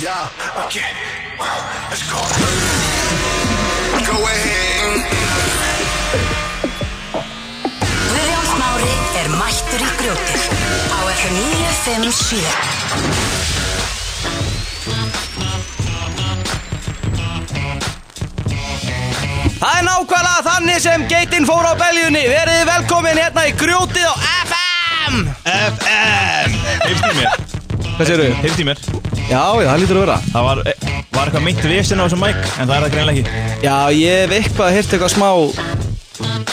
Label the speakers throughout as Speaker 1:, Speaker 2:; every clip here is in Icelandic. Speaker 1: Yeah, okay. Let's go. Go ahead.
Speaker 2: Guðjón Smári er mættur í grjótið á FM 957
Speaker 3: Það er nákvæmlega þannig sem geitin fór á beljunni Verið velkomin hérna í grjótið á FM
Speaker 4: FM Heyrst í mér
Speaker 3: Hvað séru? Já,
Speaker 4: Heyrst í mér
Speaker 3: já, það lítur að vera
Speaker 4: Það var, eh, var eitthvað meint vesen á þessum mæk En það er það greinlega ekki
Speaker 3: Já, ég hef eitthvað hirt eitthvað smá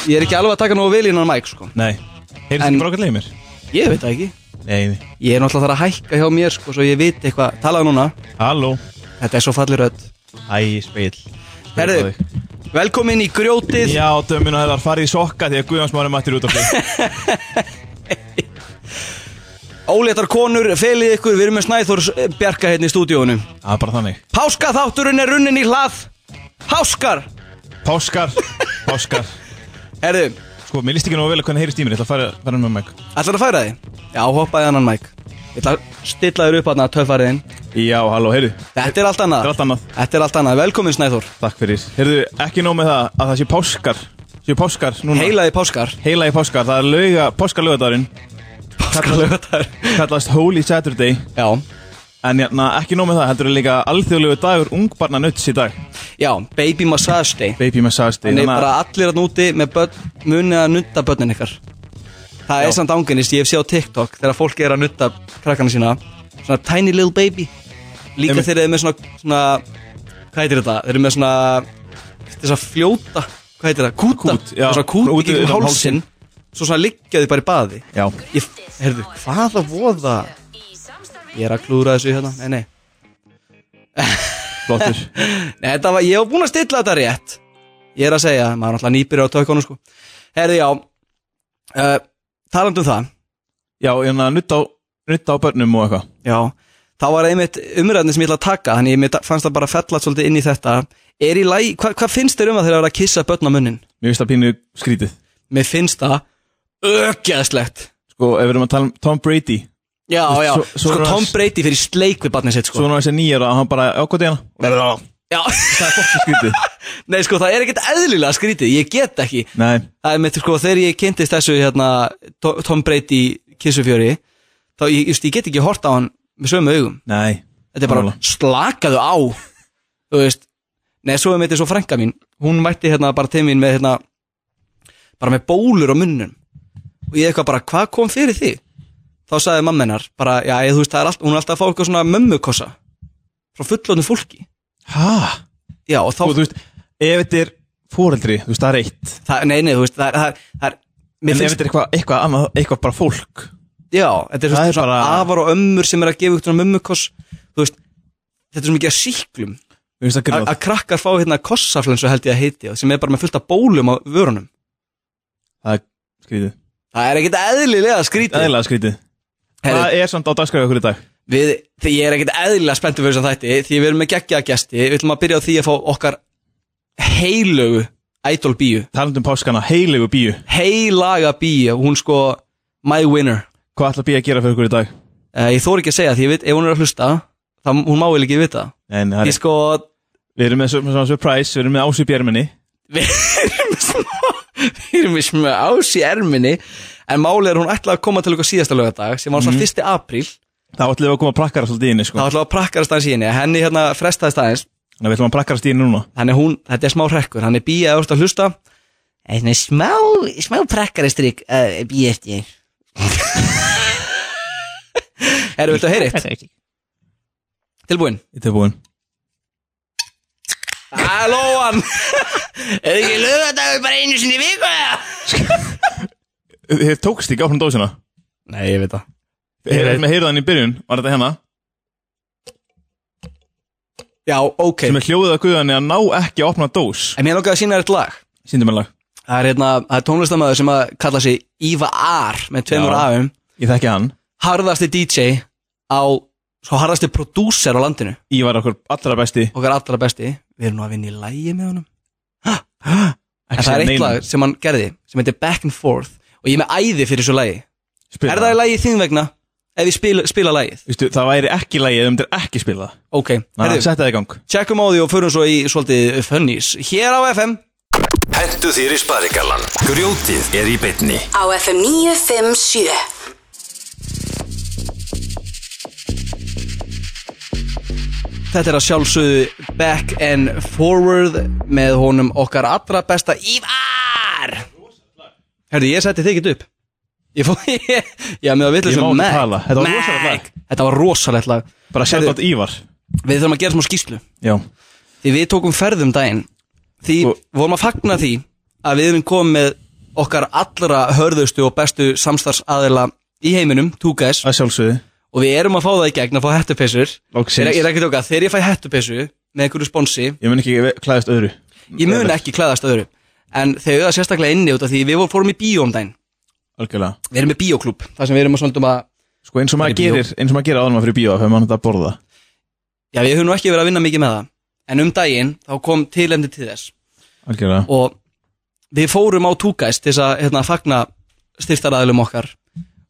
Speaker 3: Ég er ekki alveg að taka nógu vel í innan mæk sko.
Speaker 4: Nei Heyrst
Speaker 3: En-
Speaker 4: ekki brókallega í mér
Speaker 3: Ég veit það ekki
Speaker 4: Nei
Speaker 3: Ég er náttúrulega þar að hækka hjá mér sko, Svo ég veit eitthvað, talaðu núna
Speaker 4: Halló
Speaker 3: Þetta er svo fallir öll
Speaker 4: Æ, speil
Speaker 3: Herðu, velkomin í grjótið
Speaker 4: Já, dömuna þeirra farið í sokka því að Guðjónsmári mættir út af því
Speaker 3: Óléttar konur, felið ykkur Við erum með Snæþórs eh, Bjarka hérna í stúdíónu
Speaker 4: Það er bara þannig
Speaker 3: Páskaþátturinn er runnin í hlað Páskar
Speaker 4: Páskar Páskar
Speaker 3: Herðu,
Speaker 4: Sko, mér líst ekki nógu vel að hvernig heyrist í mér Ég ætla að fara, fara með mæk
Speaker 3: ætlar að færa þig? Já, hoppaði annan mæk Ég ætla að stilla þér upp hérna töffariðin
Speaker 4: Já, halló, heyrðu
Speaker 3: Þetta er allt annað
Speaker 4: Þetta er allt annað.
Speaker 3: Þetta er allt annað, velkomin Snæþór
Speaker 4: Takk fyrir Heyrðu, ekki nóg með það að það sé páskar Séu páskar núna
Speaker 3: Heilaði páskar
Speaker 4: Heilagi páskar Það er lauga, páskarlaugadagurinn
Speaker 3: Páskalaugardagur
Speaker 4: Kallast Holy Saturday
Speaker 3: Já,
Speaker 4: En jæna, ekki nóg með það, heldur er líka alþjóðlegu dagur ungbarna nutts í dag
Speaker 3: já, baby massage day
Speaker 4: Baby massage hérna- day
Speaker 3: Þannig
Speaker 4: þannig að-
Speaker 3: bara allir að núti með börn, munið að nutta börnin ykkar Það er
Speaker 4: Já.
Speaker 3: samt ángenist, ég hef séð á TikTok Þegar fólk er að nutta krakkana sína Svona tiny little baby Líka
Speaker 4: Einmitt.
Speaker 3: þeir eru með svona, svona Hvað heitir þetta? Þeir eru með svona Þess að fljóta, hvað heitir þetta? Kúta
Speaker 4: Kút, já.
Speaker 3: Svona kút
Speaker 4: Út
Speaker 3: í gegnum
Speaker 4: utan um
Speaker 3: hálsin Svo svona liggja þau bara í baði
Speaker 4: Já,
Speaker 3: ég, Herðu, hvaða voða Ég er að klúra þessu hérna Nei, nei
Speaker 4: flottur
Speaker 3: Nei, þetta var, ég var búinn að stilla þetta rétt Ég er að segja, maður er alltaf nýbyrja á tökkunum sko Herði, já uh, Talandi um það
Speaker 4: Já, jæna, nutt á, nutt á börnum og eitthvað
Speaker 3: Já, þá var einmitt umræðni sem ég ætla að taka Þannig ég mér da- fannst það bara fellat svolítið inn í þetta Er í læg, hva, hvað finnst þér um að þeir eru að kissa börn á munnin?
Speaker 4: Mér finnst það pínu skrítið
Speaker 3: Mér finnst það öggeðslegt
Speaker 4: Sko, ef við erum að tala um Tom Brady
Speaker 3: Já, já,
Speaker 4: svo- svo
Speaker 3: sko
Speaker 4: er
Speaker 3: Tom
Speaker 4: hans-
Speaker 3: Brady fyrir sleik við barnið sitt sko
Speaker 4: Svo nú þessi nýjar að hann bara ákvæði hana Það
Speaker 3: Já,
Speaker 4: er fólki skrítið
Speaker 3: nei sko, það er ekkert eðlilega skrítið, ég get ekki
Speaker 4: Nei,
Speaker 3: Það er mitt sko þegar ég kynntist þessu hérna To- Tom Brady kissufjöri þá ég, just, ég get ekki hort á hann með sömu augum
Speaker 4: nei
Speaker 3: þetta er bara
Speaker 4: Nála.
Speaker 3: slakaðu á þú veist Nei, svo er mitt svo frænka mín hún mætti hérna bara til mín með hérna bara með bólur á munnum og ég eitthvað bara hvað kom fyrir því þá sagði mamma hennar bara já ég, þú veist það er allt hún er alltaf að fá eitthvað svona mömmukossa frá fullónu fólki
Speaker 4: Hæ?
Speaker 3: já og þá
Speaker 4: Þú veist, ef þetta er fóreldri, þú veist, það er eitt
Speaker 3: það, nei nei þú veist það er það er, það er mér
Speaker 4: En ef
Speaker 3: finnst-
Speaker 4: þetta er eitthvað, eitthvað annað, eitthvað bara fólk
Speaker 3: Já, þetta er,
Speaker 4: Það
Speaker 3: svona,
Speaker 4: er
Speaker 3: svona
Speaker 4: bara-
Speaker 3: afar og ömmur sem er að gefa ykkur svona mummukoss Þú veist, þetta er svo mikið að síklum
Speaker 4: Mér finnst það
Speaker 3: að
Speaker 4: gríðað
Speaker 3: að krakkar fá hérna kossaflensu held ég að heiti og sem er bara með fullt af bólum á vörunum
Speaker 4: Það er skrítið
Speaker 3: Það er ekkit eðlilega skrítið
Speaker 4: Æðilega skrítið
Speaker 3: Herri,
Speaker 4: Hvað er samt á dagskræðu okkur í dag?
Speaker 3: við, Því ég er ekkit eðlilega spenntur fyrir þess að þætti Því við erum með geggja gesti Við ætlum að byrja á því að fá okkar heilögu idol bíu
Speaker 4: Talandum um páskana, heilegu bíu
Speaker 3: Heilaga bíu, hún sko my winner
Speaker 4: Hvað ætla bíu að gera fyrir okkur í dag?
Speaker 3: uh, Ég þór ekki að segja því ég veit, ef hún er að hlusta þá hún má eiginlega ekki vita
Speaker 4: En það
Speaker 3: Því
Speaker 4: er,
Speaker 3: sko,
Speaker 4: við erum með svona surprise, við erum með Ási Björminni
Speaker 3: við erum með smá við erum með smá ás í erminni en málið er að hún ætlaði að koma til okkar síðasta lögadag sem var svona 1. apríl
Speaker 4: Þá ætlum við að koma að prakkara svolítið inni
Speaker 3: þá
Speaker 4: sko
Speaker 3: ætlaði að prakkarast aðeins í henni henni hérna frestaðist aðeins
Speaker 4: Þannig að við ætlum að prakkarast í inni núna
Speaker 3: þannig hún, þetta er smá hrekkur, hann er bíja eða að hlusta Eða smá, smá prakkaristrik uh, bíja eftir ég Erum við að heyra eitt? Tilbúin
Speaker 4: Í tilbúin
Speaker 3: Halló hann Er ekki lögadagur bara einu sinni í viku eða?
Speaker 4: Þið tókst ekki áfram dósina
Speaker 3: Nei, ég veit það
Speaker 4: Heyrðu með heyrðan í byrjun, var þetta hérna
Speaker 3: Já, ok
Speaker 4: Sem er hljóðið að guðan að ná ekki að opna dós
Speaker 3: En mér langaði að sína þér eitt lag
Speaker 4: Sýndum en lag,
Speaker 3: Það er hérna, það er tónlistamæður sem að kalla sig Íva Ar með tveimur
Speaker 4: Já.
Speaker 3: afum
Speaker 4: ég þekki hann
Speaker 3: Harðasti DJ á, sko harðasti prodúser á landinu
Speaker 4: Ívar er okkur allra besti
Speaker 3: Okkar allra besti Við erum nú að vinna í lægi með honum En það er
Speaker 4: Ekki segja
Speaker 3: eitt
Speaker 4: neinum.
Speaker 3: lag sem hann gerði sem heitir Back and Forth og ég er með æði fyrir þessu lægi
Speaker 4: Spila
Speaker 3: Er það í lægi þín vegna? ef ég spila, spila lagið
Speaker 4: Vistu, það væri ekki lægið um þetta ekki spila það.
Speaker 3: ok,
Speaker 4: Þannig að
Speaker 3: herðu,
Speaker 4: setja það í gang
Speaker 3: tjekkum á því og förum svo í svolítið funnies hér á FM
Speaker 1: Hentu þér í sparigallan Grjótið er í beinni
Speaker 2: á FM 957
Speaker 3: Þetta er að sjálfsögðu Back and Forward með honum okkar allra besta Ívar Herði, ég setti þig ekki upp Ég fó, ég, já, með að vitlega
Speaker 4: Ég má ekki tala. Þetta var rosalegt lag.
Speaker 3: Þetta var rosalegt lag
Speaker 4: Bara setja
Speaker 3: Heyrðu,
Speaker 4: þetta ívar
Speaker 3: Við þurfum að gera smá skýslu
Speaker 4: Já,
Speaker 3: Því við tókum ferðum daginn Því
Speaker 4: Og-
Speaker 3: vorum að fagna því að við erum komið með okkar allra hörðustu og bestu samstarfsaðila í heiminum, two guys
Speaker 4: að sjálfsögðu
Speaker 3: og við erum að fá það í gegn að fá hettupessur
Speaker 4: Loksins.
Speaker 3: Ég er ég er ekki að tóka, þegar ég fæ hettupessu með einhverju sponsi,
Speaker 4: Ég mun ekki ve- klæðast öðru
Speaker 3: ég mun ekki klæðast öðru en þau auðvitað sérstaklega inni út af því við vorum- fórum í bíó um daginn,
Speaker 4: Algjörlega
Speaker 3: við erum með bíóklub þar sem við erum að svona um að,
Speaker 4: Sko eins og maður
Speaker 3: í bíó.
Speaker 4: gerir, eins og maður gerir áður en maður fyrir bíó Þegar maður þetta að borða
Speaker 3: já við höfum nú ekki verið að vinna mikið með það en um daginn þá kom tilendi til þess
Speaker 4: Algjörlega
Speaker 3: og við fórum á túkæst til þess að hérna, fagna styrstaræðilum okkar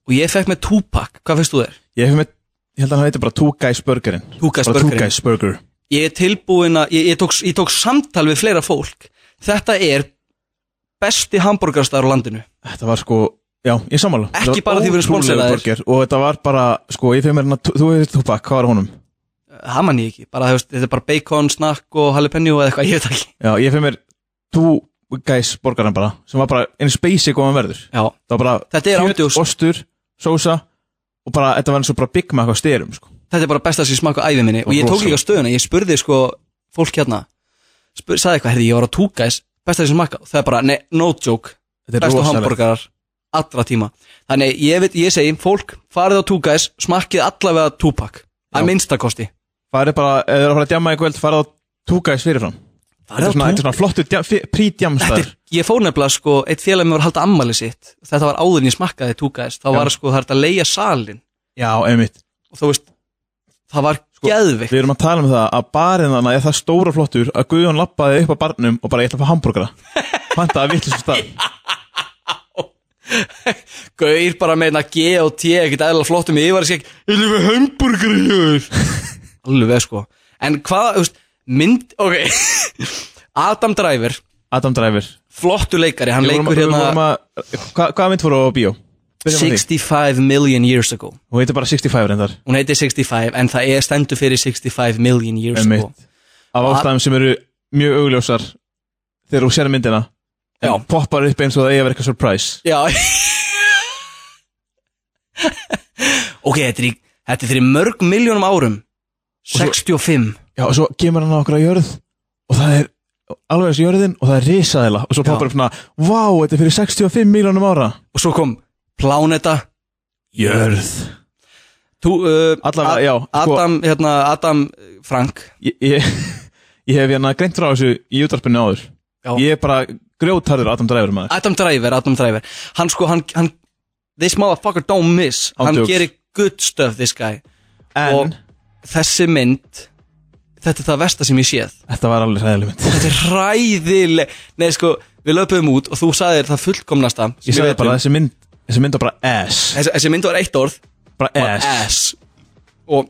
Speaker 3: og ég fekk með túpak, hvað finnst þú þér?
Speaker 4: Ég hef með, ég held að hann heiti bara Two Guys Burgerinn
Speaker 3: Two Guys
Speaker 4: Bara
Speaker 3: Burgerinn.
Speaker 4: Two Guys Burger
Speaker 3: ég er tilbúin að ég, ég, tók, ég tók samtal við fleira fólk þetta er besti hambúrgarstaður á landinu
Speaker 4: Þetta var sko, já, ég sammála
Speaker 3: Ekki
Speaker 4: Þetta var
Speaker 3: bara því við erum
Speaker 4: ótrúlegur
Speaker 3: sponseraðir.
Speaker 4: burger Og þetta var bara, sko, ég fyrir mér hérna Þú veist þú pakk, hvað var honum?
Speaker 3: það mann ég ekki, bara þú veist, þetta er bara bacon, snakk og jalapeno eða eitthvað, ég veit það ekki
Speaker 4: Já, ég fyrir mér Two Guys Burgerinn bara Sem var bara eins basic og hann verður
Speaker 3: já,
Speaker 4: Það var bara
Speaker 3: Þetta er
Speaker 4: kjöt,
Speaker 3: ándjós.
Speaker 4: Ostur, sósa Og bara, þetta var eins og bara Big Mac á styrum, sko
Speaker 3: þetta er bara besta sem ég smaka æfi minni og ég tók líka stöðuna, ég spurði sko fólk hérna, spur, sagði eitthvað herði, ég var að túka þess, besta sem ég smaka það er bara, nei, no joke,
Speaker 4: Þetta er
Speaker 3: bestu
Speaker 4: rosalegt.
Speaker 3: hambúrgarar allra tíma, þannig ég, veit, ég segi fólk, farið á túka þess, smakkið allavega túpak,
Speaker 4: Já.
Speaker 3: að minnstakosti
Speaker 4: Það er bara, ef þið eru að fara að djama í kvöld Farað á Two Guys fyrirfram Þetta er
Speaker 3: Farið á
Speaker 4: svona,
Speaker 3: Two-
Speaker 4: þetta er svona flottu
Speaker 3: Þetta er,
Speaker 4: prítjamstæður
Speaker 3: ég fór nefnilega sko, eitt félag mér var að halda ammali sitt þetta var áður en ég smakkaði túkaðist þá
Speaker 4: Já.
Speaker 3: var sko þar að leia salin
Speaker 4: Já, einmitt
Speaker 3: og þú veist, það var
Speaker 4: Sko,
Speaker 3: geðvikt
Speaker 4: Við erum að tala um það að barinn þannig er það stóra flottur að Guðjón lappaði upp að barnum og bara ég ætla að fá hambúrgara Panta að vitlisum stað
Speaker 3: Gaur bara meina G og T ekkert eðla flottum ég var að segja ég lifi hamburger hér alveg sko en hvað, þú veist, mynd ok, Adam Driver
Speaker 4: Adam Driver
Speaker 3: flottu leikari, hann
Speaker 4: Við vorum að-
Speaker 3: leikur
Speaker 4: við vorum
Speaker 3: hérna
Speaker 4: að, hva, Hvað mynd voru á bíó? Byrjum á því.
Speaker 3: 65 million years ago
Speaker 4: Hún heitir bara 65 reyndar
Speaker 3: hún heiti 65 en það er stendur fyrir 65 million years ago
Speaker 4: einmitt. Af ástæðum sem eru mjög augljósar þegar þú sér myndina
Speaker 3: Já.
Speaker 4: en poppar upp eins og það eigi að vera eitthvað surprise
Speaker 3: Já Ok, þetta er, í, þetta er fyrir mörg miljónum árum 65
Speaker 4: Já og svo kemur hann á okkur á jörð og það er alveg þessi jörðin og það er risaðila og svo poppar upp svona Vá, þetta er fyrir 65 miljónum ára
Speaker 3: Og svo kom Pláneta
Speaker 4: Jörð
Speaker 3: Tú, uh,
Speaker 4: Allavega,
Speaker 3: A-
Speaker 4: já, sko-
Speaker 3: Adam, hérna, Adam Frank
Speaker 4: ég, ég, ég hef hérna greint frá þessu í útarpinu áður
Speaker 3: Já.
Speaker 4: Ég er bara grjótarður Adam Driver maður
Speaker 3: Adam Driver, Adam Driver Hann sko, hann, hann This motherfucker don't miss
Speaker 4: Án
Speaker 3: Hann
Speaker 4: djóks.
Speaker 3: gerir good stuff, this guy
Speaker 4: En
Speaker 3: og- Þessi mynd Þetta er það versta sem ég séð
Speaker 4: þetta var alveg hræðileg mynd
Speaker 3: Þetta er hræðileg Nei, sko, við löpum út og þú sagðir það fullkomnasta sem
Speaker 4: Ég sagði
Speaker 3: veit um.
Speaker 4: bara þessi mynd Þessi mynd var bara ass
Speaker 3: þessi, þessi mynd var eitt orð
Speaker 4: Bara
Speaker 3: bara
Speaker 4: ass,
Speaker 3: ass. Og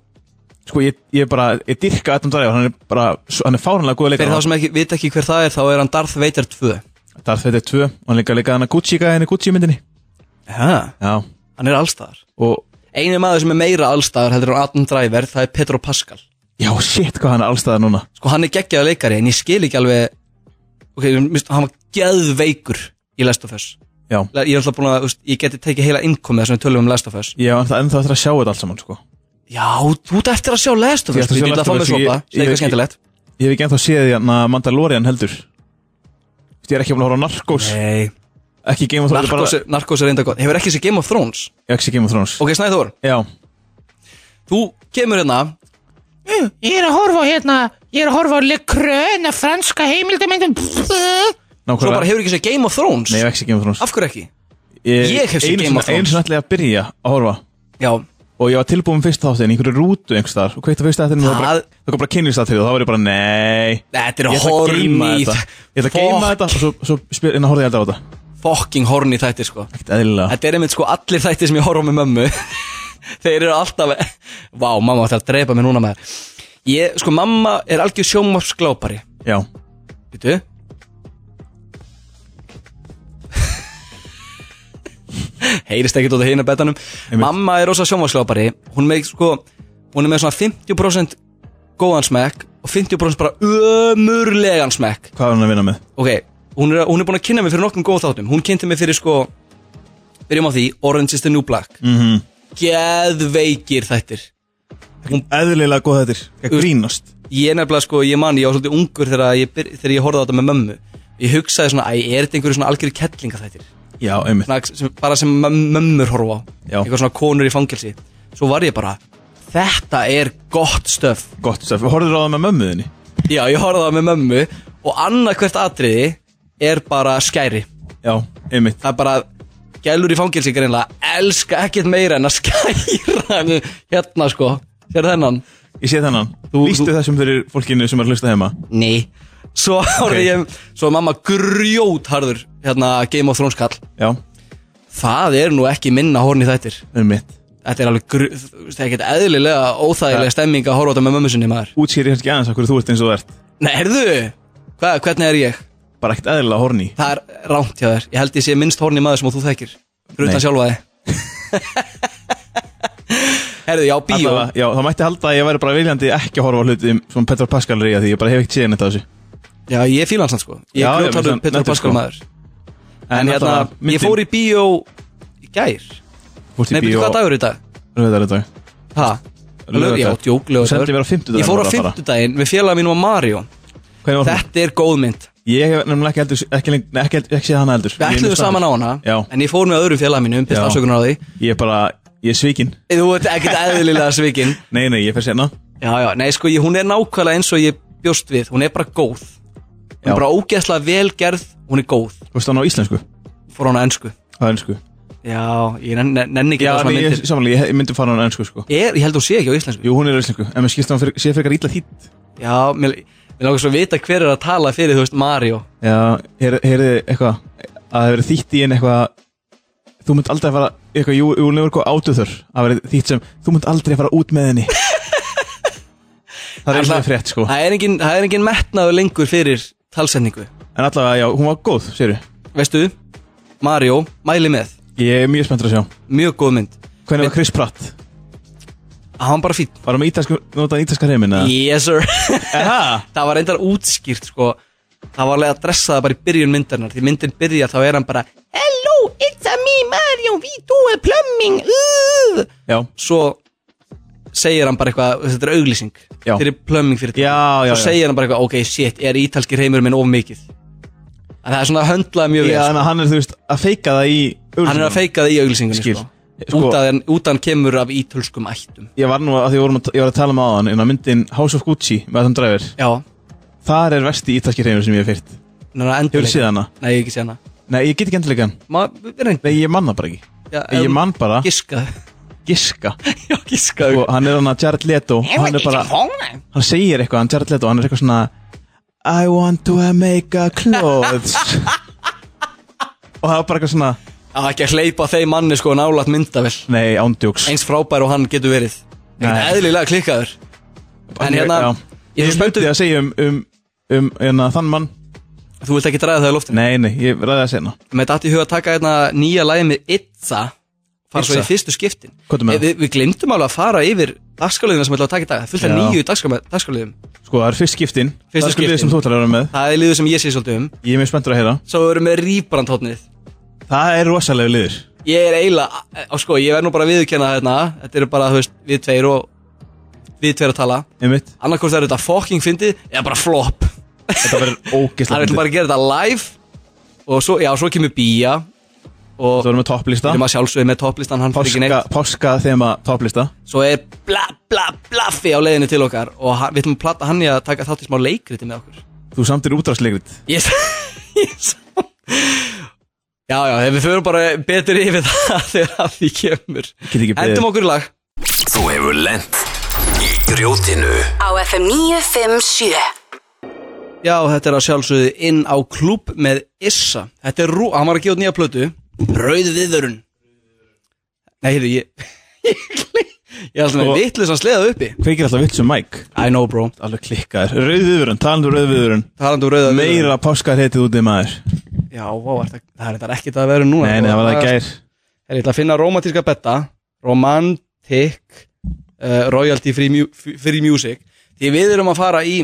Speaker 4: Sko ég, ég bara, ég dyrka Adam Driver Hann er bara, svo- hann er fáránlega góð
Speaker 3: fyrir
Speaker 4: leikar
Speaker 3: þá sem ekki, vita ekki hver það er þá er hann Darth Vader 2
Speaker 4: Það er þetta tvö og Hann líka líka hann að Gucci gæðin í Gucci myndinni
Speaker 3: ha,
Speaker 4: Já
Speaker 3: Hann er allstaðar
Speaker 4: Og,
Speaker 3: Einu maður sem er meira allstaðar heldur hann Adam Driver það er Pedro Pascal
Speaker 4: já shit hvað hann er allstaðar núna
Speaker 3: Sko hann er geggjaða leikari en ég skil ekki alveg Ok, mist, hann var geðveikur í Last of Us
Speaker 4: Já
Speaker 3: Le- Ég er alltaf búin að, úst, ég geti tekið heila innkomið þar sem við tölum um Last of Us
Speaker 4: Ég var ennþá ennþá eftir að sjá þetta allt saman sko
Speaker 3: Já, þú ert eftir að sjá Last of
Speaker 4: Ég
Speaker 3: Us
Speaker 4: ætla að
Speaker 3: Þú ert
Speaker 4: sjá Last
Speaker 3: að fá
Speaker 4: of
Speaker 3: með
Speaker 4: Us,
Speaker 3: sopa,
Speaker 4: ég-
Speaker 3: segir
Speaker 4: ég-
Speaker 3: hvað skemmtilegt
Speaker 4: Ég hef ekki ennþá séð því hann að Mandalorian heldur Ég er ekki búin að horfa á Narcos
Speaker 3: Nei,
Speaker 4: Ekki Game of Thrones bara-
Speaker 3: Narcos, er- Narcos er reynda gott Hefur ekki sér Game of Thrones
Speaker 4: Ég ekki séð Game of Thrones
Speaker 3: Ok, Snæður,
Speaker 4: Já
Speaker 3: þú kemur hérna
Speaker 5: Ég er að horfa á hérna, ég er að horfa á Le Creux, franska heimildamindum.
Speaker 3: Svo
Speaker 4: Nákvæmlega
Speaker 3: bara hefur ekki sér Game of Thrones
Speaker 4: Nei, ég hef ekki séð Game of Thrones
Speaker 3: Af hverju ekki? ég hef séð
Speaker 4: einu
Speaker 3: Game of Thrones.
Speaker 4: sinni- Einu sinni ætlaði ég að byrja að horfa
Speaker 3: Já,
Speaker 4: Og ég var tilbúin með fyrsta þáttin, í einhverju rútu einhvers þar Og kveitt að fyrsta þáttin og það bara-
Speaker 3: Það-
Speaker 4: það kom bara kynlist að til Og þá var ég bara, nei
Speaker 3: þetta er
Speaker 4: Ég ætla að geima
Speaker 3: hornið
Speaker 4: þetta Ég ætla að geima þetta Og svo, svo spyr, en það horfði ég aldrei á þetta
Speaker 3: Fucking hornið þættir sko
Speaker 4: Ekkert eðlilega
Speaker 3: Þetta er einmitt sko allir þættir sem ég horf á með mömmu þeir eru alltaf Vá, mamma ætti að drepa mig núna maður Ég, sko, mamma er algjör sjónvarpsglápari
Speaker 4: Já,
Speaker 3: Býtu Heyrist ekkert út af hinu betanum
Speaker 4: Einmitt.
Speaker 3: Mamma er rosa sjónvarpsglápari Hún er með, sko, hún er með svona 50% góðan smekk og 50% bara ömurlegan smekk
Speaker 4: hvað er hann að vinna með?
Speaker 3: ok, hún er, hún er búin að kynna mig fyrir nokkrum góð þáttum hún kynnti mig fyrir sko byrjum á því, Orange is the New Black
Speaker 4: Mm
Speaker 3: geðveikir þættir Hún-
Speaker 4: Eðlilega góð þetta er Ekki grínast
Speaker 3: ég er nefnilega sko, ég man, ég var svolítið ungur þegar ég, byr- þegar ég horfði á þetta með mömmu ég hugsaði svona, æ, er þetta einhverju svona algjörðu kettlinga þættir
Speaker 4: Já, einmitt
Speaker 3: svona, sem, bara sem möm- mömmur horfa á
Speaker 4: Já.
Speaker 3: eitthvað svona konur í fangelsi svo var ég bara, þetta er gott stöf
Speaker 4: Gott, Stef, horfður á það með mömmuðinni
Speaker 3: já, ég horfði á það með mömmu og annað hvert atriði er bara skæri
Speaker 4: Já, einmitt
Speaker 3: það er bara gælur í fangelsi greinlega elska ekkert meira en að skæra hann hérna sko sér þennan
Speaker 4: Ég sé þennan
Speaker 3: Þú-
Speaker 4: Lýstu
Speaker 3: þú-
Speaker 4: þessum fyrir fólkinu sem er að hlusta heima
Speaker 3: nei svo okay. ég, svo er mamma grjótharður hérna Game of Thrones kall
Speaker 4: Já,
Speaker 3: það er nú ekki minna horni þættir
Speaker 4: einmitt
Speaker 3: þetta er alveg grj- þú veist, það er ekkert eðlilega óþægilega stemming að horfa á þetta með mömmu sinni maður
Speaker 4: Útskýri kannski aðeins okkur þú ert eins og þú ert
Speaker 3: nei, herðu Hva, hvernig er ég?
Speaker 4: Bara ekkert eðlilega horni
Speaker 3: það er rámt hjá þér ég held ég sé minnst horni maður sem þú þekkir fyrir utan
Speaker 4: Nei.
Speaker 3: sjálfa þig herðu, já, bíó
Speaker 4: Allavega, Já, það mætti halda að ég væri bara viljandi ekki að horfa á hluti sem Petra Pascal er í að því ég bara hef ekkert séð neitt af þessu
Speaker 3: Já, ég fíla hans hann sko Ég
Speaker 4: Já,
Speaker 3: er
Speaker 4: já, mér
Speaker 3: grjótarður
Speaker 4: finnst
Speaker 3: Petru
Speaker 4: hann nettur,
Speaker 3: Pascal
Speaker 4: sko.
Speaker 3: maður En hérna,
Speaker 4: alltaf myndin-
Speaker 3: ég fór í bíó í gær
Speaker 4: fórst í
Speaker 3: Nei,
Speaker 4: bíó
Speaker 3: betur hvað dagur er í dag?
Speaker 4: Rauðar í dag
Speaker 3: Ha?
Speaker 4: Laugardagur.
Speaker 3: Já, djók,
Speaker 4: Þú sendir mér á fimmtudaginn
Speaker 3: Ég fór á
Speaker 4: bara að fara.
Speaker 3: fimmtudaginn með félaga mínum og Mario
Speaker 4: Hvernig var hún?
Speaker 3: Þetta er góð mynd
Speaker 4: Ég hef nefnilega ekki heldur ekki, lengi- nei, ekki, heldur- ekki séð hana heldur
Speaker 3: Við
Speaker 4: Ég er
Speaker 3: ætluðum
Speaker 4: mjög
Speaker 3: saman á
Speaker 4: spenntur.
Speaker 3: hana
Speaker 4: Já.
Speaker 3: En ég fór með öðrum félaga mínum Byrst
Speaker 4: Já.
Speaker 3: afsökunar á því
Speaker 4: Ég er bara, ég er svíkin
Speaker 3: Þú ert ekkert eðlilega svikin
Speaker 4: Nei, nei, ég fer sérna
Speaker 3: Já, já, nei sko, ég, hún er nákvæmlega eins og ég bjóst við Hún er bara góð Hún
Speaker 4: Já.
Speaker 3: er bara ógeðslega velgerð Hún er góð
Speaker 4: Þú veist hann á íslensku
Speaker 3: Fór á hana ensku
Speaker 4: Á ennsku
Speaker 3: Já, ég nenn- nenni ekki á
Speaker 4: Já,
Speaker 3: svona
Speaker 4: nei, ég,
Speaker 3: myndir
Speaker 4: samanlega, ég myndi fara á ennsku sko
Speaker 3: Er, ég held hún sé ekki á íslensku
Speaker 4: Jú, hún er á íslensku En mér skilst hann fyrir, sé fyrir illa þýtt
Speaker 3: Já, mér, mér langar svo að vita hver er að tala fyrir, þú veist, Mario
Speaker 4: Já, heyr- heyrðu eitthvað Að það verið þýtt í en eitthvað Þú mynd aldrei að fara Eitthvað, jú, jú, nefnir eitthvað átuður Að verið þýtt sem Þú mynd aldrei að fara út með henni Það er
Speaker 3: Alla-
Speaker 4: eitthvað frétt sko
Speaker 3: Það er engin, það er engin metnaður lengur fyrir talsendingu
Speaker 4: En allavega, já, hún var góð, séru
Speaker 3: Veistu, Mario, mæli með
Speaker 4: Ég er mjög spenntur að sjá
Speaker 3: Mjög góð mynd
Speaker 4: Hvernig var Chris Pratt?
Speaker 3: Að hann bara fýtt
Speaker 4: Var hann með ítalsku, notað ítalska reymin?
Speaker 3: Yes sir
Speaker 4: Eha,
Speaker 3: Það var reyndar útskýrt, sko Það var alveg að dressa það bara í byrjun myndarinnar Því myndin byrjar, þá er hann bara Hello, it's a me Mario, we do a plumbing uh.
Speaker 4: já,
Speaker 3: Svo segir hann bara eitthvað Þetta er auglýsing
Speaker 4: Já.
Speaker 3: Fyrir plumbing fyrir
Speaker 4: já, já,
Speaker 3: Svo segir hann bara eitthvað, ok, shit, er ítalski reymur minn of mikið En það er svona að höndlaði mjög
Speaker 4: já,
Speaker 3: vel
Speaker 4: já
Speaker 3: sko.
Speaker 4: þannig að hann er þú veist að feika það í auglýsingum.
Speaker 3: Hann er að feika það í auglýsingunni
Speaker 4: Skil.
Speaker 3: sko.
Speaker 4: Sko-
Speaker 3: Út að hann- út að hann kemur af ítölskum ættum
Speaker 4: Ég var nú að því við vorum að, ég var að tala um aðan en að myndin House of Gucci með Adam Driver
Speaker 3: Já,
Speaker 4: þar er versti ítalski reymur sem ég hef fyrt
Speaker 3: hann er að
Speaker 4: Hefur
Speaker 3: endurleika
Speaker 4: séð hana?
Speaker 3: Nei, ég hef ekki séð hana
Speaker 4: Nei, ég get ekki endilega hann
Speaker 3: Ma, við reyndum
Speaker 4: Nei, ég manna bara ekki
Speaker 3: Já,
Speaker 4: Ég
Speaker 3: um,
Speaker 4: man bara
Speaker 3: Giska
Speaker 4: giska
Speaker 3: Já, giska
Speaker 4: og hann er hann að Jared Leto Sko, hann er bara, hann segir eitthvað hann Jared Leto, hann er eitthvað svona I want to make a clothes og það var bara eitthvað svona
Speaker 3: Það er ekki að hleypa þeim manni sko nálat myndavel
Speaker 4: Nei, ándjóks
Speaker 3: Eins frábær og hann getur verið
Speaker 4: Nei.
Speaker 3: Ekkert eðlilega klikkaður En hérna,
Speaker 4: Ég
Speaker 3: ég er
Speaker 4: er
Speaker 3: svo spenntur-
Speaker 4: spöntu að segja um, um, um hérna, þann mann
Speaker 3: Þú vilt ekki draga það í loftinu
Speaker 4: Nei, nei, ég ræði að segja hana
Speaker 3: Mér datt í huga að taka hérna nýja lagi með Itza fara svo í
Speaker 4: Itza?
Speaker 3: fyrstu skiptin
Speaker 4: Hvað er með
Speaker 3: Eh, Við, við glemdum alveg að fara yfir dagskáliðina sem við ætlum að taka í dag Það er fullt af
Speaker 4: Já.
Speaker 3: nýju dagskáma- dagskáliðum
Speaker 4: Sko, það er fyrst skiptin
Speaker 3: Fyrsta
Speaker 4: Það er sko liðið
Speaker 3: skiptin.
Speaker 4: sem þú ætlar að vera með
Speaker 3: Það er liður sem ég sé svolítið um
Speaker 4: Ég er mjög spenntur að heyra
Speaker 3: Svo erum við rýbrandhóttnið
Speaker 4: Það er rosalega liður
Speaker 3: Ég er eiginlega, á sko, ég verð nú bara að viðurkenna þetta Þetta eru bara, þú veist, við tveir og við tveir að tala
Speaker 4: Einmitt
Speaker 3: Annarkvort er þetta fucking fyndið eða bara flop
Speaker 4: Þetta verður
Speaker 3: Það
Speaker 4: ógeðslega
Speaker 3: er
Speaker 4: fyndið.
Speaker 3: bara að gera þetta live og svo, já, svo kemur bía og
Speaker 4: Þú verður með topplista
Speaker 3: við erum að sjálfsögðu með toplistan, hann fyrir ekki neitt
Speaker 4: Páska, páska þema topplista
Speaker 3: svo er bla bla blaffi á leiðinni til okkar og hann, við ætlum að platta hann í að taka þátt í smá leikriti með okkur
Speaker 4: Þú samtir útráðsleikrit
Speaker 3: yes. yes. já já, ef við förum bara betur yfir það þegar að því kemur
Speaker 4: Ég get ekki beðið.
Speaker 3: endum okkur í lag
Speaker 1: Þú hefur lent í grjótinu
Speaker 2: Á FM 957
Speaker 3: já, þetta er að sjálfsögðu inn á klúb með Issa þetta er rú, hann var að gefa út nýja plötu Rauð viðurinn nei, heyrðu, ég Ég er alltaf með
Speaker 4: Og-
Speaker 3: vitlis að sleða uppi
Speaker 4: Kveikir alltaf vitt sem Mike
Speaker 3: I know bro
Speaker 4: Alveg klikkaður Rauðviðurinn, talandi um rauðviðurinn
Speaker 3: Talandi um rauða
Speaker 4: Meira páskar heitið út í maður
Speaker 3: Já, vá, er það, það er þetta ekkert að vera núna sko.
Speaker 4: Nei, nei, það var það í gær
Speaker 3: Herra, Ég ætla að finna romantíska betta Romantic uh, Royalty free, mu free Music Því við erum að fara í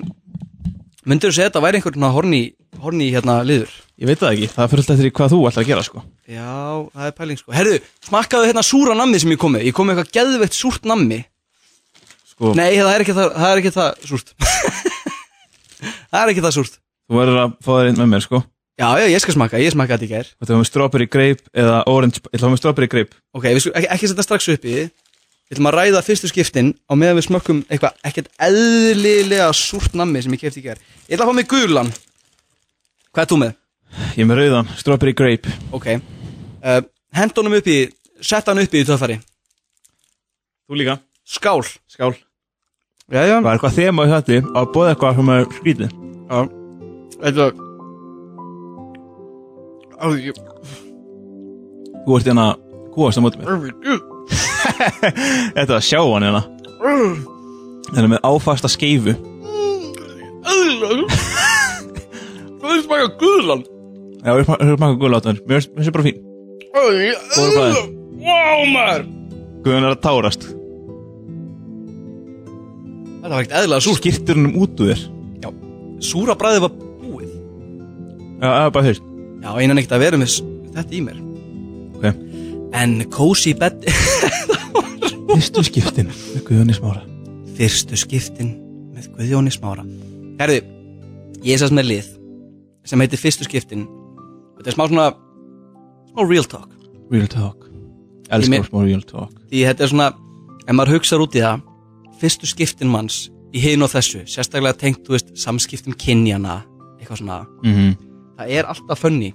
Speaker 3: Myndur þú segja þetta væri einhvern svona horni, horni hérna liður?
Speaker 4: Ég veit það ekki, það fyrir alltaf eftir í hvað þú ætlar að gera sko
Speaker 3: Já, það er pæling sko Herðu, smakkaðu hérna súra nammi sem ég kom með Ég kom með eitthvað geðveikt súrt nammi
Speaker 4: Sko,
Speaker 3: Nei, það er ekki það, það, er ekki það súrt Það er ekki það súrt
Speaker 4: þú verður að fá þér inn með mér sko
Speaker 3: Já, já, ég skal smakka, ég smakka þetta í gær
Speaker 4: Þetta var með strawberry grape eða orange Ég ætla að fá með strawberry grape
Speaker 3: Ok, við skulum ekki, ekki setja strax upp í því Við ætlum að ræða fyrstu skiptin á meðan við smökkum eitthvað ekkert eðlilega súrt nammi sem ég kefti í gær Ég ætla að fá mig gulan Hvað er þú með?
Speaker 4: Ég er með rauðan, strawberry grape
Speaker 3: Ok uh, Hent honum upp í, sett hann upp í töffari
Speaker 4: Þú líka
Speaker 3: Skál
Speaker 4: Skál
Speaker 3: Jæja
Speaker 4: Var eitthvað þema í þetta að bóða eitthvað sem er skrítið
Speaker 3: Já Þetta Æ, ég-
Speaker 4: Þú ert hérna kúast á móti mér Þetta var sjávan hérna Þetta er með áfasta skeifu
Speaker 3: Þú veist maður gulan
Speaker 4: Já, við höfum makka guð látan Mér finnst- mér finnst þetta bara fín Góður bræðin
Speaker 3: Wow maður
Speaker 4: Guðun er að tárast
Speaker 3: Þetta var ekkert eðlilega súrt
Speaker 4: Skirtur hennum út úr þér
Speaker 3: Já Súra bræðið var búið
Speaker 4: Já, það er bara þér
Speaker 3: Já, einan ekkert að vera með s- þetta í mér
Speaker 4: Ok
Speaker 3: En cozy bed
Speaker 4: Fyrstu skiptin með Guðunni smára
Speaker 3: Fyrstu skiptin með Guðjóni Smára Herðu, ég er sess með lið sem heitir Fyrstu skiptin Þetta er smá svona smá real talk
Speaker 4: Real talk
Speaker 3: Ég
Speaker 4: Elskar
Speaker 3: me-
Speaker 4: smá real talk
Speaker 3: Því þetta er svona, ef maður hugsar út í það Fyrstu skiptin manns í hinn og þessu sérstaklega tengt, þú veist, samskiptum kynjana eitthvað svona
Speaker 4: mm -hmm.
Speaker 3: Það er alltaf fönni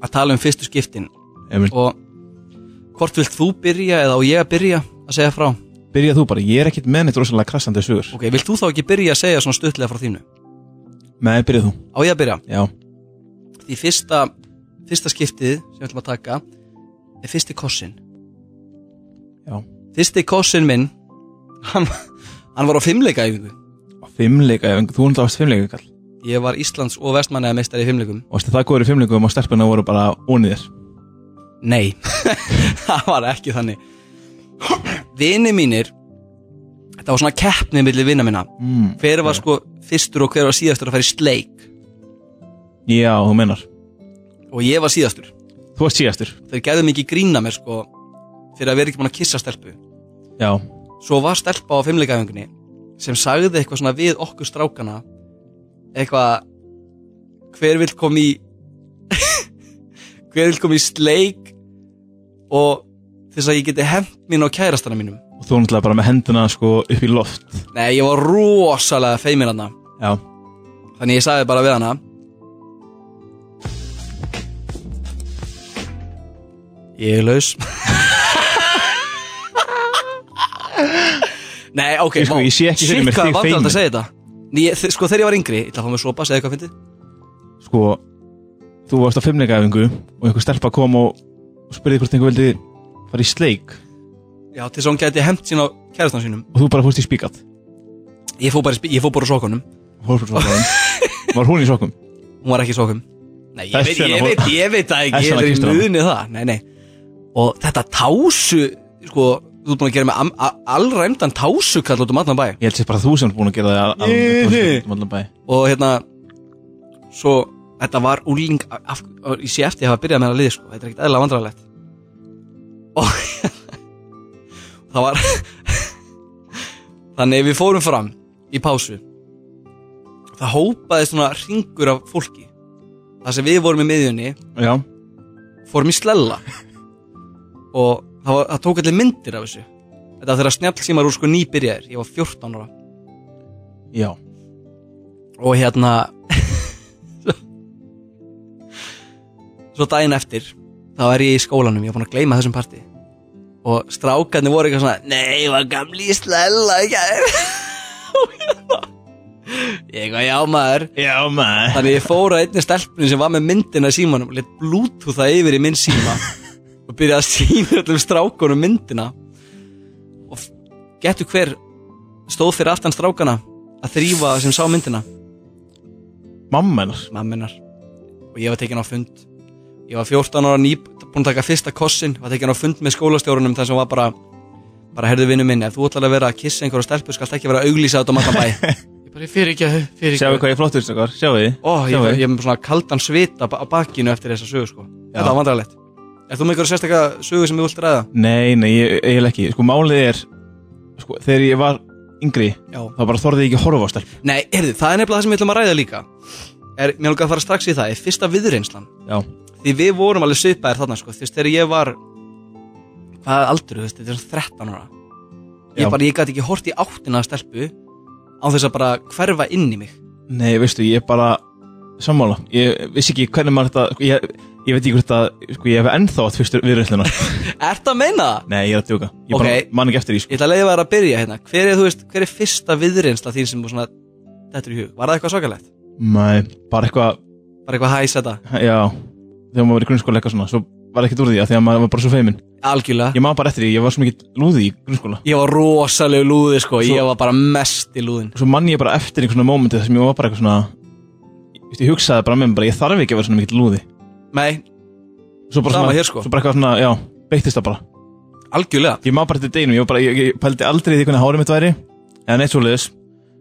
Speaker 3: að tala um fyrstu skiptin
Speaker 4: Emil,
Speaker 3: og hvort vilt þú byrja eða á ég að byrja að segja frá
Speaker 4: byrja þú bara Ég er ekkit með neitt rosalega krassandi sögur
Speaker 3: Ok, vilt þú þá ekki byrja að segja svona stuttlega frá þínu?
Speaker 4: Nei, byrja þú
Speaker 3: Á ég að byrja?
Speaker 4: Já
Speaker 3: því fyrsta, fyrsta skiptið sem við ætlum að taka er fyrsti kossin
Speaker 4: Já
Speaker 3: fyrsti kossin minn hann, hann var á fimmleika yfingu
Speaker 4: Fimmleika Þú hundla varst fimmleika kall
Speaker 3: ég var Íslands og Vestmannaða meistari í fimmleikum
Speaker 4: Og það góður í fimmleikum og stelpuna voru bara ónið þér
Speaker 3: nei, það var ekki þannig vini mínir þetta var svona keppni millir vina minna
Speaker 4: mm.
Speaker 3: hver var sko fyrstur og hver var síðastur að fara í sleik
Speaker 4: Já, þú menar
Speaker 3: og ég var síðastur
Speaker 4: Þú varst síðastur
Speaker 3: þau gerðu mikið grína mér sko fyrir að vera ekki búin að kissa stelpu
Speaker 4: Já
Speaker 3: svo var stelpa á fimmleikaðingunni sem sagði eitthvað svona við okkur strákana eitthvað hver vill kom í hver vill kom í sleik og til þess að ég geti hefnt mín á kærastana mínum
Speaker 4: Og þú hundla bara með hendina sko upp í loft
Speaker 3: nei ég var rosalega feimin hana
Speaker 4: Já
Speaker 3: þannig ég sagði bara við hana ég er laus nei ok
Speaker 4: Ég sko,
Speaker 3: vá.
Speaker 4: ég sé ekki fyrir
Speaker 3: Shit,
Speaker 4: mér
Speaker 3: hvað
Speaker 4: þig
Speaker 3: var vandræðalegt
Speaker 4: feiminn.
Speaker 3: að segja þetta Ný, þe- sko þegar ég var yngri ég ætla að fá mér sopa segja eitthvað fyndið
Speaker 4: Sko Þú varst á fimmleikaæfingu Og einhver stelpa kom og, og spurði hvort einhver vildi fara í sleik
Speaker 3: já til þess að hún gæti hemt sín á kærastan sínum
Speaker 4: Og þú bara fórst í spíkat
Speaker 3: ég fó bara, í sp- ég fó bara úr sokunum
Speaker 4: Fórst bara sokkum Var hún í sokkum?
Speaker 3: hún var ekki í sokum nei ég
Speaker 4: Þess
Speaker 3: veit,
Speaker 4: vegna
Speaker 3: ég
Speaker 4: fór-
Speaker 3: veit, ég veit það ekki
Speaker 4: Þess
Speaker 3: ég
Speaker 4: vegna
Speaker 3: er í
Speaker 4: kysstu hana.
Speaker 3: muðinni það nei nei og þetta tásu sko þú ert búin að gera með am- a- alræmdan tásu kall út um allan bæ
Speaker 4: Ég held sér bara þú sem er búin að gera það að-
Speaker 3: Ég-
Speaker 4: að- að- um allan bæ.
Speaker 3: og hérna svo þetta var úling af, af, ég sé eftir að hafa byrjað með það lið sko. þetta er ekkert eðla vandrarlegt og það var þannig við fórum fram í pásu það hópaði svona ringur af fólki það sem við vorum í miðjunni
Speaker 4: Já
Speaker 3: fórum í slella og það, var, það tók allir myndir af þessu þetta var þegar snjallsímar úr sko nýbyrjaðir ég var 14 ára
Speaker 4: Já
Speaker 3: og hérna svo daginn eftir þá er ég í skólanum, ég var búin að gleyma þessum parti og strákarnir voru eitthvað svona nei, ég var gamli í slella í gær." Og hérna, ég eitthvað já maður
Speaker 4: Já maður
Speaker 3: þannig ég fór að einni stelpunni sem var með myndina í símanum og let bluetootha yfir í minn síma og byrjaði að sína öllum strákunum myndina og getur hver stóð fyrir aftan strákana að þrýfa sem sá myndina
Speaker 4: Mamma hennar
Speaker 3: mamminar og ég var tekin á fund ég var 14 ára ný búin að taka fyrsta kossin, var tekin á fund með skólastjórunum þar sem var bara bara herðu vinnu minn, ef þú ætlar að vera að kissa einhverja stelpu skalt ekki vera að auglýsa þetta á matan bæ
Speaker 5: Ég bara fyrir ekki að, fyrir
Speaker 4: Sjáu hvað ég er flottur snakar, sjáu því
Speaker 3: ó, ég,
Speaker 4: Sjáum
Speaker 3: ég,
Speaker 4: við.
Speaker 3: ég er með svona kaldan svita ba- á bakinu eftir þessa sögu sko, þetta var vandrarlegt Er þú með einhverja sérstakka sögu sem ég vilt ræða?
Speaker 4: Nei, nei, ég, ég ekki Sko málið er sko, Þegar ég var yngri
Speaker 3: Já.
Speaker 4: Þá bara þorði ég ekki að horfa á stelp
Speaker 3: Nei, heyrðu, það er nefnilega það sem við ætlum að ræða líka er, Mér lóka að fara strax í það, er fyrsta viðreynslan
Speaker 4: Já,
Speaker 3: Því við vorum alveg svipaðir þarna, sko Þú veist, þegar ég var Hvað aldur, þú veist, þetta er svona 13 ára Ég
Speaker 4: Já.
Speaker 3: bara, ég gæti ekki hort í áttina að stelpu Á þess að bara hverfa inn í mig
Speaker 4: nei, veistu, ég er bara Sammála, ég vissi ekki hvernig maður þetta sko, ég, ég veit ekki hvort að sko, Ég hef ennþá átt fyrstur viðröðsluna
Speaker 3: Ertu að meina það?
Speaker 4: Nei, ég er að djóka Ég
Speaker 3: Ókei.
Speaker 4: bara man ekki eftir því sko.
Speaker 3: Ég ætla að leiða þér að byrja hérna Hver er, þú veist, hver er fyrsta viðreynsla þín sem þú svona Þetta er í hug, var það eitthvað svakalegt?
Speaker 4: Nei, bara eitthvað
Speaker 3: Var eitthvað hæs þetta?
Speaker 4: Já, þegar maður var í grunnskóla eitthvað svona Svo var ekkert úr því að því að maður var bara svo feimin
Speaker 3: Algjörlega
Speaker 4: Ég maður bara eftir því, ég var svo mikið lúði í grunnskóla
Speaker 3: Ég var rosalegu lúði, sko
Speaker 4: Svo-
Speaker 3: Ég var bara mest í lúðin
Speaker 4: Svo mann ég bara eftir einhvern svona mómenti þar sem ég var bara eitthvað svona Ég, ég hugsaði bara með mér, bara, ég þarf ekki að vera svona mikið lúði
Speaker 3: Nei,
Speaker 4: Svo bara,
Speaker 3: Sama
Speaker 4: svona,
Speaker 3: hér, sko.
Speaker 4: svo bara eitthvað svona, já, beittist það bara
Speaker 3: algjörlega
Speaker 4: Ég maður bara eftir deginum, ég, var bara, ég, ég pældi aldrei í því hvernig hárið mitt væri Eða neitt svo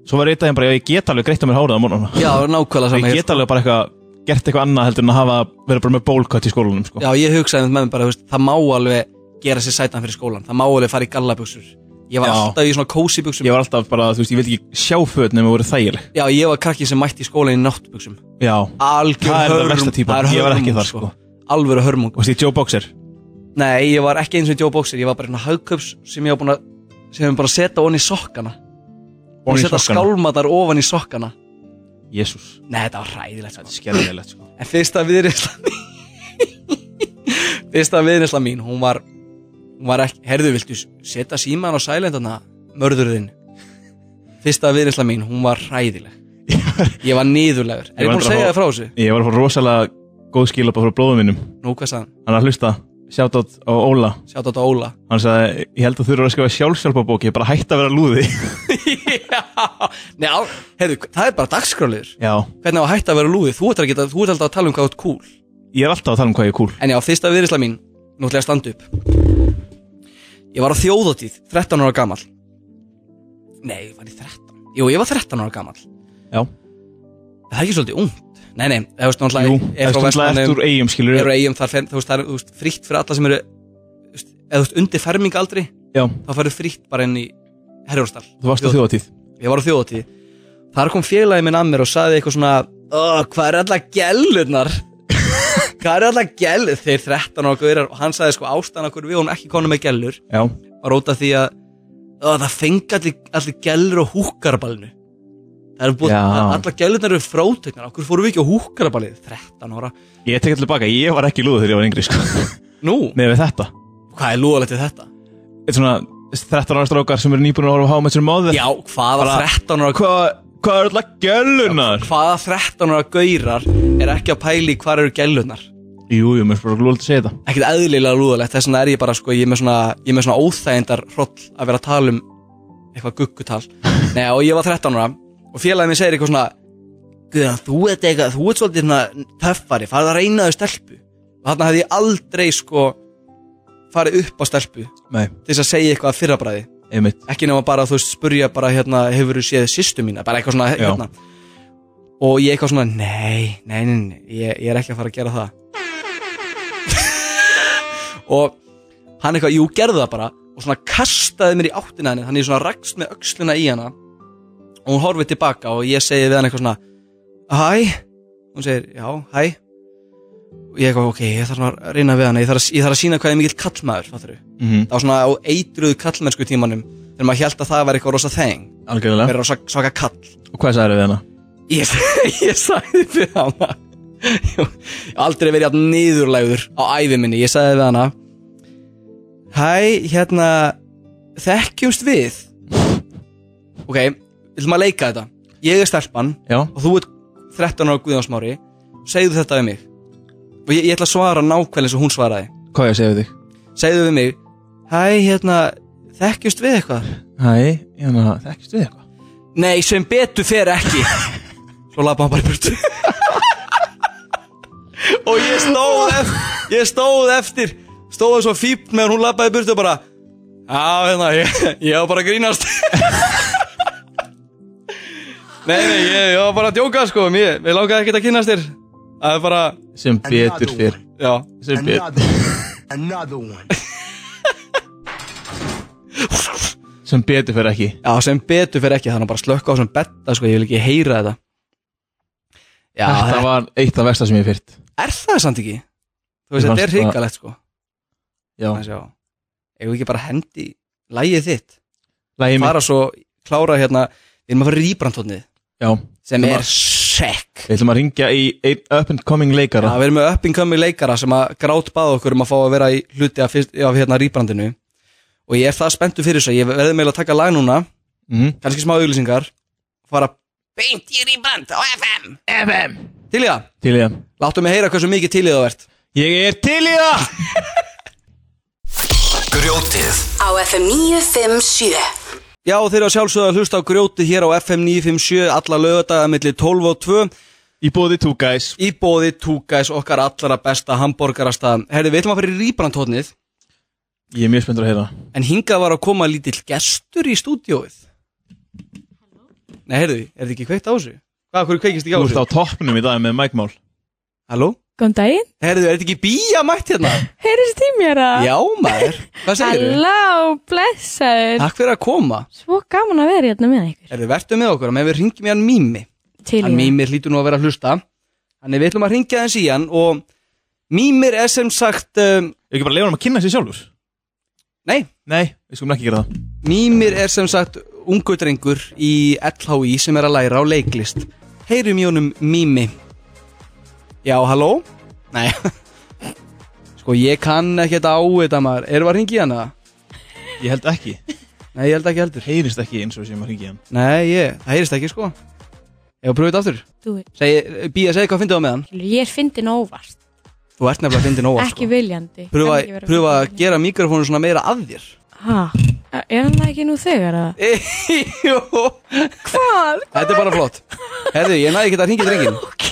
Speaker 4: Svo var ég daginn bara, já, ég get alveg greitt á mér hárið á morgunum
Speaker 3: Já, nákvæmlega saman
Speaker 4: Ég get alveg bara eitthvað, gert eitthvað annað heldur en að hafa verið bara með bólkött í skólanum sko.
Speaker 3: Já, ég hugsaði með mér bara, þú veist, það má alveg gera sér sætan fyrir skólan, það má alveg fara í gallabuxur Ég var
Speaker 4: Já.
Speaker 3: alltaf í svona kósi buxum
Speaker 4: Ég var alltaf bara, þú veist, ég vildi ekki sjá föt nema voru þægileg
Speaker 3: Já, ég var krakki sem mætti í skólan í náttbuxum
Speaker 4: Já,
Speaker 3: Algjör
Speaker 4: Það er það
Speaker 3: hörmung,
Speaker 4: versta
Speaker 3: það
Speaker 4: típan.
Speaker 3: er
Speaker 4: Ég var
Speaker 3: hörmung,
Speaker 4: ekki þar, sko.
Speaker 3: Alvöru hörmung
Speaker 4: og því Joe Boxer
Speaker 3: Nei, ég var ekki eins og Joe Boxer, ég var bara svona haugköps sem ég var búin að sem ég var bara að setja onni í sokkana
Speaker 4: Ofan
Speaker 3: Búin
Speaker 4: í
Speaker 3: að setja
Speaker 4: sokkana.
Speaker 3: skálmatar ofan í sokkana
Speaker 4: Jésús,
Speaker 3: Nei, þetta var hræðilegt sko.
Speaker 4: skerðilegt sko.
Speaker 3: En fyrsta viðreynsla mín Fyrsta viðreynsla mín Hún var, hún var ekki Herðu, viltu setja síman á sælendana Mörðurðinn Fyrsta viðreynsla mín, hún var hræðileg Ég var niðurlegur Er
Speaker 4: Ég
Speaker 3: ég
Speaker 4: var
Speaker 3: búin að
Speaker 4: bara
Speaker 3: segja
Speaker 4: að
Speaker 3: það frá þessu?
Speaker 4: Ég var að fá rosalega góð skilabá frá blóðum minnum
Speaker 3: Nú, hvað sagði hann?
Speaker 4: Hann er að hlusta, shoutout á Óla
Speaker 3: Sjátt á þetta Óla
Speaker 4: Hann sagði, ég held að þú eru að skrifa sjálfsjálfabók Ég er bara hætt að vera lúði
Speaker 3: Já, Nei, á, herðu, það er bara dagskráliður
Speaker 4: Já,
Speaker 3: Hvernig á að hætta að vera lúði? Þú ert, að geta, þú ert alltaf að tala um hvað þú ert cool
Speaker 4: ég er alltaf að tala um hvað ég er cool
Speaker 3: En já, fyrsta viðrisla mín, nú ætla ég að standa upp Ég var á þjóðatíð, 13 ára gamall Nei, var ég 13? Jú, ég var 13 ára gamall
Speaker 4: Já,
Speaker 3: Það er ekki svolítið ungt Nei, nei, það veist náttúrulega
Speaker 4: jú,
Speaker 3: er frá
Speaker 4: eftir alltaf eftir
Speaker 3: Vestmannaeyjum,
Speaker 4: úr eigum skilur
Speaker 3: er á eigum, þar fer, þú veist, það er þú veist, frítt fyrir alla sem eru þú veist, Ef þú veist undir fermingaldri,
Speaker 4: Já,
Speaker 3: þá færðu frítt bara inn í Herjórstall
Speaker 4: þú varst á þjóðatíð
Speaker 3: Ég var á þjóðatíð Þar kom félagi minn að mér og saði eitthvað svona "Ó, Hvað er allar gælurnar? hvað er allar gælur? Þeir 13 og gaurar og hann saði sko ástæðan okkur við hún ekki konu með gælur
Speaker 4: Já,
Speaker 3: var út af því að ó, það fengi allir, allir gælur á húkarabalinu Það eru búið,
Speaker 4: Já.
Speaker 3: það- allar gælurnar eru frátegnar Okkur fórum við ekki á húkarabalið 13 ára
Speaker 4: ég tek allir baka, ég var ekki lúði þegar ég var yngri sko.
Speaker 3: Nú,
Speaker 4: Með við þetta
Speaker 3: hvað er lúðalegt við þetta?
Speaker 4: Þetta er svona 13 ára strákar sem eru nýbúin að horfa á How Much Your Mother
Speaker 3: Já, hvað var
Speaker 4: Bara-
Speaker 3: 13 ára
Speaker 4: Hvað hvað er alltaf gælunar?
Speaker 3: Hvaða 13 ára gaurar er ekki að pæli hvar eru gælurnar?
Speaker 4: Jú, jú, mér er bara lúðið að segja þetta
Speaker 3: ekkert eðlilega lúðalegt þess vegna er ég bara sko, ég er með svona, ég er með svona óþægindar hroll að vera að tala um eitthvað guggutal Nei, og ég var 13 ára og félagið mér segir eitthvað svona Guðan, þú ert eitthvað, þú ert svolítið svona töffari, farið að reyna þau stelpu og þarna hefði ég aldrei sko farið upp á stelpu til
Speaker 4: Nei,
Speaker 3: þess að segja eitthvað að fyrrabræði
Speaker 4: einmitt
Speaker 3: ekki nema bara þú veist spurja bara hérna hefur þú séð sýstu mína, bara eitthvað svona
Speaker 4: Já.
Speaker 3: hérna. og ég eitthvað svona nei, nei, nei, nei ég, ég er ekki að fara að gera það og hann eitthvað, jú, gerðu það bara og svona kastaði mér í áttina henni þannig ég svona rakst með öxlina í hana og hún horfið tilbaka og ég segi við hann eitthvað svona hæ, hún segir, já, hæ og ég eitthvað, ok, ég þarf að reyna við hana ég þarf að, ég þarf að sína hvað ég er mikill kallmaður, fattur
Speaker 4: mm -hmm.
Speaker 3: það var svona á eitruðu kallmennsku tímanum þegar maður held að það var eitthvað rosa þeng
Speaker 4: Algjörlega
Speaker 3: verið rosa svaka kall
Speaker 4: Og hvað sagði við hana?
Speaker 3: ég, ég sagði við hana ég hef aldrei verið jafn niðurlægur á ævi minni, ég sagði við hana hæ, hérna þekkjumst við ok, viljum að leika þetta ég er stelpan
Speaker 4: Já,
Speaker 3: og þú ert 13 ára Guðjónsmári segðu þetta við mig og ég, ég ætla að svara nákvæmlega eins og hún svaraði
Speaker 4: hvað ég að segja við þig?
Speaker 3: segðu við mig Hæ, hérna, Þekkjust við eitthvað?
Speaker 4: Hæ, ég meina, þekkist við eitthvað?
Speaker 3: Nei, sem betur fer ekki Svo lappa hann bara í burtu Og ég stóð eftir Ég stóð eftir Stóð svo fípt meðan hún lappaði í burtu og bara Já, hérna, ég, ég var bara að grínast Nei, nei, ég, ég var bara að djóka sko Mér, mér langaði ekkert að kynast þér Það er bara,
Speaker 4: Sem betur fyrr
Speaker 3: já
Speaker 4: Sem
Speaker 6: Another
Speaker 4: betur
Speaker 6: one. Another one.
Speaker 4: Sem betur fyrr ekki
Speaker 3: Já, sem betur fer ekki, þannig að bara slökka á sem betta sko, ég vil ekki heyra þetta Já,
Speaker 4: Þetta var eitt af versta sem ég hef fyrrt
Speaker 3: er það samt ekki? Þú veist, þetta
Speaker 4: Mér
Speaker 3: er
Speaker 4: fannst það-
Speaker 3: hrikalegt sko
Speaker 4: Já
Speaker 3: að sjá Eða ekki bara hendi lægið þitt
Speaker 4: Lægi mig
Speaker 3: fara svo klára hérna við erum að fara í rýbrandtónið
Speaker 4: Já
Speaker 3: sem
Speaker 4: Sem
Speaker 3: er
Speaker 4: að-
Speaker 3: sekk
Speaker 4: Við ætlum að ringja í einn up and coming
Speaker 3: Já,
Speaker 4: leikara
Speaker 3: við erum með uppinkömmi leikara sem að grát báð okkur um að fá að vera í hluti af, fyrst, af hérna rýbrandinu og ég er það spenntu fyrir þessu ég verði meðlega að taka lag núna
Speaker 4: Mhm.
Speaker 3: kannski smá auglýsingar fara beint í rýbrand á FM FM Til í það,
Speaker 4: Til í það
Speaker 3: láttu mig heyra hversu mikið til í það verð
Speaker 4: Ég er til í það
Speaker 1: Grjótið
Speaker 2: á FM 957
Speaker 3: Já, þeir eru að sjálfsögða að hlusta á grjóti hér á FM 957 alla lögadaga milli 12 og 2
Speaker 4: Í bóði two guys
Speaker 3: í bóði Tugæs okkar allara besta hambúrgarastað Herði, við ætlum að fara í rýbrandhóttnið
Speaker 4: Ég er mjög spenntur að heyra
Speaker 3: en hingað var að koma lítill gestur í stúdióið Nei, herði, er þið ekki kveikt á þessu? Hvað, hverju kveikist ekki á
Speaker 4: Þú ert
Speaker 3: þessu?
Speaker 4: á toppnum í dag með Mike Mál
Speaker 3: Halló?
Speaker 7: Góðan daginn,
Speaker 3: Herði, er þið ekki bíja mætt hérna?
Speaker 7: heyrist í mér að
Speaker 3: Já, maður, hvað segir þið?
Speaker 7: Halló, blessaður
Speaker 3: Takk fyrir að koma
Speaker 7: Svo gaman að vera hérna með ykkur
Speaker 3: Herði, vertu með okkur, menn við ringjum í hann Mými
Speaker 7: Til
Speaker 3: Hann
Speaker 7: í það.
Speaker 3: Mímir lítur nú að vera að hlusta Þannig við ætlum að ringja hans í hann og Mímir er sem sagt um,
Speaker 4: Ekki bara leifunum að kynna sér sjálfur
Speaker 3: Nei,
Speaker 4: Nei, við skulum ekki gera það
Speaker 3: Mímir er sem sagt ungu drengur í LHI sem er að læra á leiklist Heyrum í honum Mími Já, halló? Nei Sko, ég kann ekkert á þetta maður Erum við að ringi hana?
Speaker 4: Ég held ekki
Speaker 3: Nei, ég held ekki heldur
Speaker 4: Heyrist ekki eins og sem að ringja hann
Speaker 3: Nei, ég, það heyrist ekki sko Ég var pröfið þetta aftur
Speaker 7: Þú veist,
Speaker 3: Segi, Bía, segði hvað fyndið á með hann
Speaker 7: Ég er fyndin óvart,
Speaker 3: Þú ert nefnilega að fyndið nóga
Speaker 7: ekki viljandi
Speaker 3: Pröfa,
Speaker 7: Kann ekki vera
Speaker 3: pröfa að
Speaker 7: fyndin
Speaker 3: gera mikrofónu svona meira að þér
Speaker 7: viljandi. Ha, er hann það ekki nú þegar að
Speaker 3: Jó
Speaker 7: Hvað?
Speaker 3: Þetta er bara flott Herðu, ég næði ekki að hringja í drengin
Speaker 7: Ok,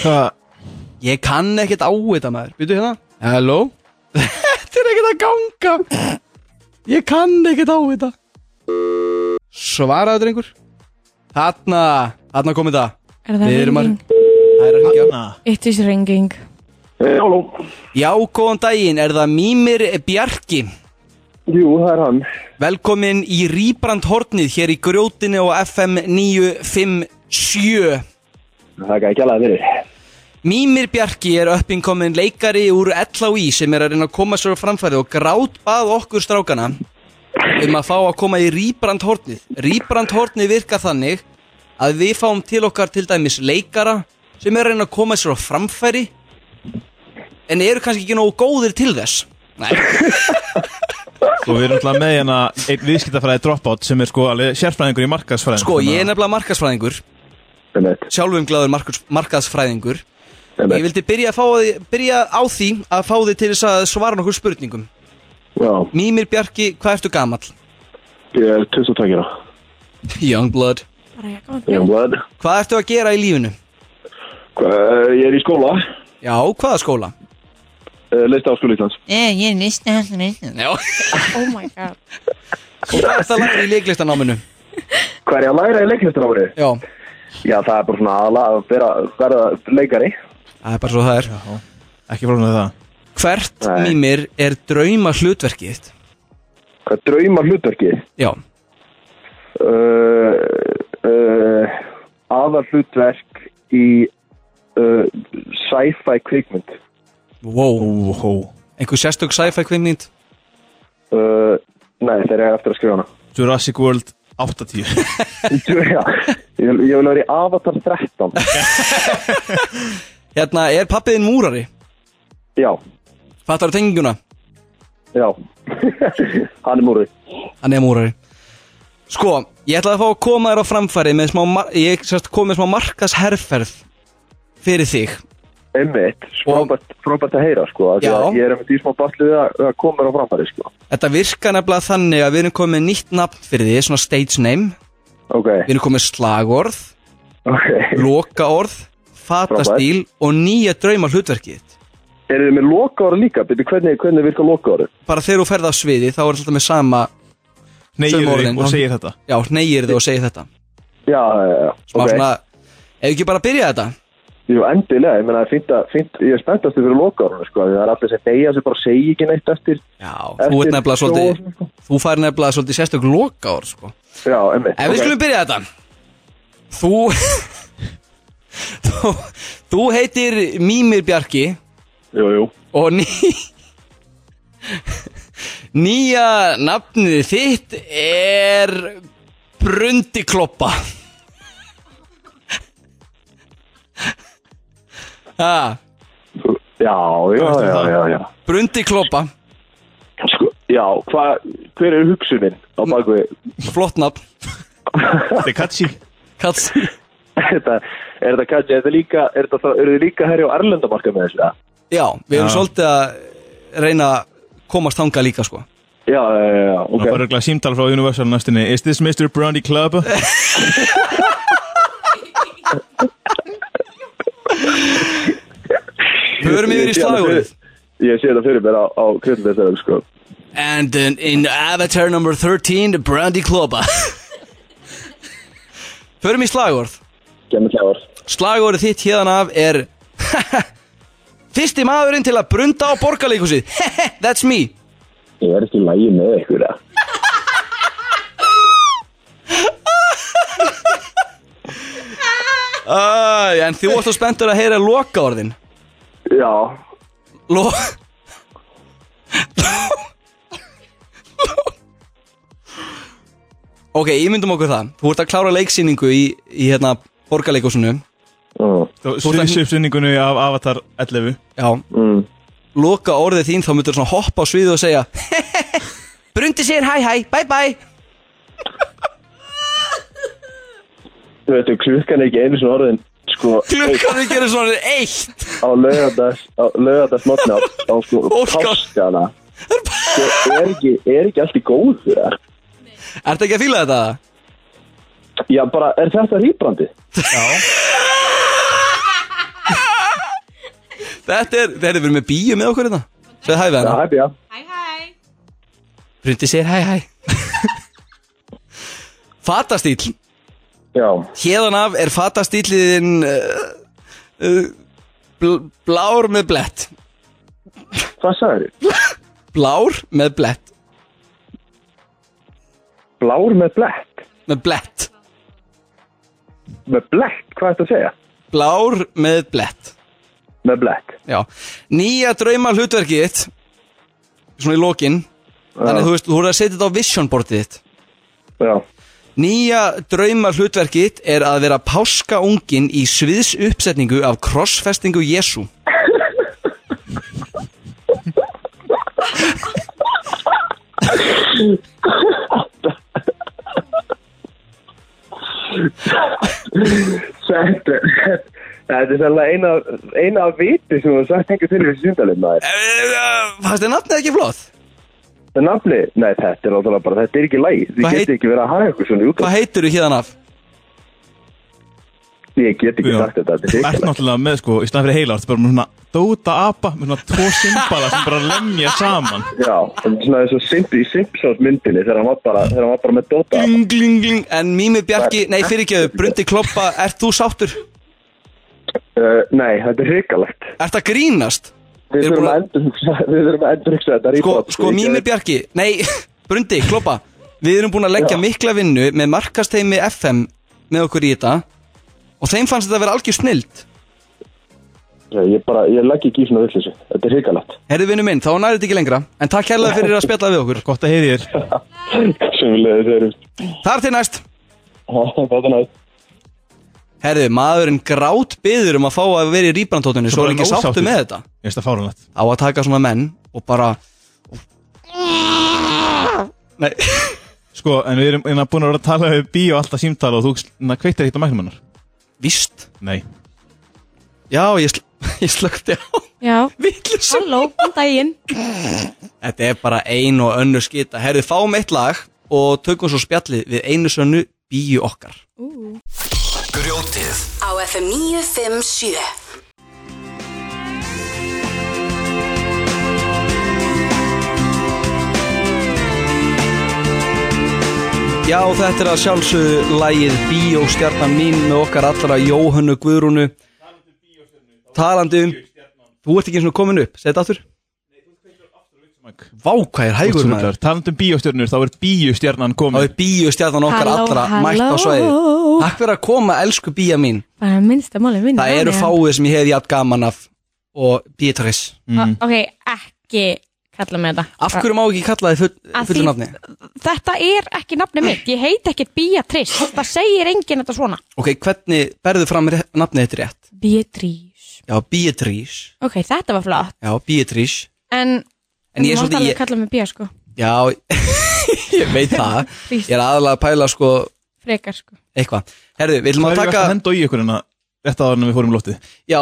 Speaker 4: Hvað?
Speaker 3: Ég kann ekkert á þetta maður Býtu hérna Halló Þetta er ekkert að ganga Ég kann ekkert á þetta Svaraðu drengur Þarna Þarna komið það
Speaker 7: er það
Speaker 3: Við erum að-
Speaker 7: ringing?
Speaker 3: Það er að hringja
Speaker 4: Na,
Speaker 7: It is ringing
Speaker 8: Halló,
Speaker 3: Já, góðan daginn Er það Mímir Bjarki
Speaker 8: jú, það er hann.
Speaker 3: Velkomin í Rýbrand hornið Hér í grjótinu á FM 957
Speaker 8: Það er ekki alveg að verið.
Speaker 3: Mímir Bjarki er uppinkomin leikari úr LHI sem er að reyna að koma sér á framfæri og grát bað okkur strákana um að fá að koma í rýbrandhornið. Rýbrandhornið virkar þannig að við fáum til okkar til dæmis leikara sem er að reyna að koma sér á framfæri en eru kannski ekki nógu góðir til þess. Nei,
Speaker 4: Og við erum alltaf með hérna einn viðskiptafræði dropout sem er sko alveg sérfræðingur í markaðsfræðin
Speaker 3: sko ég er nefnilega markaðsfræðingur,
Speaker 8: Það er
Speaker 3: sjálfum glæður markus- markaðsfræðingur.
Speaker 8: þetta.
Speaker 3: Ég vildi byrja, að fá, að- byrja á því að fá þið til þess að svara nokkur spurningum.
Speaker 8: Já,
Speaker 3: Mímir Bjarki, hvað ertu gamall?
Speaker 8: ég er 22 ára.
Speaker 3: Youngblood
Speaker 7: Bara ég kom að
Speaker 8: Ég er
Speaker 7: bjóða.
Speaker 8: blöð.
Speaker 3: Hvað ertu að gera í lífinu?
Speaker 8: Hva- Ég er í skóla,
Speaker 3: Já, hvaða skóla?
Speaker 8: leist áskóla Íslands.
Speaker 3: Já
Speaker 7: Oh my god
Speaker 3: Hvað ertu að læra í leiklistanáminu?
Speaker 8: Hvað er ég að læra í leiklistarárið?
Speaker 3: Já
Speaker 8: Já, það er bara svona aðla að vera, verða leikari.
Speaker 3: Það er bara svo það er
Speaker 4: Ekki fórnum við það
Speaker 3: Hvert
Speaker 8: Nei.
Speaker 3: mýmir er drauma hlutverkið þitt?
Speaker 8: Hvað drauma hlutverkið?
Speaker 3: Já
Speaker 8: Uh, uh, aðal hlutverk í uh, sci-fi kvikmynd.
Speaker 3: Wow
Speaker 4: Óhó
Speaker 3: Einhver sérstök sci-fi kvinnind?
Speaker 8: Uh, nei, þeir eru eftir að skrifa hana.
Speaker 4: Jurassic World 80
Speaker 8: Já, ég, vil- ég vil vera í Avatar 13.
Speaker 3: Hérna, er pappiðin múrari?
Speaker 8: Já,
Speaker 3: Fattar þú tenginguna?
Speaker 8: já. Hann er múrið.
Speaker 3: Hann er múrari Sko, ég ætlaði að fá að koma þér á framfæri með smá mar- Ég sérst kom með smá markasherferð fyrir þig
Speaker 8: Einmitt,
Speaker 3: Og-
Speaker 8: frábært, frábært að heyra sko af því
Speaker 3: Já.
Speaker 8: að Ég er einmitt í smá baslu við að, að koma mér á framfæri sko
Speaker 3: Þetta virka nefnilega þannig að við erum komið með nýtt nafn fyrir því, svona stage name
Speaker 8: Ok,
Speaker 3: Við erum komið með slagorð,
Speaker 8: ok
Speaker 3: lokaorð, fatastíl og nýja drauma hlutverkið þitt.
Speaker 8: Eru þið með lokaára líka? Byrju, hvernig, hvernig virka lokaára?
Speaker 3: Bara þegar þú ferð á sviði þá er þetta með sama
Speaker 4: Neyjur
Speaker 3: Sömu orðin,
Speaker 4: þig og
Speaker 3: hann-
Speaker 4: segir þetta
Speaker 3: Já, neyir þau og segir þetta
Speaker 8: Já, já, já,
Speaker 3: Smá
Speaker 8: ok
Speaker 3: svona, ef ekki bara að byrja þetta
Speaker 8: Jú, endilega, ég meina, það er fínt að, fínt, ég er spenntastu fyrir lokaárunu sko af því Það er allir sem deyja sem bara segi ekki neitt eftir
Speaker 3: Já, þú ert
Speaker 8: Eftir
Speaker 3: nefnilega
Speaker 8: sjó-
Speaker 3: svolítið Þú fær nefnilega svolítið sérstök lokaorð sko.
Speaker 8: Já, einmitt
Speaker 3: Ef við skulum byrja þetta Þú Þú, þú heitir Mímir Bjarki
Speaker 8: Jú, jú
Speaker 3: og ný Nýja nafnið þitt er Brundikloppa Ha,
Speaker 8: Já, já,
Speaker 4: veistu
Speaker 8: já,
Speaker 4: það?
Speaker 8: já, já
Speaker 3: Brundikloppa
Speaker 8: Sko, já, hvað, hver er hugsunin á bakvið?
Speaker 3: Flott nafn
Speaker 4: Þetta er katsi
Speaker 3: Kats
Speaker 8: þetta, er þetta kannski, er þetta líka, er þetta, eru þið líka herri á Erlendamarka með þessu? eða?
Speaker 3: Já, við erum
Speaker 4: Já.
Speaker 3: svolítið að reyna að komast þanga líka sko
Speaker 8: Já, já, já, já,
Speaker 4: Það
Speaker 8: ok
Speaker 4: er bara örgulega símtal frá Universal næstinni Is this Mr. Brandy Club?
Speaker 3: Förum yfir í slagurðið
Speaker 8: Ég sé þetta fyrir mér á, á kjöndinstæðum sko
Speaker 3: And in, in Avatar number 13, Brandy Kloba Förum í slagorð
Speaker 8: Gemmi kláður
Speaker 3: Slagorðið þitt hérðan af er Fyrsti maðurinn til að brunda á borgarleikusið That's me
Speaker 8: Ég er ekki í lægi með ykkur eða?
Speaker 3: Æ, En þú ert svo spenntur að heyra lokaorðin
Speaker 8: Já
Speaker 3: Lo Ok, ímyndum okkur það Þú ert að klára leiksýningu í, í hérna, borgarleikusinu
Speaker 8: mm.
Speaker 4: Sviðsöpsynningunni af Avatar 11
Speaker 3: Já
Speaker 8: Mm.
Speaker 3: Loka orðið þín þá myndir svona hoppa á sviðu og segja Brundi sér, hæ hæ, bæ bæ
Speaker 8: Þú veitu, klukkan er ekki einu svona orðin Sko
Speaker 3: Klukkan við gerum svona eitt
Speaker 8: eitt Á laugardags Á laugardags notna Á sko
Speaker 3: Óskar.
Speaker 8: Páskana Sko, er ekki, er ekki allt í góð eða?
Speaker 3: Ertu ekki að fíla þetta?
Speaker 8: Já, bara, er þetta rýbrandi?
Speaker 3: Þetta er, þetta er verið með bíu með okkur þetta Sveið hæ við
Speaker 8: Já,
Speaker 3: hana
Speaker 8: hæpja
Speaker 3: Brundi sér, hæ hæ Fatastíl
Speaker 8: Já,
Speaker 3: Hérðan af er fatastíliðin uh, uh, bl Blár með blett
Speaker 8: hvað sagði þið?
Speaker 3: Blár með blett
Speaker 8: Blár með blekk
Speaker 3: Með blett
Speaker 8: Með blekk, hvað ertu að segja?
Speaker 3: Blár með blett
Speaker 8: Með blekk
Speaker 3: Já, nýja drauma hlutverkið þitt Svona í lokin Þannig að þú veist, þú voru að setja þetta á vision boardið þitt
Speaker 8: Já,
Speaker 3: Nýja drauma hlutverkið þitt er að vera páskaungin í sviðs uppsetningu af krossfestingu Jésu
Speaker 8: þetta Þetta er sannlega eina, eina af viti sem þú hefur sagt einhver til þessi sundalinn maður.
Speaker 3: Eh. Fannst þið nafnið ekki flott?
Speaker 8: Það nafni, nei þetta er náttúrulega bara, þetta er ekki lægi. Þið
Speaker 3: Hvað
Speaker 8: geti
Speaker 3: heit-
Speaker 8: ekki verið að hafa ykkur svona út.
Speaker 3: Hvað heitirðu hérna af?
Speaker 8: Ég get ekki
Speaker 4: Já.
Speaker 8: sagt þetta, þetta er
Speaker 4: Ert
Speaker 8: hikilegt.
Speaker 4: náttúrulega með sko, í staðan fyrir heila Þetta er bara með svona dóta apa Með svona tvo simbala sem bara lemja saman
Speaker 8: Já, þetta er svona þessu Simpi í Simpsons myndinni þegar hann var bara, þegar hann var bara með Dota.
Speaker 3: Gling, gling, gling En Mími Bjarki, nei fyrirgeðu, Brundi Kloppa, ert þú sáttur?
Speaker 8: Uh, nei, þetta er hrikalegt.
Speaker 3: Ert að grínast? Þeir
Speaker 8: Við
Speaker 3: eru
Speaker 8: þurfum
Speaker 3: búin
Speaker 8: að endurhugsa, við þurfum að endurhugsa þetta
Speaker 3: Sko,
Speaker 8: rýbrot.
Speaker 3: sko Mímir Bjarki, nei, Brundi, kloppa Við erum búin að leggja
Speaker 8: Já.
Speaker 3: mikla vinnu með markasteimi FM með okkur í þetta og þeim fannst þetta að vera algjör snild
Speaker 8: Ég bara, ég legg ekki í svona villisu. Þetta er hrikalegt.
Speaker 3: Herðu vinnu minn, þá nærið þetta ekki lengra en takk hérlega fyrir að spjalla við okkur
Speaker 4: Gott að heyri þér
Speaker 8: Sem við leiðum þeir út.
Speaker 3: Þar til næst
Speaker 8: Þetta er nætt.
Speaker 3: Herðu, maðurinn grát byður um að fá að vera í rýbrandtóttunni svo er
Speaker 4: Bara
Speaker 3: ekki
Speaker 4: ósáttur.
Speaker 3: sáttu með þetta
Speaker 4: Ég veist það fárunlegt
Speaker 3: á að taka svona menn og bara Nei,
Speaker 4: Sko, en við erum hérna búin að vera að tala við bíó alltaf símtala og þú na, kveiktir ekkert á mæknum hennar
Speaker 3: víst
Speaker 4: Nei
Speaker 3: Já, ég, sl- Ég slökti á
Speaker 7: Já,
Speaker 3: Vittlisum
Speaker 7: halló, um daginn
Speaker 3: Þetta er bara ein og önnu skita Herðu, fáum eitt lag og tökum svo spjallið við einu sönnu bíu okkar
Speaker 1: Grjótið
Speaker 2: á FM 957
Speaker 3: Já, þetta er að sjálfsögðu lagið Bíóstjarnan mín með okkar allra Jóhönnu Guðrúnu Talandi um Þú ert ekki eins og komin upp, segð þetta aftur Vá, hvað er hægur maður
Speaker 4: Taland um bíóstjörnur, þá er bíóstjörnan
Speaker 3: Þá
Speaker 4: komin
Speaker 3: er bíóstjarnan okkar
Speaker 7: Halló,
Speaker 3: allra
Speaker 7: halló.
Speaker 3: mætt á svæði Takk fyrir að koma, elsku bía mín
Speaker 7: Bara minnsta máli minna
Speaker 3: Það eru fáið sem ég hef jætt gaman af og Beatrice
Speaker 7: Ok, ekki kalla mig þetta
Speaker 3: Mm. Af hverju má ekki kalla þið full,
Speaker 7: Að
Speaker 3: fullu
Speaker 7: því-
Speaker 3: nafni?
Speaker 7: Þetta er ekki nafni mitt, ég heiti ekkert Beatrice Það segir enginn þetta svona
Speaker 3: Ok, hvernig berðu fram re- nafnið þetta rétt?
Speaker 7: Beatrice
Speaker 3: Já, Beatrice
Speaker 7: Ok, þetta var flott
Speaker 3: Já, Beatrice
Speaker 7: En,
Speaker 3: En ég er
Speaker 7: þú mátt
Speaker 3: svolítið-
Speaker 7: alveg
Speaker 3: ég-
Speaker 7: kalla mig Bea sko
Speaker 3: Já, ég veit það
Speaker 7: Please.
Speaker 3: Ég er aðalega að pæla sko
Speaker 7: Frekar sko
Speaker 3: eitthvað Herðu, við ætlum að
Speaker 4: Það er ekki
Speaker 3: taka
Speaker 4: að henda í ykkur en að Þetta áður en við fórum í lótið
Speaker 3: Já,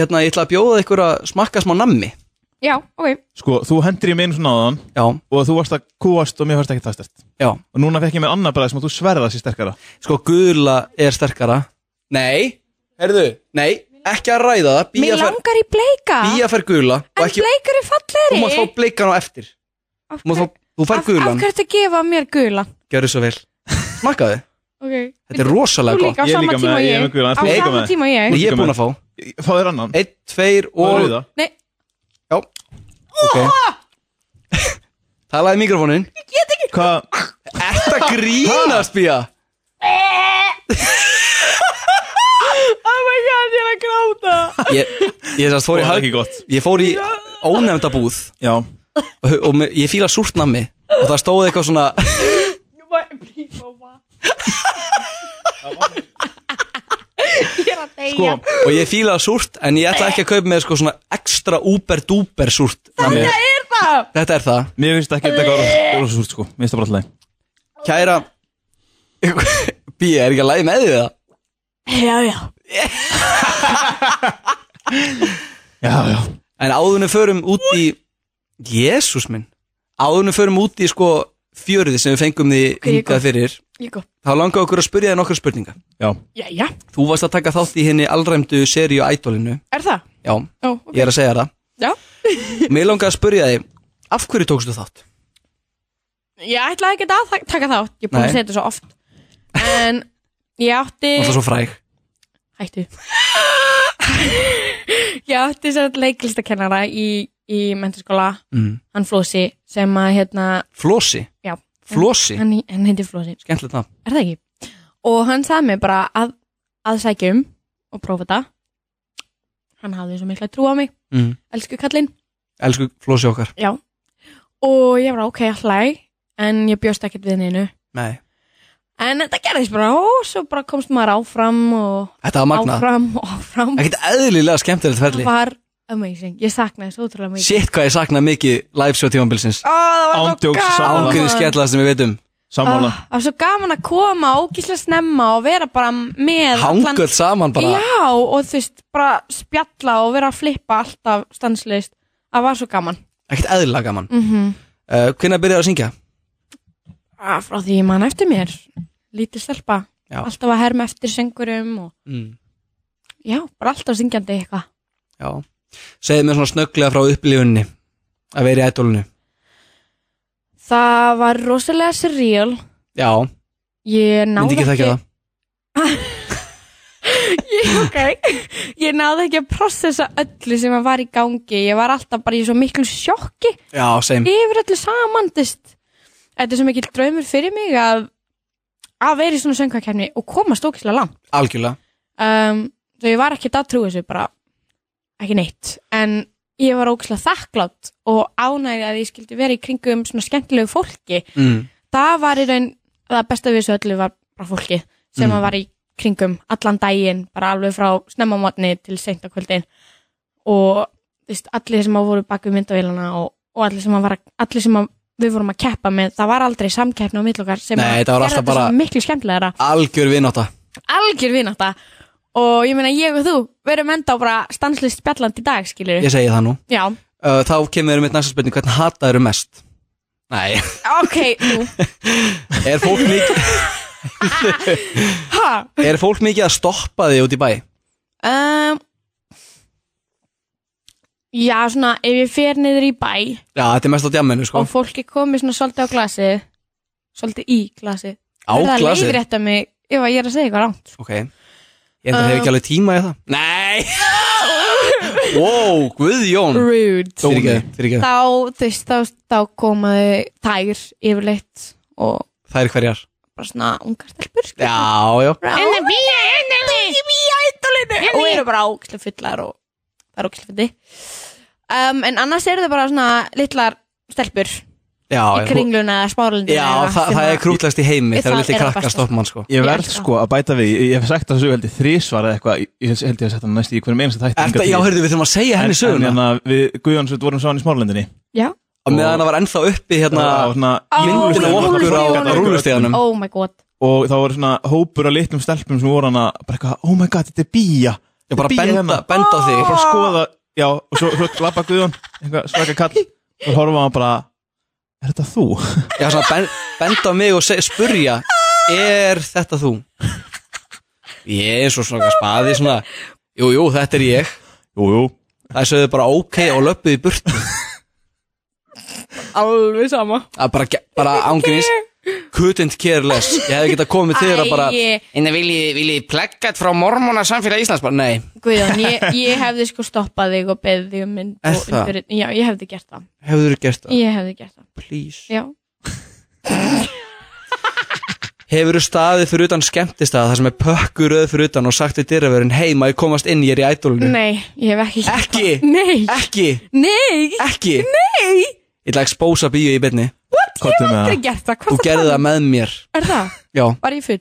Speaker 3: hérna, ég ætla að bjóða ykkur að smakka smá nammi
Speaker 7: Já, ok,
Speaker 4: Sko, þú hendir ég með einu svona áðan
Speaker 3: Já,
Speaker 4: Og þú varst að kúast og mér varst ekki það stert
Speaker 3: já
Speaker 4: Og núna fekk ég með annað bara sem að þú sverða sér sterkara
Speaker 3: Sko, gula er sterkara Nei, herðu, nei, ekki að ræða það
Speaker 7: mér
Speaker 3: Bía fer,
Speaker 7: langar í bleika
Speaker 3: bía fer gula og
Speaker 7: En
Speaker 3: ekki,
Speaker 7: bleikar er fallegri
Speaker 3: Þú mátt fá bleikan á eftir
Speaker 7: Af
Speaker 3: Þú, mátt
Speaker 7: hverju-
Speaker 3: fá, þú fær
Speaker 7: af- Af
Speaker 3: gulan,
Speaker 7: hverju ertu að gefa mér gula?
Speaker 3: gjörðu svo vel Smakkaðu,
Speaker 7: Ok,
Speaker 3: þetta er
Speaker 7: þú
Speaker 3: rosalega gott
Speaker 7: líka á
Speaker 4: Ég er
Speaker 7: sama
Speaker 4: líka
Speaker 7: tíma
Speaker 4: með-
Speaker 7: og
Speaker 4: ég er
Speaker 7: ég
Speaker 4: með gula, en
Speaker 7: Á
Speaker 4: þú líka
Speaker 7: sama
Speaker 4: með.
Speaker 7: tíma og ég
Speaker 3: Nei, Ég er búin að fá
Speaker 4: Fá þér annan
Speaker 3: Einn, tveir
Speaker 4: Og
Speaker 3: og
Speaker 4: rauða
Speaker 7: Nei,
Speaker 3: Já Ok Talaði í mikrofónin
Speaker 4: Hvað,
Speaker 3: Þetta grínast bía Oh my god, ég er að gráta Ég, ég sérst fór í
Speaker 4: það er
Speaker 3: hag
Speaker 4: ekki gott
Speaker 3: Ég fór í ónefndabúð
Speaker 4: Já,
Speaker 3: Og, og me- ég fíla súrt nammi Og það stóð eitthvað svona
Speaker 4: sko,
Speaker 3: Og ég fíla súrt En ég ætla ekki að kaupa með sko svona Ekstra úber-dúber súrt nammi
Speaker 4: mér,
Speaker 3: Þetta er það
Speaker 4: mér finnst ekki þetta gára Rósasúrt sko, mér finnst það bara alltaf
Speaker 3: Kæra Bía, er ekki að lægi með því það?
Speaker 7: Já, já
Speaker 4: Já, já,
Speaker 3: Ah, En áðunum förum út í Jésús minn Áðunum förum út í sko fjöruði sem við fengum því
Speaker 7: ég
Speaker 3: hingað
Speaker 7: gott.
Speaker 3: fyrir
Speaker 7: Ég góð
Speaker 3: Þá langaði okkur að spyrja þér nokkra spurninga
Speaker 4: já
Speaker 7: Jæja,
Speaker 3: Þú varst að taka þátt í henni allræmdu seríu Ædolinu
Speaker 7: er það?
Speaker 3: Já,
Speaker 7: Ó, ok
Speaker 3: ég er að segja þér
Speaker 7: Já,
Speaker 3: það Mér langaði að spyrja þig Af hverju tókstu þátt?
Speaker 7: ég ætlaði ekki að ta- taka þátt Ég er búin
Speaker 3: Nei.
Speaker 7: að segja þetta svo oft En ég átti
Speaker 3: Það var svo fræg
Speaker 7: Hættu Ég átti sér leiklista í, í mentaskóla
Speaker 3: mm.
Speaker 7: Hann Flósi sem að hérna
Speaker 3: Flosi,
Speaker 7: Já,
Speaker 3: Flosi,
Speaker 7: hann, hann heiti Flósi
Speaker 3: skemmtilegt nafn
Speaker 7: er það ekki? Og hann sagði mér bara að, að sækja um og prófa þetta. Hann hafði svo mikla trú á mig,
Speaker 3: mm.
Speaker 7: elsku kallinn.
Speaker 3: Elsku Flosi okkar
Speaker 7: Já. Og ég var ok, hlæ, en ég bjóst ekkert við neinu.
Speaker 3: Nei.
Speaker 7: En þetta gerðist bara, og svo bara komst maður áfram og
Speaker 3: Þetta var magnað
Speaker 7: áfram og áfram.
Speaker 3: Ekkert eðlilega skemmtilegt ferli
Speaker 7: Það var amazing. Ég saknaði þessu ótrúlega mikið.
Speaker 3: Shit hvað ég sakna mikið live show tímanbilsins
Speaker 7: Ó, það var
Speaker 4: Ándjóks,
Speaker 7: svo
Speaker 4: sammála.
Speaker 7: gaman.
Speaker 3: Ángriði skemmtilegast sem við veitum
Speaker 7: Ah,
Speaker 4: Sammála
Speaker 7: Það var svo gaman að koma ógíslega snemma og vera bara með allan-
Speaker 3: Hangöld saman bara
Speaker 7: Já, og þú veist, bara spjalla og vera að flippa alltaf stanslist Það var svo gaman
Speaker 3: ekkert eðlilega gaman
Speaker 7: mm -hmm.
Speaker 3: uh, Hvenær byrjar að syngja?
Speaker 7: Ah, Frá því ég man eftir mér Lítið stelpa
Speaker 3: Já.
Speaker 7: Alltaf að herma eftir söngurum og...
Speaker 3: Mm.
Speaker 7: Já, bara alltaf syngjandi eitthvað
Speaker 3: Já Segðu mér svona snögglega frá upplifunni að vera í ædólinu
Speaker 7: Það var rosalega surreal
Speaker 3: Já,
Speaker 7: Ég náði
Speaker 3: myndi ekki þekka það
Speaker 7: ég, okay. ég náði ekki að processa öllu sem að var í gangi Ég var alltaf bara í svo miklu sjokki
Speaker 3: Já, segjum
Speaker 7: yfir öllu saman þú veist. Þetta er svo mikil draumur fyrir mig að, að vera í svona söngvakefni og komast ókislega langt
Speaker 3: Algjörlega
Speaker 7: um, Svo ég var ekki að trú þessu bara ekki neitt en ég var ókislega þakklátt og ánægði að ég skildi vera í kringum svona skemmtilegu fólki
Speaker 3: mm.
Speaker 7: það var í raun, það besta við þessu öllu var bara fólki sem
Speaker 3: Mm.
Speaker 7: að var í kringum allan daginn, bara alveg frá snemma mótni til seinta kvöldin og þú veist, allir sem að voru baku myndavélana og, og allir sem að, var, allir sem að við vorum að keppa með, það var aldrei samkeppni á millokkar sem
Speaker 3: Nei,
Speaker 7: að
Speaker 3: þetta var alltaf
Speaker 7: þetta
Speaker 3: bara-
Speaker 7: svo miklu skemmtilegra
Speaker 3: Algjör vináta
Speaker 7: algjör vinátt og ég meina ég og þú verum enda á bara stanslist spjalland í dag skilur
Speaker 3: Ég segi það nú
Speaker 7: já,
Speaker 3: uh, Þá kemur við mitt næsta spurning Hvernig hataður er mest? Nei,
Speaker 7: ok, nú
Speaker 3: er fólk mikið
Speaker 7: ha,
Speaker 3: Er fólk mikið að stoppa þig út í bæ?
Speaker 7: um, já svona ef ég fer niður í bæ
Speaker 3: Já, þetta er mest á djamminu sko
Speaker 7: og fólk er komið svona svolítið á glasi svolítið í glasi
Speaker 3: Á
Speaker 7: það
Speaker 3: glasið
Speaker 7: leiðir þetta mig ef að ég er að segja eitthvað sko. ránt
Speaker 3: Ok Ég enda
Speaker 7: Uh.
Speaker 3: hef ekki alveg tíma í það Nei Wow, Guðjón
Speaker 7: rude
Speaker 3: Fyrir ekki, fyrir ekki
Speaker 7: þá, þú veist, þá, þá komaði tær yfirleitt og
Speaker 3: Það er hverjar
Speaker 7: bara svona ungar stelpur sko.
Speaker 3: Já, já
Speaker 7: Bara,
Speaker 5: Enna bíja, enna bíja.
Speaker 7: í mýja eittulinu og eru bara ókslega fullar og það er ókslega fyndi um, en annars eru þau bara svona litlar stelpur
Speaker 3: Já,
Speaker 7: í kringluna eða spárlundinu
Speaker 3: Já, þa það er krútlast í heimi
Speaker 7: Ég-
Speaker 3: Þegar
Speaker 7: það
Speaker 3: litli
Speaker 7: er það
Speaker 3: krakka
Speaker 7: besta.
Speaker 3: stoppa mann sko
Speaker 4: Ég
Speaker 7: Ég
Speaker 4: verð
Speaker 7: elska
Speaker 4: sko að bæta við, ég, ég hef sagt þessu held ég þrísvar eða eitthvað, ég- ég held ég hef sagt hann næst í hverjum einasta þætti.
Speaker 3: Erta,
Speaker 4: hingað
Speaker 3: já,
Speaker 4: til.
Speaker 3: heyrðu, við þurfum að segja henni
Speaker 4: En- En
Speaker 3: söguna
Speaker 4: hérna, við Guðjónsveit vorum saman í smárlendinni.
Speaker 7: já
Speaker 3: Og meðan það var ennþá uppi hérna
Speaker 4: Og svona
Speaker 7: Á,
Speaker 3: Myndin af okkur á
Speaker 7: rúllustiganum.
Speaker 3: rúlusteganum
Speaker 7: oh my god
Speaker 4: og þá voru svona hópur af litlum stelpum sem voru hana bara eitthvað, oh my god, þetta er bía
Speaker 3: Ég bara benda,
Speaker 4: hérna.
Speaker 3: benda á
Speaker 4: og bara
Speaker 3: þig
Speaker 4: skoða, já, og svo, svo labba Guðjón eitthvað svaka kall, og horfa hann bara er þetta þú?
Speaker 3: Já, svona ben, benda á mig og seg, spurja Er þetta þú? Ég er svo svona spaði svona Jú, jú, þetta er ég
Speaker 4: Jú, jú,
Speaker 3: Það sögðu bara ok og löppuðu í burt
Speaker 7: alveg sama
Speaker 3: Það er bara, ge- bara ángrís Couldn't care less Ég hefði getað komið til þér að bara
Speaker 7: Æi.
Speaker 3: En það viljið vilji plekkat frá mormona samfélag Íslands bara, Nei,
Speaker 7: Guðjón, ég, ég hefði sko stoppað þig og beðið þig um mynd
Speaker 3: Er
Speaker 7: og
Speaker 3: það?
Speaker 7: umfyrir, já, ég hefði gert það
Speaker 3: hefur þú gert það?
Speaker 7: ég hefði gert það,
Speaker 3: Please
Speaker 7: já
Speaker 3: Hefur þú staðið fyrir utan skemmtistað þar sem er pökkuröð fyrir utan og sagt við dyravörin Hei, maður komast inn, ég er í ædolinu
Speaker 7: nei, ég hef ekki gert
Speaker 3: Ekki?
Speaker 7: það. nei,
Speaker 3: Ekki,
Speaker 7: nei,
Speaker 3: ekki
Speaker 7: nei
Speaker 3: Ég ætla að expósa bíu í byrni
Speaker 4: kottu með
Speaker 7: það
Speaker 4: það
Speaker 7: er gert það,
Speaker 3: Þú
Speaker 7: hvað
Speaker 3: gerði það með mér
Speaker 7: er það,
Speaker 3: Já,
Speaker 7: var ég full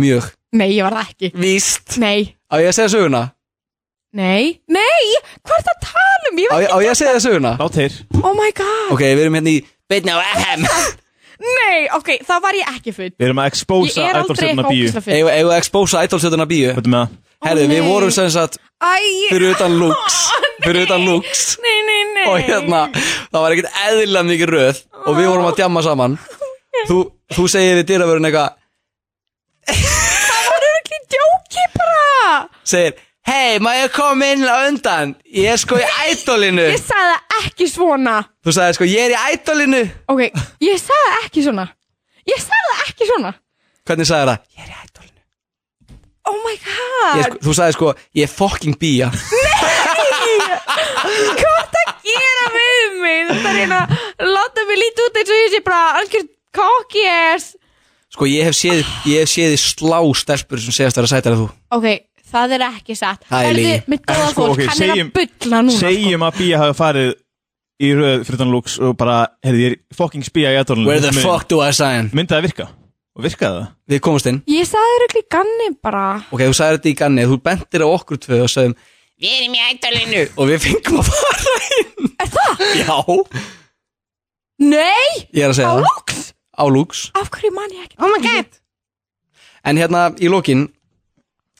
Speaker 3: mjög
Speaker 7: nei, ég var það ekki,
Speaker 3: Víst
Speaker 7: nei
Speaker 3: Á ég að segja söguna?
Speaker 7: Nei, nei, hvað er það að tala um? Ég
Speaker 3: Á
Speaker 7: var
Speaker 3: ég, á ég að segja söguna?
Speaker 4: Lát þeir,
Speaker 7: oh my god
Speaker 3: Ok, við erum hérna í Byrni á FM
Speaker 7: Nei, ok, þá var ég ekki full
Speaker 4: við erum að
Speaker 7: Ég
Speaker 4: expósa
Speaker 7: er aldrei
Speaker 4: ædolsöfna
Speaker 7: eitthvað
Speaker 4: bíu
Speaker 7: ógæsla full
Speaker 3: Eigum eigum við að expósa ædolsöðuna bíu?
Speaker 4: kottu með það
Speaker 3: Herðu, við
Speaker 7: nei.
Speaker 3: vorum sem sagt
Speaker 7: Æ,
Speaker 3: fyrir utan lúks Fyrir utan lúks
Speaker 7: nei, nei, nei
Speaker 3: Og hérna, það var ekkert eðlilega mikið röð Og við vorum að djamma saman Þú, þú segir við dyravörun eitthvað
Speaker 7: Það var ekki djóki bara
Speaker 3: Segir, hei, má ég koma inn á undan? Ég er sko í ædolinu
Speaker 7: Ég sagði það ekki svona
Speaker 3: Þú sagði sko, ég er í ædolinu
Speaker 7: Ok, ég sagði það ekki svona Ég sagði það ekki svona
Speaker 3: Hvernig sagði það? Ég er í ædolinu
Speaker 7: Oh my god,
Speaker 3: ég, sko, Þú sagði sko, ég er fucking bía
Speaker 7: hvað það gera við mig Þetta er eina, láta mig líti út eins og ég sé bara algjör cocky ass
Speaker 3: Sko ég hef séð, ég hef séð þig slá stelpur sem segast að vera sætara þú
Speaker 7: Ok, það er ekki satt
Speaker 3: Það er
Speaker 7: Heyrðu,
Speaker 3: lygi.
Speaker 7: Mitt góða
Speaker 4: Sko,
Speaker 7: fólk,
Speaker 4: ok,
Speaker 7: hann
Speaker 4: segjum-
Speaker 7: er að bulla núna sko.
Speaker 4: segjum að bía hafi farið í röð fyrir utan lúks og bara, heyrðu, ég er fucking spía í ædolinu
Speaker 3: Where the fuck do I sign?
Speaker 4: myndi það virka, og virkaði það
Speaker 3: Við komumst inn
Speaker 7: Ég sagði þér ekki ganni bara
Speaker 3: Ok, þú sagði þetta í ganni, þú bentir á okkur tvö og sagðum
Speaker 5: Við erum í ædolinu.
Speaker 3: Og við fengum að fara inn Er það?
Speaker 7: Nei,
Speaker 3: Já, ég er að segja það
Speaker 7: lúks
Speaker 3: Á lúks
Speaker 7: Af hverju man ég ekki
Speaker 5: Oh my god.
Speaker 3: En hérna í lokin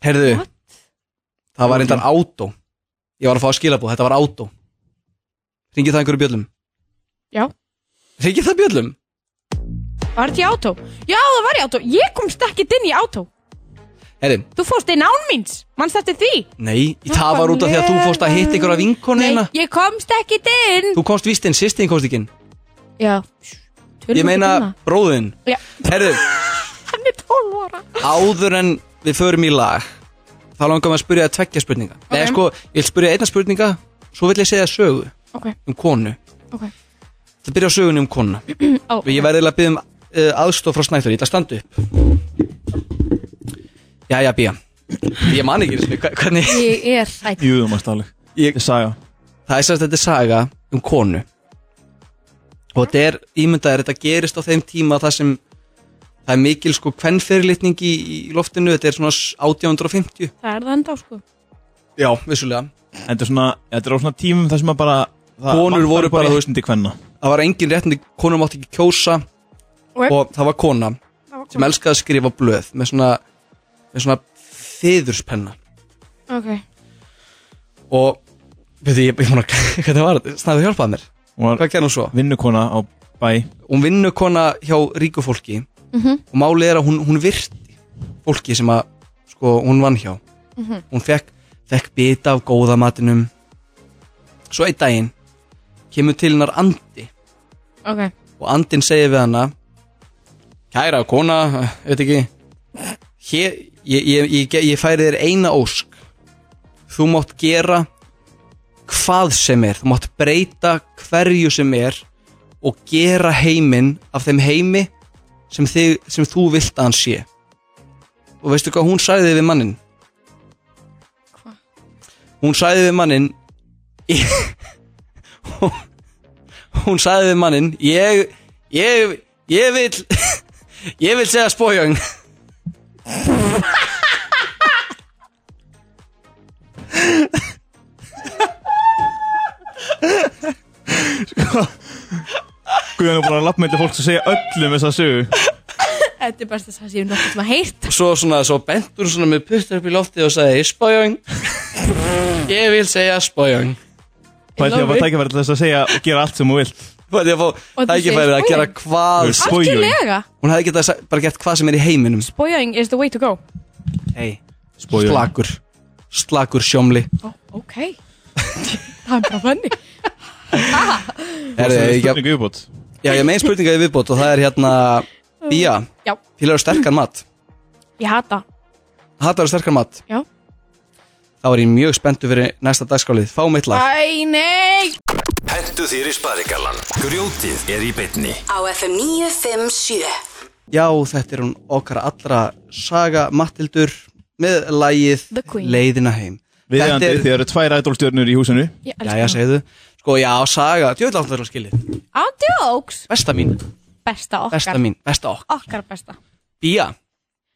Speaker 3: Herðu
Speaker 7: What?
Speaker 3: Það var eindan átó Ég var að fá að skilabúð, þetta var átó Ringið það einhverju bjöllum?
Speaker 7: Já.
Speaker 3: Ringið það bjöllum?
Speaker 7: Var þetta í átó? Já, það var í átó Ég komst ekki inn í átó
Speaker 3: Herðu,
Speaker 7: Þú fórst inn án míns Manst eftir því
Speaker 3: nei, það var út af því að þú fórst að hitta einhverja vinkonu hérna
Speaker 7: ég komst ekki inn
Speaker 3: Þú komst vist inn, sýstinn komst ekki inn
Speaker 7: Já Tölum
Speaker 3: Ég hérna.
Speaker 7: ekki
Speaker 3: meina
Speaker 7: um
Speaker 3: bróðinn
Speaker 7: það. Já,
Speaker 3: Herðu,
Speaker 7: hann er 12 ára
Speaker 3: áður en við förum í lag Þá langar maður að spyrja að tveggja spurninga Nei,
Speaker 7: Ok.
Speaker 3: sko, ég vil spyrja einna spurninga Svo vil ég segja sögu
Speaker 7: Ok,
Speaker 3: um konu
Speaker 7: ok
Speaker 3: Það byrja á sögunni um konu
Speaker 7: Ó,
Speaker 3: Og ég verði eiginlega að byggja um uh, aðstof frá Snæþór Ég ætla að standa upp Jæja, Bía Ég man ekki einu sinni hva- hvernig
Speaker 7: Ég er rætt
Speaker 4: jú, þú mást alveg,
Speaker 3: ég,
Speaker 4: ég sagði
Speaker 3: Það er sérst þetta er saga um konu Og þetta er ímyndaðir Þetta gerist á þeim tíma þar sem Það er mikil sko kvennferlitning í, í loftinu Þetta er svona s- 1850
Speaker 7: Það er það enda sko
Speaker 3: Já, vissulega
Speaker 4: þetta er svona, þetta er á svona tímum þar sem að bara það
Speaker 3: Konur
Speaker 4: vantar
Speaker 3: voru bara-
Speaker 4: réttindi kvenna
Speaker 3: Það var engin réttindi, konur mátti ekki kjósa
Speaker 7: Ok.
Speaker 3: Og það var kona Sem elskaði að skrifa blöð Með svona, með svona feðurspenna
Speaker 7: ok,
Speaker 3: og veit ég, ég, ég múna, hvernig var þetta, snæðu hjálpaði mér
Speaker 4: Hún var
Speaker 3: hvað gerði hún svo?
Speaker 4: vinnukona á bæ
Speaker 3: hún vinnur kona hjá ríku fólki og málið er að hún, hún virti fólki sem að sko, hún vann hjá hún fekk, fekk bita af góða matinum svo einn daginn kemur til hennar andi
Speaker 7: ok
Speaker 3: og andin segir við hana kæra kona, veit ekki hér, ég, ég, ég, ge- ég færi þér eina ósk þú mátt gera hvað sem er þú mátt breyta hverju sem er og gera heiminn af þeim heimi sem, þig, sem þú vilt að hann sé og veistu hvað hún sagði við mannin
Speaker 7: Hva?
Speaker 3: hún sagði við mannin hún, hún sagði við mannin ég ég, ég vil ég vil segja spójöng
Speaker 4: Guðan er búin að lappa með fólk sem segja öllum þess að sögu
Speaker 7: Þetta er best að það séu nokkuð sem að heilt
Speaker 3: svo svona svo bentur hún svona með puttur upp í loftið og sagði spójöng ég vil segja spójöng
Speaker 4: Það er því að það tækja verið til þess að segja og gera allt sem þú vilt
Speaker 3: Það er að fá
Speaker 7: Og þú
Speaker 3: tækifærið að
Speaker 7: segir
Speaker 3: gera
Speaker 7: spójöng.
Speaker 3: hvað
Speaker 4: Þú veist. Spojung.
Speaker 7: Algjörlega
Speaker 3: Hún hefði getað sa- bara gert hvað sem er í heiminum
Speaker 7: Boying is the way to go
Speaker 3: hey.
Speaker 4: Spójum.
Speaker 3: Slakur Slakur sjómli
Speaker 7: oh, Ok Það er bara þannig
Speaker 3: Herri, ég,
Speaker 4: Spurning viðbútt
Speaker 3: já, ég megin spurninga í viðbót og það er hérna Bía,
Speaker 7: Já,
Speaker 3: fílar sterkan mat
Speaker 7: ég hata
Speaker 3: Hattar sterkan mat
Speaker 7: Já.
Speaker 3: Þá er ég mjög spenntu fyrir næsta dagskálið Fá mitt lag
Speaker 7: Æ, nei
Speaker 1: Hentu þér í sparigallan Grjótið er í beinni
Speaker 2: Á FM 957
Speaker 3: Já, þetta er hún okkar allra saga Mattildur með lagið
Speaker 7: The Queen.
Speaker 3: Leiðina heim
Speaker 4: Viðjandi
Speaker 3: Þetta er-
Speaker 4: þið eru tvær ædolstjörnur í húsinu
Speaker 7: Ég
Speaker 3: Já, já,
Speaker 7: elska
Speaker 3: segðu Sko, já, saga, djöðla áttu þér að skilið
Speaker 7: það Ándjóks
Speaker 3: Besta mín,
Speaker 7: Besta okkar
Speaker 3: besta mín, besta okk
Speaker 7: Okkar besta
Speaker 3: Bía,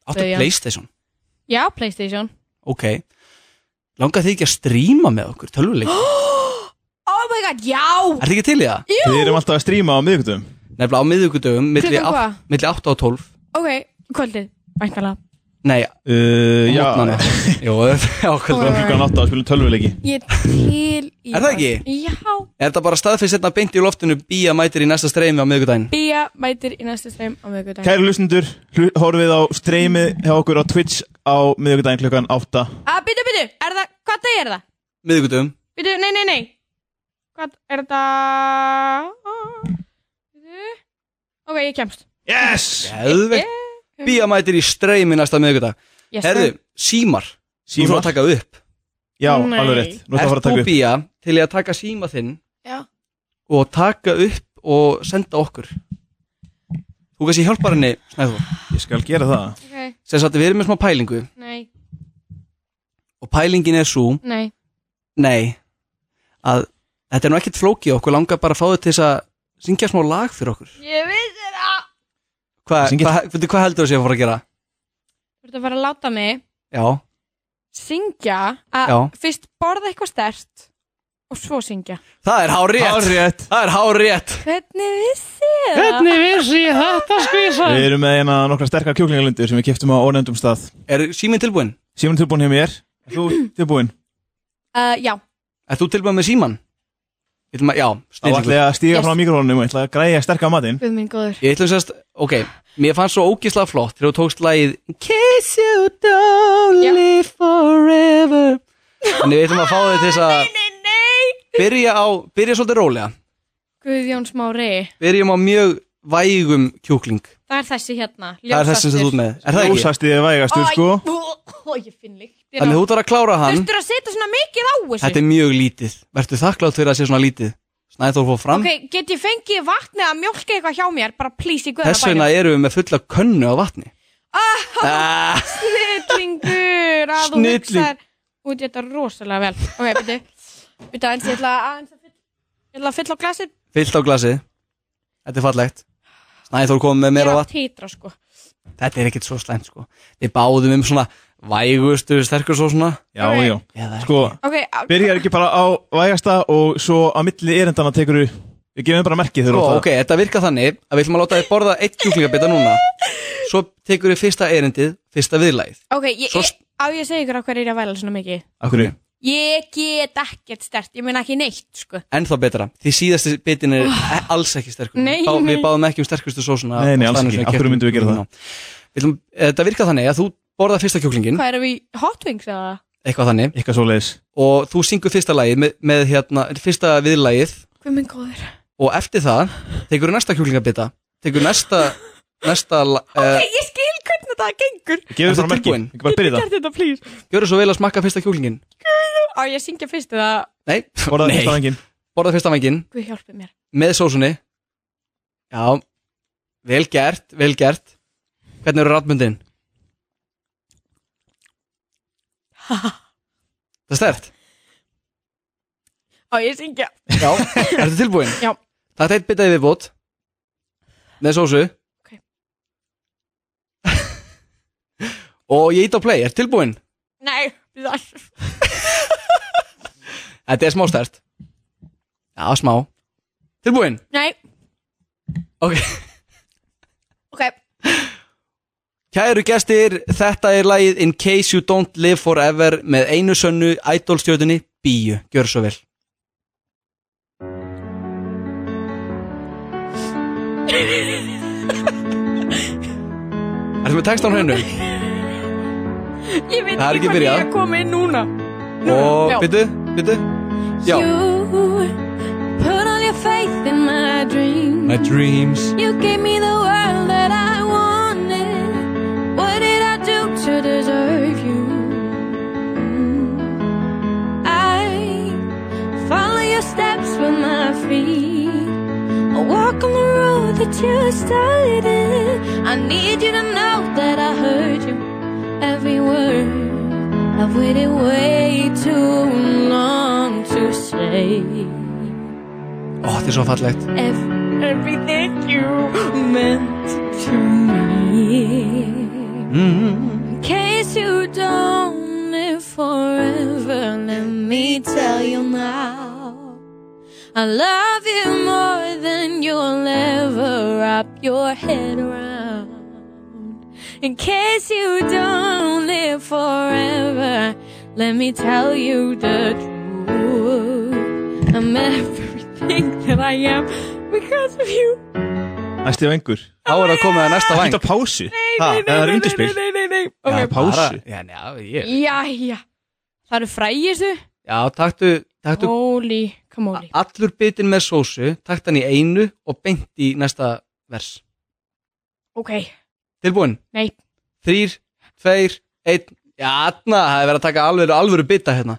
Speaker 3: áttu
Speaker 7: Bauja.
Speaker 3: Playstation
Speaker 7: Já, Playstation
Speaker 3: Ok Langar þið ekki að stríma með okkur tölvuleik? Er
Speaker 7: Oh my god, já
Speaker 3: þið ekki til í það?
Speaker 4: Við erum alltaf að stríma á miðvikudum
Speaker 3: Nefnilega á miðvíkudögum milli,
Speaker 7: Klukkan
Speaker 3: átt-
Speaker 7: hvað?
Speaker 3: milli 8 og 12
Speaker 7: Ok, kvöldið Væntalega
Speaker 3: Nei,
Speaker 4: uh, Já,
Speaker 3: mótnana Jó, á
Speaker 4: það
Speaker 3: kvöldum
Speaker 4: er klukkan 8 að spilum tölvuleiki
Speaker 7: Ég er til í
Speaker 3: Er það ekki?
Speaker 7: Já
Speaker 3: Er þetta bara staðfinn setna beint í loftinu Bía mætir í næsta streymi á miðvíkudaginn
Speaker 7: Bía mætir í næsta stream á miðvikudag
Speaker 4: Kæri hlustendur, hlu- horfið á streymið hjá okkur á Twitch á miðvikudaginn klukkan 8
Speaker 7: Að, byrju, byrju, Ah, er það, hvað dag er það?
Speaker 3: Miðvíkudögum
Speaker 7: Byrju, nei, nei, nei Hvað er það? Byrju Ok, ég kemst
Speaker 4: Yes!
Speaker 3: Helveg Bía mætir í streymi næsta miðvíkudag
Speaker 7: Yes,
Speaker 3: Herðu, símar Þú
Speaker 4: Símar?
Speaker 3: svo að taka upp
Speaker 4: Já,
Speaker 7: Nei.
Speaker 4: alveg rétt Nú ætla að fara
Speaker 3: Er
Speaker 4: að taka
Speaker 3: þú
Speaker 4: upp
Speaker 3: Bía til í að taka síma þinn
Speaker 7: Já.
Speaker 3: Og taka upp og senda okkur Þú kannski hjálpar henni Snæður
Speaker 4: Ég skal gera það
Speaker 7: Ok,
Speaker 3: sem sagt við erum með smá pælingu
Speaker 7: nei,
Speaker 3: og pælingin er svo,
Speaker 7: nei
Speaker 3: nei að þetta er nú ekkert flókið okkur langar bara að fá þau til þess að syngja smá lag fyrir okkur
Speaker 7: Ég vissi það
Speaker 3: Hva,
Speaker 4: Syngja-
Speaker 3: hva, hva, hvað heldur þú að sé að fara að gera?
Speaker 7: Þú ert að fara að láta mig
Speaker 3: Já,
Speaker 7: syngja
Speaker 3: Já.
Speaker 7: að fyrst borða eitthvað stert og svo syngja
Speaker 3: það er hárétt
Speaker 4: Hárrétt.
Speaker 3: Það er hárétt
Speaker 7: Hvernig vissi ég það?
Speaker 5: Hvernig vissi ég þetta skvísa?
Speaker 4: Við erum með eina nokkra sterkar kjúklingalundir sem við kiptum á ónefndum stað
Speaker 3: Er síminn tilbúinn?
Speaker 4: Símon er tilbúin hjá mér Er Þú tilbúin
Speaker 7: Uh, já,
Speaker 3: Er þú tilbúinn með símann? Ég ætlum að, já,
Speaker 4: Þá ætla
Speaker 3: snillingur
Speaker 4: ég að stíga
Speaker 7: Yes.
Speaker 4: frá mikrofónum og ætla að græja sterkar matinn
Speaker 7: guð minn góður
Speaker 3: Ég ætlum sérst, ok, mér fannst svo ógislega flott þegar þú tókst lagið Kiss you don't
Speaker 7: Já.
Speaker 3: live forever Þannig við ætlum að fá þau til þess að
Speaker 7: Nei, nei
Speaker 3: byrja á, byrja svolítið rólega
Speaker 7: Guðjón Smári,
Speaker 3: byrjum á mjög vægum kjúkling
Speaker 7: það er þessi hérna
Speaker 3: það er þessi sem þú ert með er það ekki?
Speaker 4: Ljósast ég vægastur sko
Speaker 7: Ó, ég finn líktina
Speaker 3: þannig þú þarf að klára hann
Speaker 7: Þurftur að setja svona mikið á
Speaker 3: þetta
Speaker 7: þessu
Speaker 3: er mjög lítið verður þakklátt fyrir að sé svona lítið Snæður fór fram
Speaker 7: Ok, get ég fengið vatni að mjólka eitthvað hjá mér Bara please í
Speaker 3: þess
Speaker 7: guðanabænum
Speaker 3: vegna erum við með fulla könnu á vatni ah,
Speaker 7: Snillingur að þú
Speaker 3: Snilling.
Speaker 7: hugsaðir út í þetta rosalega vel Ok, byrju Byrju aðeins, ég ætla aðeins að fylla Ég ætla að fylla á glasið
Speaker 3: fyllt á glasi þetta er fallegt Snæður kom með
Speaker 7: Ég er
Speaker 3: meira
Speaker 7: að
Speaker 3: vatn
Speaker 7: títra sko
Speaker 3: þetta er ekkit svo slæmt sko við báðum um svona vægustu sterkur svo svona
Speaker 4: Já,
Speaker 7: Ok.
Speaker 4: já
Speaker 3: Eða
Speaker 4: Sko,
Speaker 7: Ok, á-
Speaker 4: byrjar ekki bara á vægasta og svo á milli erindana tekur við Við gefum bara merki þegar
Speaker 3: Sko,
Speaker 4: þú átt að-
Speaker 3: ok, þetta virkar þannig að við ætlum að láta þið borða eitt kjúklingabita núna Svo tekur við fyrsta erindið, fyrsta viðlæð
Speaker 7: ok, ég,
Speaker 3: Svo,
Speaker 7: ég, á ég að segja ykkur á hverju er ég að væla svona mikið
Speaker 4: Akkur er
Speaker 7: ég get ekkert stert, ég meina ekki neitt sko.
Speaker 3: Ennþá betra, því síðasti bitin er e- alls ekki sterkur
Speaker 7: Nei,
Speaker 3: Bá, Við
Speaker 7: nei.
Speaker 3: báðum ekki um sterkustu sósuna
Speaker 4: Ah. Nei, nei,
Speaker 3: á
Speaker 4: alls
Speaker 3: staðnum
Speaker 4: ekki.
Speaker 3: sem
Speaker 4: Af hverju
Speaker 3: keyptum.
Speaker 4: myndum við gera það?
Speaker 3: Ná. Við ætlum- eh, Þetta virkar þannig að þú borðar fyrsta kjúklingin
Speaker 7: hvað erum við, hot wings eða?
Speaker 3: Eitthvað þannig
Speaker 4: eitthvað svoleiðis
Speaker 3: Og þú syngur fyrsta lagið með, með hérna, fyrsta viðlagið
Speaker 7: hvað minn góður?
Speaker 3: Og eftir það tekur næsta kjúklingabita Tekur næsta, næsta uh,
Speaker 7: ég skil hvernig þetta gengur
Speaker 4: Gefur
Speaker 3: Ertu
Speaker 4: bara merki,
Speaker 3: tilbúin?
Speaker 4: ekki bara byrja það
Speaker 7: gert þetta please
Speaker 3: Gjörðu svo vel að smakka fyrsta kjúklingin
Speaker 7: á ég að syngja fyrst eða,
Speaker 3: Nei,
Speaker 4: Borðaði
Speaker 3: nei.
Speaker 4: fyrst af engin
Speaker 3: borða fyrsta vangin
Speaker 7: guð hjálpi mér
Speaker 3: með sósunni Já, vel gert, vel gert Hvernig eru ratmyndin? Það er stert
Speaker 7: á ég að syngja
Speaker 3: Já, ertu tilbúin?
Speaker 7: Já.
Speaker 3: Það er eitt bitaði viðbót með sósu
Speaker 7: Ok.
Speaker 3: Og ég ít á play, ertu tilbúin?
Speaker 7: nei, bíddu, all-
Speaker 3: Þetta er smá stert Já, smá Tilbúin?
Speaker 7: nei,
Speaker 3: Ok
Speaker 7: ok
Speaker 3: Kæru gestir, þetta er lagið In Case You Don't Live Forever með einu sönnu ædolstjötunni Bíu, gjör svo vel Ertu með textan hreinu?
Speaker 7: ég veit
Speaker 3: Það er
Speaker 7: ekki
Speaker 3: ekki
Speaker 7: hvernig
Speaker 3: byrjað.
Speaker 7: ég er komið inn núna
Speaker 3: Og
Speaker 7: Já.
Speaker 3: byttu, byttu Já,
Speaker 7: You put all your faith in my dream
Speaker 3: my dreams
Speaker 7: You gave me the world that I wanted What did I do to deserve you? I follow your steps with my feet I walk on the road that you started I need you to know that I heard you Every word I've waited way too long to say
Speaker 3: Ó, þetta er svo fallegt
Speaker 7: Ev- everything you meant to me. In case you don't live forever, let me tell you now. I love you more than you'll ever wrap your head around. In case you don't live forever, let me tell you the truth. I'm everything that I am because of you.
Speaker 4: Æsti á engur
Speaker 3: Þá er það komið að næsta
Speaker 4: Ítta
Speaker 3: væng
Speaker 4: pásu Ha,
Speaker 7: Nei, nei,
Speaker 4: Það er
Speaker 7: nei,
Speaker 4: undirspil
Speaker 7: Nei, nei, nei, nei.
Speaker 4: Já,
Speaker 7: Ok,
Speaker 4: pásu
Speaker 3: Bara- Já, já, ég
Speaker 7: jæja. Það eru frægistu.
Speaker 3: Já, taktu, taktu
Speaker 7: Holy, come on.
Speaker 3: allur bitin með sósu Takt hann í einu og beint í næsta vers
Speaker 7: Ok,
Speaker 3: Tilbúin?
Speaker 7: nei.
Speaker 3: þrýr, tveir, einn Já, na, það er verið að taka alveg alvöru bita hérna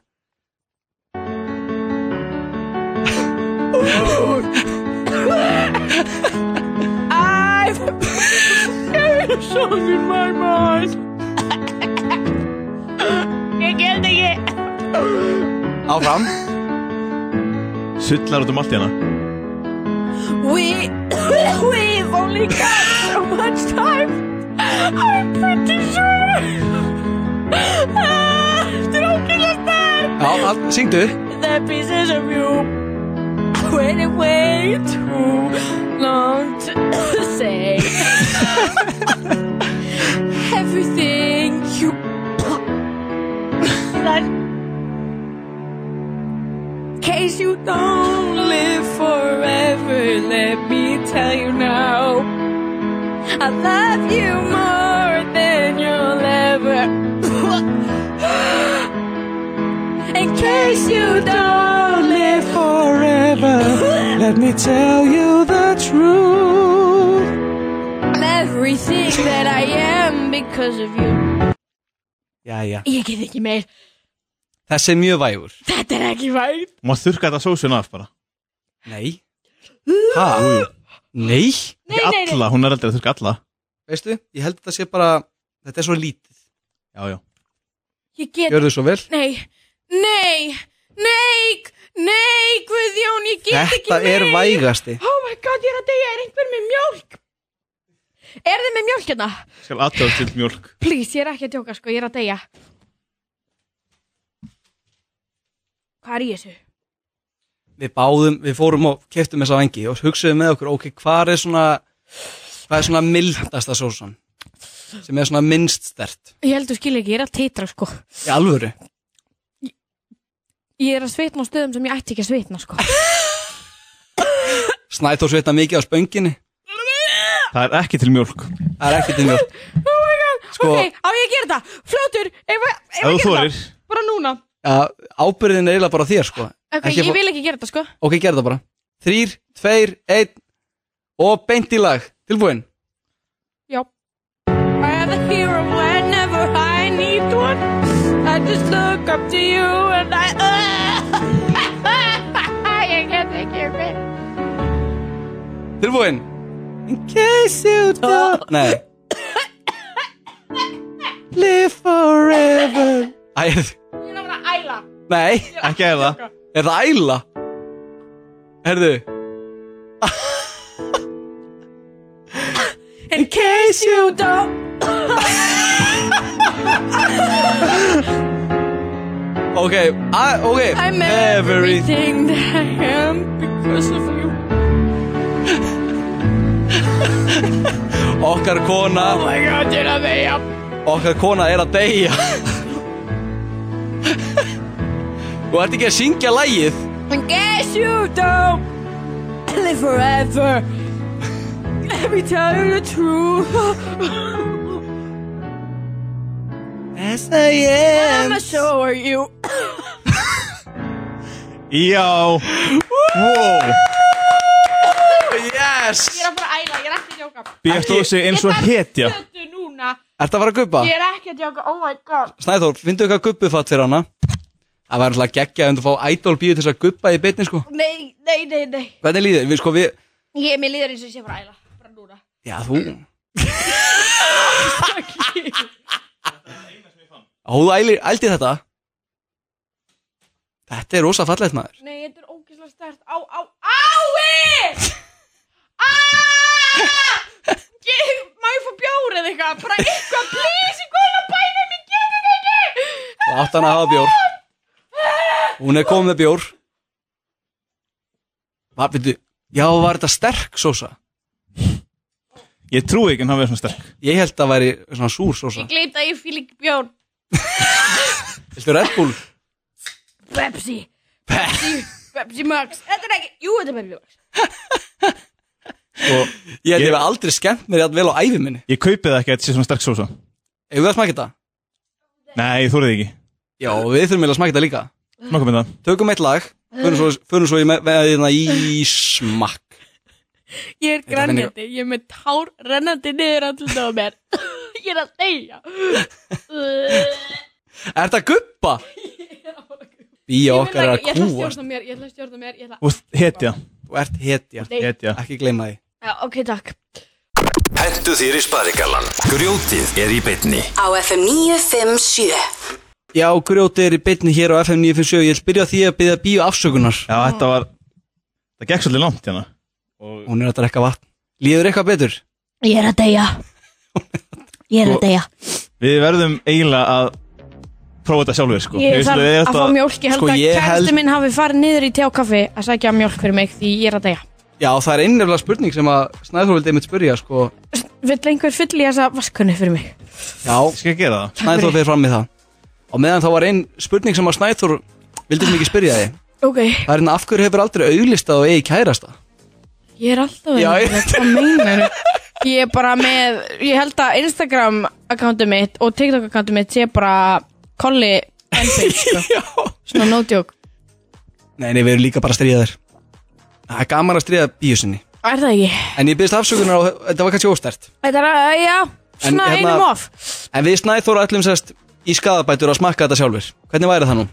Speaker 7: I've heard a song in my mind. Ég get ekki.
Speaker 3: Áfram
Speaker 4: Sullar út um allt hérna
Speaker 7: We, we've only got so much time. I'm pretty sure. Ah, After all, kill us there.
Speaker 3: Já, all, syngdu
Speaker 7: The pieces of you waiting way too long to say. Everything you. that case you don't live forever, let me tell you now. I love you more than you'll ever. In case you don't live forever,
Speaker 3: Let me tell you the truth
Speaker 7: I'm everything that I am because of you.
Speaker 3: Jæja,
Speaker 7: Ég get ekki meir,
Speaker 3: þessi er mjög vægur
Speaker 7: þetta er ekki vægt.
Speaker 4: Má þurrka þetta sósuna af bara
Speaker 3: Nei Ha? Nei?
Speaker 7: Nei, nei, nei.
Speaker 4: Alla, hún er aldrei að þurrka alla
Speaker 3: Veistu, ég held að þetta sé bara Þetta er svo lítið
Speaker 4: Já, já
Speaker 7: Ég get
Speaker 3: Gjörðu svo vel
Speaker 7: Nei, nei, nei, nei, Guðjón, ég get ekki
Speaker 3: Þetta
Speaker 7: meir.
Speaker 3: er vægasti
Speaker 7: Oh my god, ég er að deyja, er einhver með mjólk? Er þið með mjólk hérna?
Speaker 4: Skal aðtöða til mjölk
Speaker 7: Please, ég er ekki að djóka, sko, ég er að deyja. Hvað er í þessu?
Speaker 3: Við báðum, við fórum og keftum þessa vengi Og hugsuðum með okkur, ok, hvað er svona Hvað er svona mildasta sósan sem er svona minnst stert
Speaker 7: Ég held þú skilur ekki, ég er að teitra sko
Speaker 3: í alvöru
Speaker 7: Ég er að svitna á stöðum sem ég ætti ekki að svitna sko
Speaker 3: Snæþór svitna mikið á spönginni
Speaker 4: Það er ekki til mjólk
Speaker 3: það er ekki til mjög
Speaker 7: Oh my god,
Speaker 3: Sko-
Speaker 7: ok, á ég að gera það Fljótur, ef ef- ef
Speaker 4: Ef
Speaker 7: ég
Speaker 4: þú
Speaker 7: gera það
Speaker 4: þorir
Speaker 7: Bara núna
Speaker 3: að ábyrðin er eiginlega bara á þér sko
Speaker 7: Ok,
Speaker 3: Ekki
Speaker 7: ég
Speaker 3: fá-
Speaker 7: vil ekki gera það sko
Speaker 3: ok, gerð það bara þrýr, tveir, einn og beint í lag, tilbúin
Speaker 7: Já I'm the hero whenever I need one I just look up to you and I uh, Ég get ekki með
Speaker 3: tilbúin in case you don't nei live forever Æ, er-
Speaker 7: Ég er að vera að æla
Speaker 3: nei,
Speaker 4: Ekki eða
Speaker 3: er það æla? herðu
Speaker 7: In case you don't
Speaker 3: ok, a- ok
Speaker 7: I'm
Speaker 3: Everything.
Speaker 7: everything that I am Because of you
Speaker 3: okkar kona
Speaker 7: Oh my god, ég er að veja
Speaker 3: okkar kona er að deyja þú ert ekki að syngja lagið
Speaker 7: In case you don't live forever, let me tell you the truth.
Speaker 3: Yes I am
Speaker 7: I'm a show are you.
Speaker 4: Já Wow
Speaker 3: Yes
Speaker 5: Ég er að fara að æla, ég er ekki að djóka.
Speaker 4: Býrst þú sig eins og hetja
Speaker 5: Þetta er núna,
Speaker 3: Ert að fara að guppa?
Speaker 5: ég er ekki að djóka, oh my god.
Speaker 3: Snæþór, finndu eitthvað guppufatt fyrir hana Það var alltaf geggja að fá idol bíu til þess að guppa í beinni sko
Speaker 5: Nei, nei, nei, nei.
Speaker 3: Hvernig líður? þér? Við sko við
Speaker 5: Ég, mér líður eins og ég sé að fara að æla, bara núna.
Speaker 3: Já þú Ó, þú ælir, ældi þetta Þetta er rosa fallegt maður
Speaker 5: Nei, þetta er ógeðslega stert. Á, á, ái! Aaaaah! Má ég fá bjór eða eitthvað? Bara eitthvað, please, ég góðum að bæna mér, getur þetta ekki!
Speaker 3: Þú átt hann að hafa bjór Hún er komið með bjór Hvað, veitu Já, var þetta sterk sósa?
Speaker 4: Ég trúi ekki en hann verður svona sterk
Speaker 3: Ég held að væri svona súr sósa
Speaker 5: Ég gleymt að ég fíl ekki bjór.
Speaker 3: Viltu Red Bull?
Speaker 5: Pepsi. Pepsi. Pepsi Max. Þetta er ekki, jú, þetta er Pepsi Max.
Speaker 3: Ég
Speaker 4: Og
Speaker 3: held
Speaker 4: Ég-
Speaker 3: ég hef aldrei skemmt mér jafn vel á ævi minni
Speaker 4: ég kaupi það ekki að þetta sé svona sterk sósa
Speaker 3: Eigum við að smaka þetta?
Speaker 4: Nei, ég þorið ekki
Speaker 3: Já, og við þurfum eiginlega að smaka þetta líka
Speaker 4: Nóka með það
Speaker 3: Tökum eitt lag Förum svo, förum svo í, me- með, með, í smakk
Speaker 5: Ég er
Speaker 3: Þetta finnur-
Speaker 5: grænjandi, ég er með tár rennandi niður andlita á mér. ég er að deyja.
Speaker 3: Er þetta guppa? Bíja
Speaker 5: Ég vil
Speaker 3: okkar er
Speaker 5: ekki-
Speaker 3: að
Speaker 5: Ég ætla að
Speaker 3: kúast
Speaker 5: stjórna mér, ég ætla að stjórna mér, ég ætla að...
Speaker 4: Þú veist, hetja
Speaker 3: Þú ert hetja
Speaker 5: Nei.
Speaker 4: Hetja
Speaker 3: Ekki gleyma því
Speaker 5: Já, ok, takk.
Speaker 1: Hentu þér í sparigallan. Grjótið er í beinni.
Speaker 2: Á FM 957
Speaker 3: Já, grjóti er í beinni hér á FM 957 Ég vil byrja á því að byrja bíu afsökunar
Speaker 4: Já, þetta var Það gekk svolítið langt hérna
Speaker 3: Hún er að drekka vatn Líður eitthvað betur?
Speaker 7: Ég er að deyja. Ég
Speaker 3: Sko,
Speaker 7: er að deyja.
Speaker 4: Við verðum eiginlega að Prófa þetta sjálfur sko
Speaker 7: Ég
Speaker 4: veist
Speaker 7: þarf
Speaker 4: við
Speaker 7: að
Speaker 4: þetta-
Speaker 7: fá mjólk. Ég held
Speaker 3: Sko,
Speaker 7: að
Speaker 3: ég held-
Speaker 7: kæristu minn hafi farið niður í tjákaffi að sækja mjólk fyrir mig því ég er að deyja.
Speaker 3: Já, það er einnefnilega spurning sem að Snæður vildi einmitt spyrja sko.
Speaker 7: Vill einhver fyll í þessa vaskunni fyrir mig?
Speaker 3: Já,
Speaker 4: Skal ég gera það?
Speaker 3: Snæður fyrir fram í það Og meðan þá var einn spurning sem að Snæður vildi sem ekki spyrja því
Speaker 7: Ok,
Speaker 3: Það er hérna, af hverju hefur aldrei auglistað og eigi kærasta?
Speaker 7: ég er alltaf
Speaker 3: Já,
Speaker 7: að
Speaker 3: ég-
Speaker 7: hvað meinar Ég er bara með, ég held að Instagram akkántu mitt og TikTok akkántu mitt sé bara kolli fanpage, sko.
Speaker 3: Já
Speaker 7: svona no joke
Speaker 3: Nei, nei, við erum líka bara að stríða þér Það er gaman að stríða bíusinni
Speaker 7: Er það ekki?
Speaker 3: En ég byrðist afsökunar á, þetta var kannski óstært
Speaker 7: Þetta er að, já, svona
Speaker 3: En hérna-
Speaker 7: einum of
Speaker 3: En við Snæþóra ætlum sérst í skadabætur að smakka þetta sjálfur Hvernig væri það nú?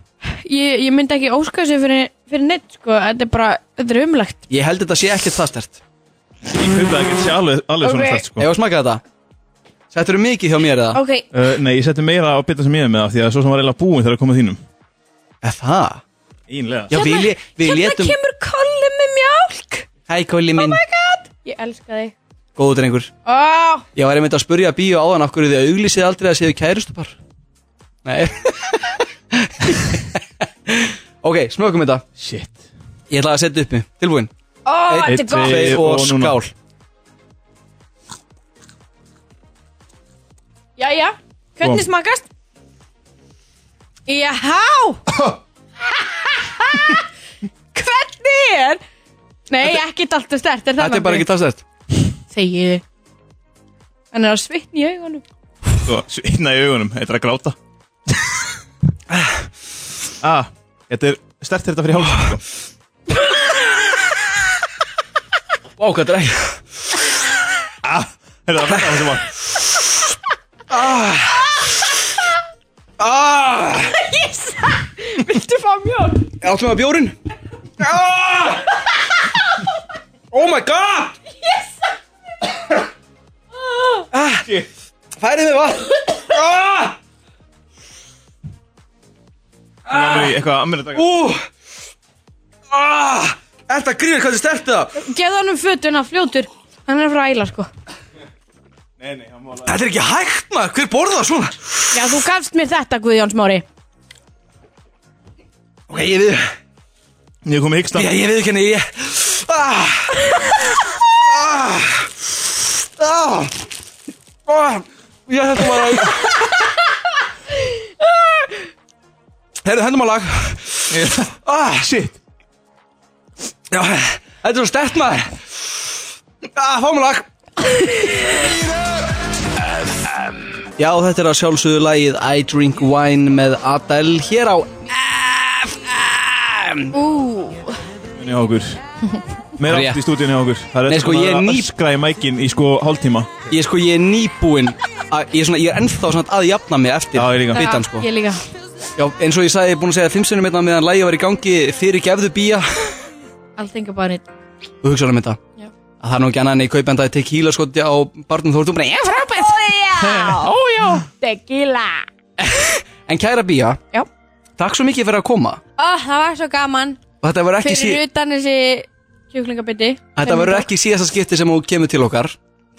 Speaker 7: ég, ég myndi ekki óska þessu fyrir, fyrir neitt, sko, þetta er bara, þetta er umlegt
Speaker 3: Ég held þetta sé ekkert það stært
Speaker 4: Ég kaupi það ekki að sé alveg, alveg svona
Speaker 7: Ok.
Speaker 4: stert sko
Speaker 3: Ef að smakka þetta Settur þú mikið hjá mér eða?
Speaker 7: Ok,
Speaker 4: uh, Nei, ég setti meira á bitan sem ég er með það Því að svo sem var eiginlega búin þegar að koma þínum
Speaker 3: Okay. Það?
Speaker 4: Einlega
Speaker 3: Já, við, lé- við
Speaker 7: hérna
Speaker 3: létum
Speaker 7: kemur kolli með mjólk Oh
Speaker 3: Hæ, Kóli minn,
Speaker 7: Ég elska þig Oh,
Speaker 3: góðu drengur
Speaker 7: Ó,
Speaker 3: Ég var einmitt að spurja bíu áðan af hverju þið auglýsið aldrei að séu kærustupar Nei Ok, smökum þetta
Speaker 4: Shit
Speaker 3: Ég ætla að setja uppi, tilbúin
Speaker 7: ó,
Speaker 3: Einn,
Speaker 7: oh, þetta er gott
Speaker 3: tveir og
Speaker 4: Og núna.
Speaker 3: skál
Speaker 5: Jæja, hvernig
Speaker 4: Kom.
Speaker 5: smakast? Jáhá Hvernig er? Nei, ekki dalt og stert er það
Speaker 3: Þetta er bara ekki talstært
Speaker 7: Þegiðu
Speaker 5: Hann er að svitna í augunum
Speaker 4: sko, Svo, svitna í augunum, þetta er að gráta ah, Þetta er stert þetta fyrir hálfum sko.
Speaker 3: Vá, hvað þetta er ekki
Speaker 4: Heyrðu, það var þessi var
Speaker 5: Viltu fá mjólk?
Speaker 3: Áttum við að bjórin Ah! Oh my god Yes ah, Færið mig vatn ah,
Speaker 4: Það var í eitthvað að mér að taka
Speaker 3: Ú ah, Þetta grýr hvað þið sterti það
Speaker 7: Geð honum fötuna, fljótur Hann er frá æla sko
Speaker 4: Nei, nei, hann var alveg
Speaker 3: Þetta er ekki hægt maður, hver borða það svona
Speaker 7: Já, þú gafst mér þetta Guðjón Smári
Speaker 3: Ok, ég við
Speaker 4: Ég kom í hyggsta
Speaker 3: Ég, ég við ekki henni ég ah, ah, ah, ah, Ég þetta var að Herðu, hendum að lag ah,
Speaker 4: Shit
Speaker 3: Já, þetta er svo stert maður ah, Fáum lag Já, þetta er að sjálfsögðu lagið I Drink Wine með Adele hér á FM
Speaker 4: Stúdíunni á okkur Meira
Speaker 3: Rétt.
Speaker 4: átt í stúdíunni á okkur Það er
Speaker 3: Nei,
Speaker 4: öll
Speaker 3: sko,
Speaker 4: sem
Speaker 3: ég er
Speaker 4: að
Speaker 3: ný-
Speaker 4: öskra í mækin í sko hálftíma
Speaker 3: Ég sko, ég er nýbúinn að- Ég er, svona, ég er ennþá svona að jafna mig eftir
Speaker 4: Já, ég líka.
Speaker 3: bitann, sko.
Speaker 7: Ég líka
Speaker 3: Já, eins og ég sagði, ég er búinn að segja fimm sinnum hérna meðan lagið var í gangi fyrir gefðu bía
Speaker 7: I'll think about it
Speaker 3: Þú hugsaður um þetta
Speaker 7: Já.
Speaker 3: Að það er nú ekki annað en ég kaupenda að tequila skoti á barnum þú ertu bara "Ég er frábært
Speaker 5: Ójá, tequila
Speaker 3: En kæra bía,
Speaker 7: Já
Speaker 3: takk svo mikið fyrir að koma
Speaker 7: Ó, það var svo gaman
Speaker 3: Og þetta verður ekki
Speaker 7: Fyrir
Speaker 3: síðan
Speaker 7: utan þessi kjúklingabiti
Speaker 3: Þetta verður ekki síðasta skipti sem þú kemur til okkar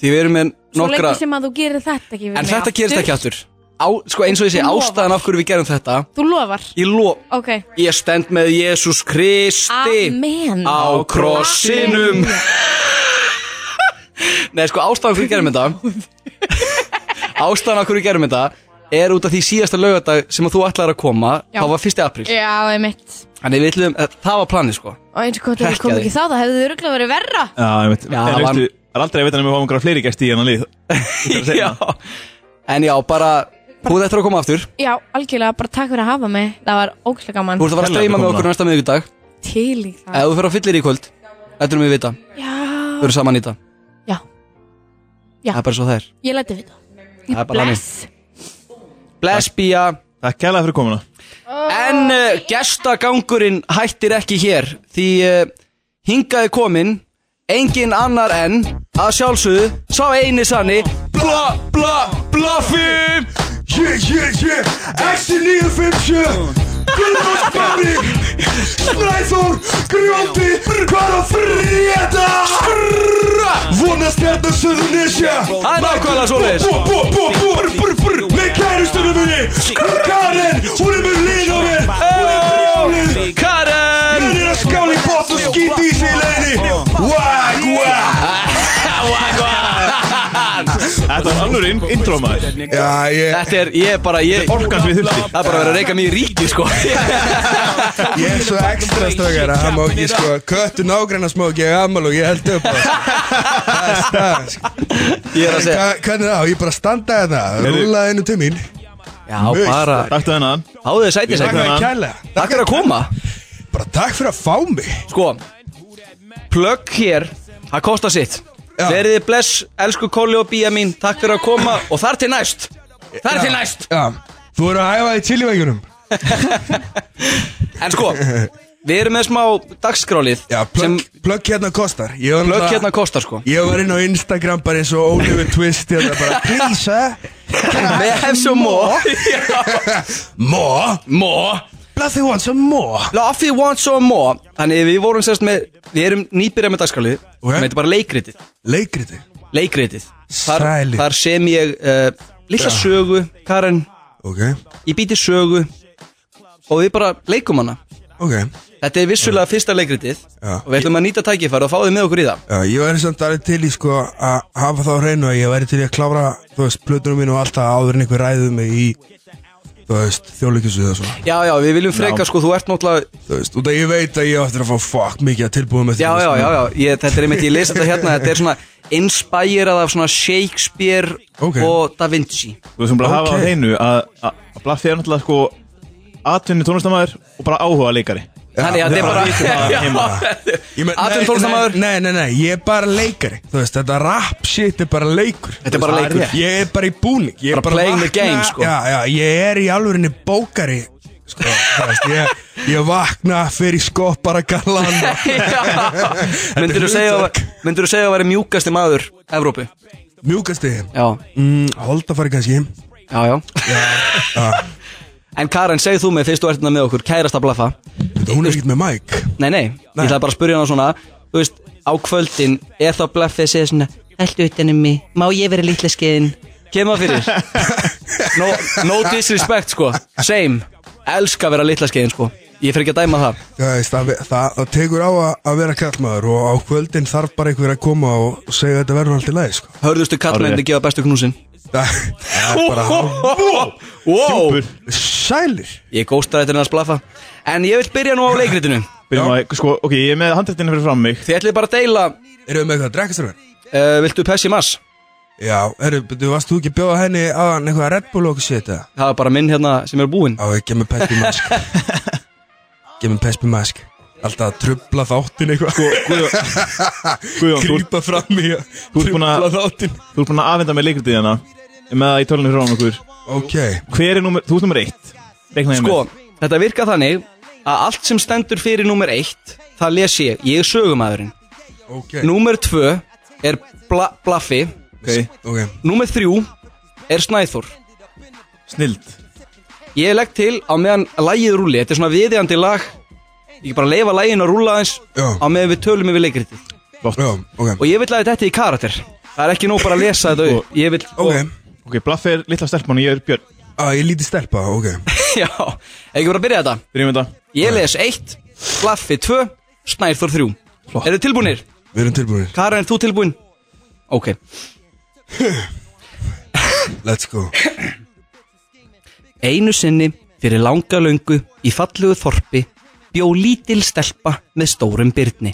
Speaker 3: Því við erum með
Speaker 7: Svo
Speaker 3: nokkra
Speaker 7: lengi sem að þú gerir þetta ekki við
Speaker 3: En
Speaker 7: mig
Speaker 3: þetta gerist ekki aftur Á, sko eins og ég segi,
Speaker 7: Þú lofar.
Speaker 3: ástæðan af hverju við gerum þetta
Speaker 7: Þú lofar
Speaker 3: Ég lof
Speaker 7: Ok
Speaker 3: Ég stend með Jésús Kristi
Speaker 7: Amen
Speaker 3: Á krossinum Nei sko ástæðan af hverju við gerum þetta Ástæðan af hverju við gerum þetta Er út af því síðasta laugardag sem að þú ætlaðir að koma
Speaker 7: Já. Eh.
Speaker 3: Það var 1. apríl
Speaker 7: Já, einmitt
Speaker 3: Þannig við ætlum, það var planið sko
Speaker 7: Og eins og hvað þú
Speaker 3: Hrekkjaði.
Speaker 7: kom ekki þá, það hefðu þið rugglega verið verra
Speaker 4: Já, ég veit
Speaker 3: Já,
Speaker 4: En
Speaker 3: það var-
Speaker 4: veistu, það er aldrei að vita nefnum við fáum einhverja fleiri gæsti í hennan lið
Speaker 3: Já En já, bara, þú þetta er að koma aftur
Speaker 7: Já, algjörlega, bara takk fyrir að hafa mig Það var ógæslega gaman
Speaker 3: Þú ert að fara að
Speaker 4: Kærlega
Speaker 3: streyma með
Speaker 4: komuna.
Speaker 3: okkur næsta miðvíkudag
Speaker 7: til í það
Speaker 3: Ef þú fyrir að fyllir í kvöld Þetta erum við vita Við
Speaker 7: Já,
Speaker 3: erum saman í þetta
Speaker 7: já, Já.
Speaker 3: Það er bara svo það er
Speaker 7: ég læti við það
Speaker 3: Það er bara þannig.
Speaker 7: Bless
Speaker 3: Bless Bía
Speaker 4: Takk kælega fyrir komuna
Speaker 3: En uh, gestagangurinn hættir ekki hér Því uh, hingaði komin Engin annar en Að sjálfsögðu Sá eini sanni Bla bla bla fimm
Speaker 6: Yeah, yeah, yeah, action 957 Gullfossbáni Snæþór Grjóti Hvað á frétta Vonast hérna Suðurnesja
Speaker 3: Það er nákvæmlega svoleiðis.
Speaker 6: Bú, bú, bú, bú, bú, bú, bú, bú Með kærustunum minni Karen, hún er með lið á mér Hún er brjálið
Speaker 3: Karen
Speaker 6: Hún er að skála í bótt og skýti í sig í leðinni Wag, wag
Speaker 4: Þetta var alveg inn, intro maður
Speaker 6: Já, ég,
Speaker 3: Þetta er, ég er bara ég,
Speaker 4: Orkan sem við þurfti
Speaker 3: Það er bara að vera að reyka mig í ríki sko
Speaker 6: ég er svo ekstra stökar að hann má ekki sko Köttu nágrann að smók, ég er amal og ég held upp á Það er stað sko.
Speaker 3: Ég er að segja
Speaker 6: Hva- Hvernig þá? Ég bara standa hérna,
Speaker 4: Heyrðu.
Speaker 6: rúlaði hennu til mín
Speaker 3: Já bara
Speaker 4: Takk til hennan
Speaker 3: Háðu þið sætið
Speaker 6: Takk
Speaker 3: sætið
Speaker 6: fyrir
Speaker 4: Takk.
Speaker 6: kærlega
Speaker 3: Takk fyrir að koma
Speaker 6: Bara takk fyrir að fá mig
Speaker 3: Sko Plögg hér Það kostar sitt
Speaker 6: Já.
Speaker 3: Verðið bless Elsku Kolli og Bía mín Takk fyrir að koma Og þar til næst Þar til næst
Speaker 6: Já, þú eru að æfa í chilivægjunum
Speaker 3: En sko Við erum með smá dagskrálið
Speaker 6: Já,
Speaker 3: sem
Speaker 6: plögg hérna kostar Ég var
Speaker 3: Plögg
Speaker 6: náttúrulega-
Speaker 3: hérna kostar sko
Speaker 6: Ég var inn á Instagram bara eins og Oliver Twist hérna bara Please, eh?
Speaker 3: May I have some more
Speaker 6: More?
Speaker 3: More
Speaker 6: Bloody want some more
Speaker 3: Love if you want some more Þannig við vorum sérst með Við erum nýbyrja með dagskrálið
Speaker 6: Ok.
Speaker 3: Sem heitir bara leikritið
Speaker 6: Leikriti
Speaker 3: Leikritið Þar,
Speaker 6: Sælir.
Speaker 3: þar sem ég uh, Lilla sögu Karen
Speaker 6: Ok
Speaker 3: Ég býti sögu Og við bara leikum hana
Speaker 6: Ok,
Speaker 3: Þetta er vissulega fyrsta leikritið
Speaker 6: Já.
Speaker 3: og við ætlum að nýta tækifæri og fá þið með okkur í það
Speaker 6: já, ég væri samt aðeins til í sko að hafa þá á hreinu að ég væri til í að klára, þú veist, plötunum mínu og alltaf áður en einhver ræðið mig í, þú veist, þjóðleikjusvið og svona.
Speaker 3: Já, já, við viljum freka, sko, þú ert náttúrulega
Speaker 6: Þú veist, út að ég veit að ég á eftir að fá fuck mikið að tilbúið með
Speaker 3: Já, já, já, já, ég, þetta er einmitt, ég lesi þetta hérna Þetta er svona inspirað af svona Shakespeare
Speaker 6: Ok.
Speaker 3: og Da Vinci
Speaker 4: Þú veist, hún bara hafa á
Speaker 6: Ok.
Speaker 4: hreinu að, að, að Blaffi er náttúrulega sko atvinni tónlistamæður og bara áhuga leikari
Speaker 3: Þannig að þetta er bara
Speaker 6: um
Speaker 4: Það heima
Speaker 6: Ég meina-
Speaker 3: Atvinnu
Speaker 6: nei,
Speaker 3: tónlistarmaður?
Speaker 6: Nei, nei, nei, ég er bara leikari Þú veist, þetta rap shit er bara leikur
Speaker 3: Þetta er bara
Speaker 6: Það
Speaker 3: leikur.
Speaker 6: rétt. Ég er bara í búning Ég er
Speaker 3: Bara playing the
Speaker 6: vakna-
Speaker 3: game, sko.
Speaker 6: Já, já, ég er í alvörinni bókari Sko, þú veist, ég, ég vakna fyrir skoppara galan
Speaker 3: Myndirðu segja, myndirðu segja að vera mjúkasti maður Evrópu?
Speaker 6: Mjúkasti
Speaker 3: Já,
Speaker 6: mm, Holdafari kannski
Speaker 3: já, já, En Karen, segð þú mig fyrst þú ert hérna með okkur, kærasta blaffa
Speaker 6: Þetta hún er ekkert með Mike
Speaker 3: Nei, nei, ég
Speaker 6: Nei.
Speaker 3: ætlaði bara að spyrja hana svona Þú veist, á kvöldin er þá blaffið að segja svona Ættu utan um mig, má ég vera litla skeiðin Kemur það fyrir no, no disrespect, sko Same, elska að vera litla skeiðin, sko Ég fyrir ekki að dæma það
Speaker 6: Þú veist, það, það, það tekur á að, að vera kallmaður og á kvöldin þarf bara einhver að koma og segja að þetta verður allt í lagi sko.
Speaker 3: Hörðustu kallmenni gefa bestu knúsin
Speaker 6: það, það er bara
Speaker 3: Wow,
Speaker 6: Sælir
Speaker 3: ég góstar þetta hennar blaffa En ég vil byrja nú á leikritinu
Speaker 4: Byrjum að, sko, ok, ég er með handrættinu fyrir fram mig
Speaker 3: Þið ætlið bara að deila
Speaker 6: Erum við með eitthvað að drekka sér verið?
Speaker 3: uh, Viltu pessi mass?
Speaker 6: Já, herru, betur, varst þú ekki að bjóða henni aðan eitthvað Red Bull og okkur sétt eða?
Speaker 3: Það er bara minn hérna sem er búinn
Speaker 6: Já, ég gef mér Pespi Mask Gef mér Pespi Mask Alltaf að trubla þáttin eitthvað
Speaker 4: Sko, Guðjón, Guðjón, þú ert-
Speaker 6: Grípa fram í að
Speaker 4: þú ert búin að-
Speaker 6: trubla þáttin
Speaker 4: þú ert búin að afhenda með leikritið hérna með það í tölunum fyrir fram okkur
Speaker 6: Ok,
Speaker 4: Hver er númer, þú ert númer eitt Reiknaði
Speaker 3: Sko, þetta virka þannig að allt sem stendur fyrir númer eitt það les ég, ég er sögumæðurinn
Speaker 6: ok
Speaker 3: Númer tvö er bla, Blaffi
Speaker 4: okay.
Speaker 6: Ok,
Speaker 3: Númer þrjú er Snæþór
Speaker 4: Snild
Speaker 3: Ég legg til á meðan lagið rúli Þetta er svona viðjandi lag Ég bara leifa lagin að rúla aðeins
Speaker 6: Já.
Speaker 3: á meðan við tölum yfir leikritið
Speaker 6: já, ok
Speaker 3: Og ég vil að þetta í karakter Það er ekki nóg bara að lesa þetta upp Ég vil
Speaker 6: Sko. Ok,
Speaker 4: Ok, Blaffi er litla stelpmann og ég er Björn
Speaker 6: að ég líti stelpa, ok
Speaker 3: Já, ekki bara að byrja þetta
Speaker 4: Byrjum þetta
Speaker 3: Ég les eitt, Blaffi tvö, Snæþór þrjú Eru þið tilbúinir?
Speaker 6: Við erum tilbúinir,
Speaker 3: Karin, er þú tilbúin? Ok
Speaker 6: let's go
Speaker 3: Einu sinni fyrir langa löngu í fallugu þorpi bjó lítil stelpa með stórum byrni.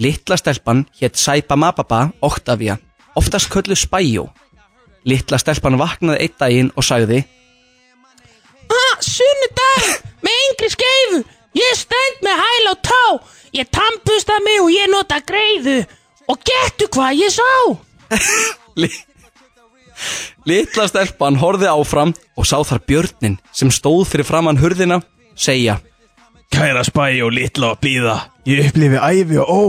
Speaker 3: Litla stelpan hétt Sæpa Mababa Octavia, oftast köllu Spæjó. Litla stelpan vaknaði einn daginn og sagði
Speaker 9: Ah, sunnudag með yngri skeifu Ég stend með hæl og tá Ég tampusta mig og ég nota greiðu Og getu hvað ég sá
Speaker 3: Li- Litla stelpan horfði áfram og sá þar björnin sem stóð fyrir framann hurðina segja
Speaker 4: Kæra spæ og litla að býða Ég upplifi æfi og ó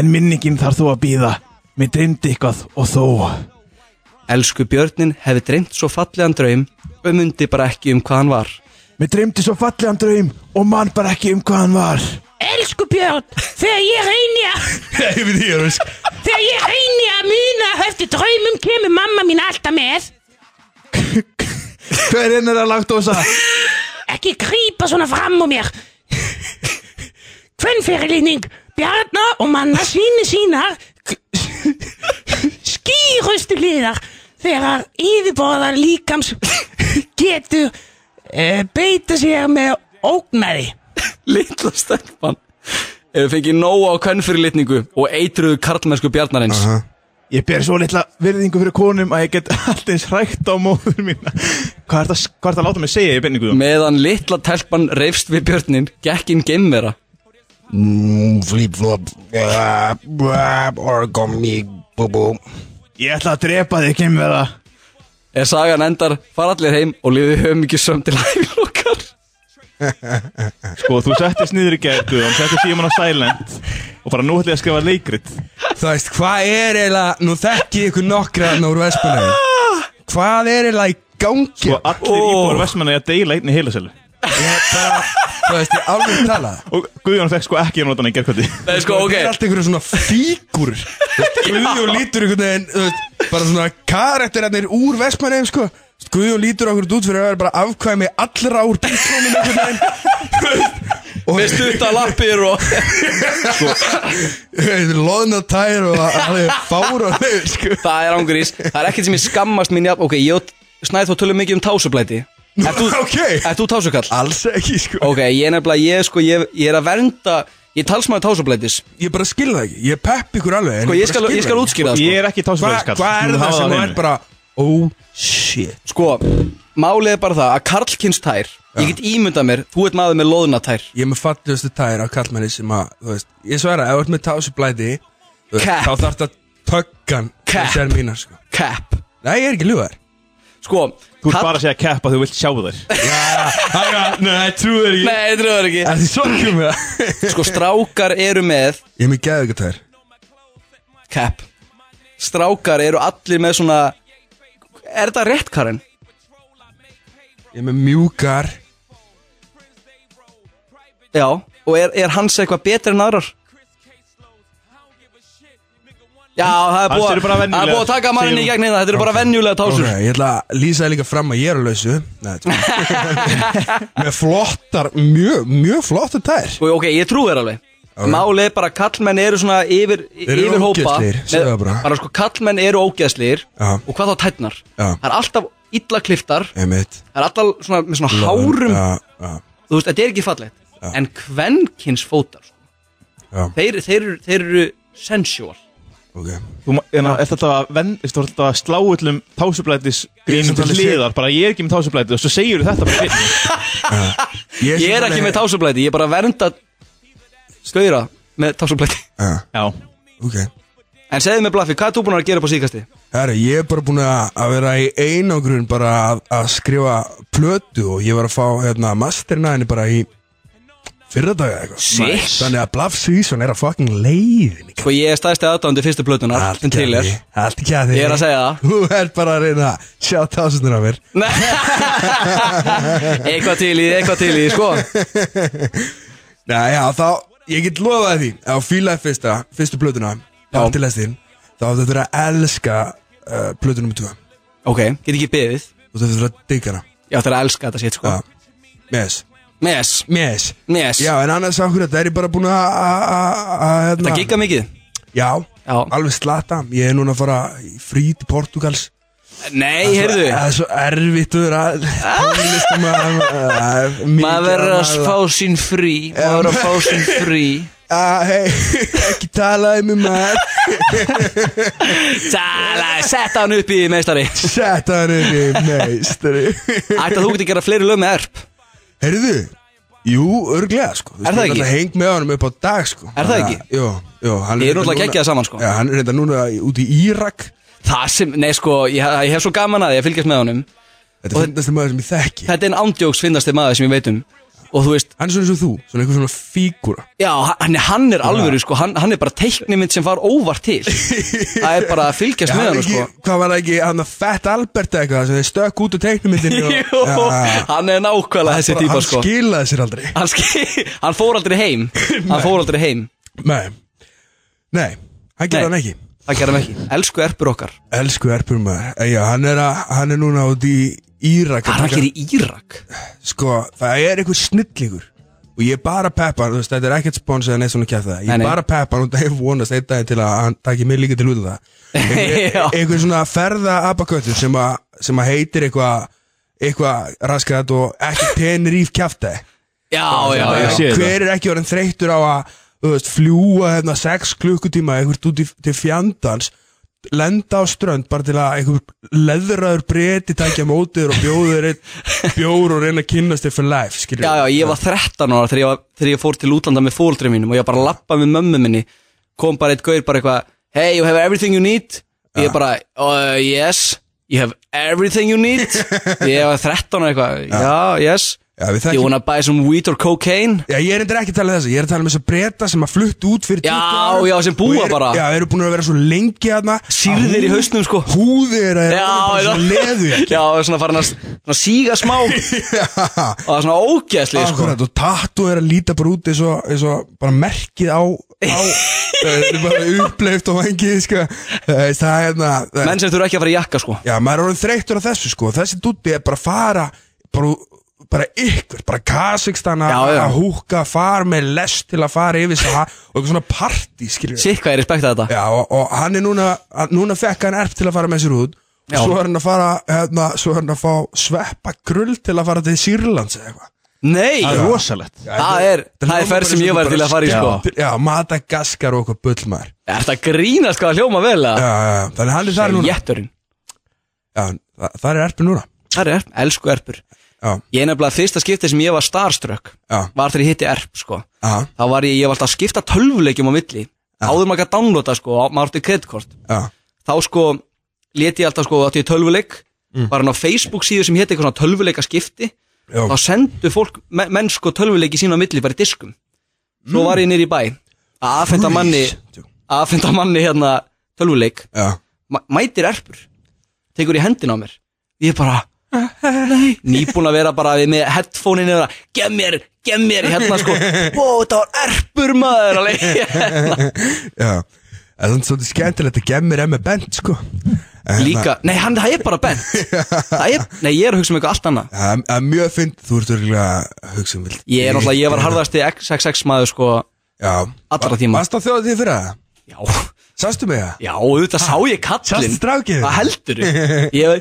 Speaker 4: En minningin þarf þú að býða Mér dreymdi eitthvað og þó
Speaker 3: Elsku björnin hefði dreymt svo fallegan draum og mundi bara ekki um hvað hann var.
Speaker 4: Mér dreymdi svo fallegan draum Og mann bara ekki um hvað hann var
Speaker 9: Elsku Björn, þegar ég reyni að
Speaker 6: Ég veit ég, veist
Speaker 9: Þegar ég reyni að muna eftir draumum kemur mamma mín alltaf með
Speaker 4: Hver enn er að lagt ósa?
Speaker 9: Ekki grípa svona fram á mér Kvennfyrirlíning Bjarna og manna síni sínar skýrustu liðar þegar yfirborðar líkams getur uh, beita sér með ógnaði
Speaker 3: litla stelpan hefur fengið nóg á kvennfyrirlitningu og eitruðu karlmennsku bjarnarins
Speaker 4: Ég ber svo litla virðingu fyrir konum Að ég get alltins hrægt á móður mína Hvað er það, hvað er það að láta mig segja í beinningu?
Speaker 3: meðan litla telpan reyfst við björnin gekkinn geimvera
Speaker 6: Flip flop Origami Bú bú
Speaker 4: Ég ætla að drepa þig kemverða
Speaker 3: eða sagan endar fara allir heim og liði höfum ekki söm til hæflokkar
Speaker 4: Sko, þú settist niður í gætu og settist síman á silent og bara nú ætlum ég að skrifa leikrit Sko,
Speaker 6: Þú veist, hvað er eiginlega, nú þekki ég ykkur nokkra hérna úr Vespunni Hvað er eiginlega í gangi?
Speaker 4: Sko, allir
Speaker 3: Ó.
Speaker 4: íbúar vestmenni að deila einni heilasölu
Speaker 6: Ég bara, þú veist, ég alveg tala
Speaker 4: og Guðjón fekk sko ekki að nota hann í gerkvöldi
Speaker 3: Nei, sko, ok.
Speaker 6: Það er allt einhverju svona fígur Guðjón lítur einhvern veginn, þú veist, bara svona karakterarnir úr Vespunni, sko Þú veist, Guðjón lítur okkur út fyrir að vera bara afkvæmi allra úr bílónum einhvern veginn Þú
Speaker 3: með
Speaker 6: veist,
Speaker 3: stutta lappir og
Speaker 6: Lóðna tær og alveg fáránlegur sko.
Speaker 3: það er ángrís, það er ekkert sem ég skammast mín jafn, ok, ég og snæð þó tölum mikið um tásublæti Ert þú,
Speaker 6: Ok.
Speaker 3: ert þú tásukall?
Speaker 6: Alls ekki sko
Speaker 3: Ok, ég er nefnilega, ég sko, ég, ég er að vernda ég er talsmaður tásublætis
Speaker 6: Ég bara skil það ekki, ég pepp ykkur alveg en
Speaker 3: Sko, ég
Speaker 6: bara
Speaker 3: skal,
Speaker 6: skil
Speaker 3: ég skal
Speaker 6: það
Speaker 3: útskýra það,
Speaker 4: Ég
Speaker 3: sko
Speaker 4: er ekki
Speaker 6: Hva-
Speaker 4: tásufelskall
Speaker 6: Hvað er það sem er bara Oh shit
Speaker 3: Sko, málið er bara það að karlkynstær Ég get ímyndað mér, þú ert maður með loðnatær
Speaker 6: Ég er með fallegustu tær á kallmenni sem að Þú veist, ég sverja, ef þú ert með tásublæti þú veist,
Speaker 3: Cap.
Speaker 6: Þá þarf það tökkan
Speaker 3: Cap.
Speaker 6: Það er mínar sko
Speaker 3: Cap
Speaker 6: Nei, ég er ekki ljúðar
Speaker 3: Sko,
Speaker 4: Þú ert
Speaker 3: kall-
Speaker 4: bara að segja kepp að þú vilt sjá þér
Speaker 6: Nei, trúður ekki
Speaker 3: Nei, þetta er ekki
Speaker 6: Það er sorgum með það
Speaker 3: Sko, strákar eru með
Speaker 6: Ég er með geðu ykkur tær
Speaker 3: Cap Strákar eru allir með svona Er þetta rétt, Karen?
Speaker 6: Ég er með mjúkar
Speaker 3: Já Og er, er hans eitthvað betri en aðrar? Já, það er
Speaker 4: Hans
Speaker 3: búið
Speaker 4: eru bara
Speaker 3: að- það er búið að
Speaker 4: venjulegar,
Speaker 3: taka mannin í
Speaker 4: segjum.
Speaker 3: gegn hérna Þetta eru bara venjulega
Speaker 6: Ok,
Speaker 3: tásur
Speaker 6: ég ætla að lýsa þér líka fram að ég er að lausu Nei, þetta er- Með flottar, mjög, mjög flottar tær
Speaker 3: Sko, ok, ég trú þér alveg Málið er bara að kallmenn eru svona yfir,
Speaker 6: eru
Speaker 3: yfir hópa
Speaker 6: ógeðslegir, segðu það bara.
Speaker 3: bara sko, kallmenn eru ógeðslir
Speaker 6: Já.
Speaker 3: Og hvað þá tætnar
Speaker 6: Já.
Speaker 3: Það er alltaf illa kliftar Það
Speaker 6: Einmitt
Speaker 3: er alltaf svona, með svona hárum
Speaker 6: Já, já
Speaker 3: Þú veist, þetta er ekki fallegt En kvenkins fótar sko.
Speaker 6: Já.
Speaker 3: þeir, þeir, þeir eru sensual
Speaker 6: Ok
Speaker 4: Þú ma- en það er þetta að, ven, þú ert alltaf að slá öllum tásublætis grínum
Speaker 6: Ég er
Speaker 4: til
Speaker 6: samt alveg
Speaker 4: hliðar bara ég er ekki með tásublæti og svo segir þetta bara fyrir mig.
Speaker 3: Ég er ekki með tásublæti, ég er bara að vernda Skauðra með tásublæti
Speaker 6: Já,
Speaker 4: Já,
Speaker 6: Ah, ok
Speaker 3: En segðu mér Blaffi, hvað er þú búin að gera upp á síkasti?
Speaker 6: Herra, ég er bara búin að að vera í einangrun bara að, að skrifa plötu og ég var að fá hérna masterna henni bara í fyrradaga eitthvað
Speaker 3: Shit.
Speaker 6: Þannig að Bluff Season er að fucking leiðin
Speaker 3: Sko, ég er staðstæði aðdáðandi fyrstu plötunar En til er
Speaker 6: Allt ekki að því
Speaker 3: Ég er að segja það.
Speaker 6: Þú ert bara að reyna að sjá tásunar af mér
Speaker 3: Nei. eitthvað til í, því, eitthvað til í, því, sko
Speaker 6: Nei, já, þá, ég get lofaði því Ef þú fílaði fyrsta, fyrstu plötuna Partilestin, þá áttu þetta að elska uh, plötu nummer 2 Þú
Speaker 3: Ok, get ekki beðið
Speaker 6: áttu þetta að digga hana
Speaker 3: Ég ætti að elska þetta sétt, sko
Speaker 6: Já. Mes,
Speaker 3: Mes,
Speaker 6: mes
Speaker 3: mes
Speaker 6: Já, en annars ákveður þetta er ég bara búin að- að að- að- hérna-
Speaker 3: Það gigga mikið
Speaker 6: Já,
Speaker 3: Já.
Speaker 6: alveg slata Ég er núna að fara í frí til Portugals
Speaker 3: Nei,
Speaker 6: Það er svo-
Speaker 3: heyrðu Ah.
Speaker 6: Það er svo erfitt Þú er að tónlistum
Speaker 3: Maður
Speaker 6: Maður
Speaker 3: verður að fá sín frí Maður verður að fá sín frí
Speaker 6: Hei, ekki talaði með maður
Speaker 3: Tala, setta hann upp í meistari
Speaker 6: Sett hann inn í meistari
Speaker 3: Ætti að þú geti gera fleiri lög með erp
Speaker 6: Heyrðu, jú, örglega sko Þú
Speaker 3: Er
Speaker 6: veist,
Speaker 3: það
Speaker 6: ég
Speaker 3: ekki?
Speaker 6: náttúrulega heng með honum upp á dag sko
Speaker 3: Er það ekki?
Speaker 6: Jú,
Speaker 3: Ég er
Speaker 6: jú hann reyndar
Speaker 3: náttúrulega
Speaker 6: núna-
Speaker 3: geggjað saman, sko.
Speaker 6: Já, hann er reynda núna í- út í Írak
Speaker 3: Það sem, nei sko, ég, ég hef svo gaman að því að fylgjast með honum
Speaker 6: Þetta
Speaker 3: Og-
Speaker 6: er finnastu maður sem ég þekki
Speaker 3: Þetta er en ándjóks finnasti maður sem ég veit um Og þú veist,
Speaker 6: Hann er svona eins og þú, svona einhver svona fígúra
Speaker 3: já, hann, hann er alvöru sko Hann, hann er bara teiknimynd sem var óvart til Það er bara að fylgjast með
Speaker 6: hann
Speaker 3: hann
Speaker 6: ekki,
Speaker 3: sko
Speaker 6: hvað var það ekki, hann að Fett Albert eða eitthvað sem þið stökk út úr teiknumyndinni og-
Speaker 3: Jú,
Speaker 6: Já, já.
Speaker 3: hann er nákvæmlega þessi
Speaker 6: Bara-
Speaker 3: típa
Speaker 6: Hann
Speaker 3: sko
Speaker 6: skilaði sér aldrei
Speaker 3: hann, ski, hann fór aldrei heim Hann fór aldrei heim
Speaker 6: Nei, nei, hann
Speaker 3: Nei.
Speaker 6: gerði hann ekki
Speaker 3: Það gerðum ekki Elsku erpur okkar
Speaker 6: Elsku erpur maður Eh, Já, hann er, að, hann er núna út í Írak
Speaker 3: Hvað er hann að gera í Írak?
Speaker 6: sko, það er einhver snillingur og ég bara peppa hann, þú veist, þetta er ekkert spons eða neitt svona kæft það, ég
Speaker 3: Nei, nei.
Speaker 6: bara peppa hann og það er vonast einn daginn til að hann taki mig líka til út af það
Speaker 3: Já.
Speaker 6: einhver, einhver svona ferða abaköttur sem, að- sem að heitir eitthvað eitthvað raskat og ekki tenir íf kæfti
Speaker 3: Já, já,
Speaker 4: Ég
Speaker 3: já
Speaker 4: sé þetta.
Speaker 6: hver er ekki orðin þreyttur á að þú veist, fljúa hérna 6 klukkutíma einhvert út í, til fjandans lenda á strönd bara til að einhver leðraður breyti takja mótiður og bjóður einn bjór og reyna að kynnast þér for life skilur.
Speaker 3: Já, já, ég var 13 ára þegar ég, var, þegar ég fór til útlanda með fóldrið mínum og ég var bara að lappa með mömmu minni kom bara eitt gaur bara eitthvað Hey, you have everything you need Ég bara, uh, yes You have everything you need Ég var 13 ára eitthvað Já, yes
Speaker 6: Já, við þekkjum-
Speaker 3: You wanna buy some weed or cocaine
Speaker 6: Já, ég er endur ekki að tala um þess að ég er að tala um þess að breyta sem að fluttu út fyrir
Speaker 3: Já,
Speaker 6: 20 árum
Speaker 3: já, sem búa
Speaker 6: og eru-
Speaker 3: bara.
Speaker 6: Já, eru búin að vera svo lengi aðna
Speaker 3: Sýrðir í hausnum sko
Speaker 6: Húðir að
Speaker 3: Já,
Speaker 6: bara
Speaker 3: já.
Speaker 6: svona leðu
Speaker 3: Já, það er svona farin að svona síga smá og það er svona ógeðsli sko.
Speaker 6: Akkurat, og tattu er að líta bara út eins og, eins og bara merkið á, á Það er bara uppleift og vangið, sko Það er það hérna það-
Speaker 3: Menn sem þurfa ekki að fara í jakka sko
Speaker 6: Já, maður er orðin þreyttur á þessu, sko Þessi dutti er bara að fara bara, bara ykkur, bara Kazakstan
Speaker 3: Já, já.
Speaker 6: að húka, fara með lest til að fara yfir sig og eitthvað svona partí skilur við.
Speaker 3: Sitt hvað ég respekta þetta
Speaker 6: Já, og, og hann er núna, hann- núna fekk hann erf til að fara með sér út og
Speaker 3: Já.
Speaker 6: svo er hann að fara, hérna, svo er hann að fá sveppa grull til að fara til Sýrlands eða eitthvað.
Speaker 3: Nei,
Speaker 4: Það er rosalegt
Speaker 3: það er, það er ferð sem ég var til að fara í sko
Speaker 6: Já, já Madagaskar og eitthvað bullmar.
Speaker 3: Er þetta grínast hvað að hljóma vel að
Speaker 6: Já, já, já, þannig hann er þar núna.
Speaker 3: Jetturinn
Speaker 6: Já, það, það er erfi núna.
Speaker 3: Það er erp, elsku erpur
Speaker 6: Já,
Speaker 3: Ég er nefnilega fyrsta skipti sem ég var starstruck
Speaker 6: já,
Speaker 3: Var þegar ég hitti erp sko
Speaker 6: já,
Speaker 3: Þá var ég, ég var alltaf að skipta tölvuleikjum á milli Áður maður að downloada sko, á- maður átti kreditkort
Speaker 6: já,
Speaker 3: Þá sko, leti ég alltaf sko, átti ég tölvuleik Var hann á Facebook síðu sem hétt eitthvað svona tölvuleika skipti
Speaker 6: Mm. já.
Speaker 3: Þá sendu fólk, men- menn sko tölvuleiki sín á milli bara í diskum
Speaker 6: Mm.
Speaker 3: Svo var ég nýr í bæ Að aðfenda manni, að aðfenda manni hérna tölvuleik
Speaker 6: Já,
Speaker 3: ma- mætir erpur tekur í hendina á mér ég er bara Nei. nýbúin að vera bara við með headphone-in eða gef mér, gef mér hérna sko wow, þetta var erpur maður alveg Hérna.
Speaker 6: já. En þannig svolítið skemmtilegt að gemmir emmi bent, sko. En
Speaker 3: líka, nei hann það er bara bent það er, nei ég er að hugsa um eitthvað allt annað
Speaker 6: Það það er mjög fynd, þú ert örgulega að hugsa um vilt.
Speaker 3: ég er náttúrulega, ég var harðasti XXX maður sko
Speaker 6: Já.
Speaker 3: Allra tíma.
Speaker 6: Varst á þjóða því fyrir það?
Speaker 3: já,
Speaker 6: Sástu mig það?
Speaker 3: já, auðvitað sá ég
Speaker 6: Sástu
Speaker 3: kallinn
Speaker 6: strákið?
Speaker 3: það heldur ég var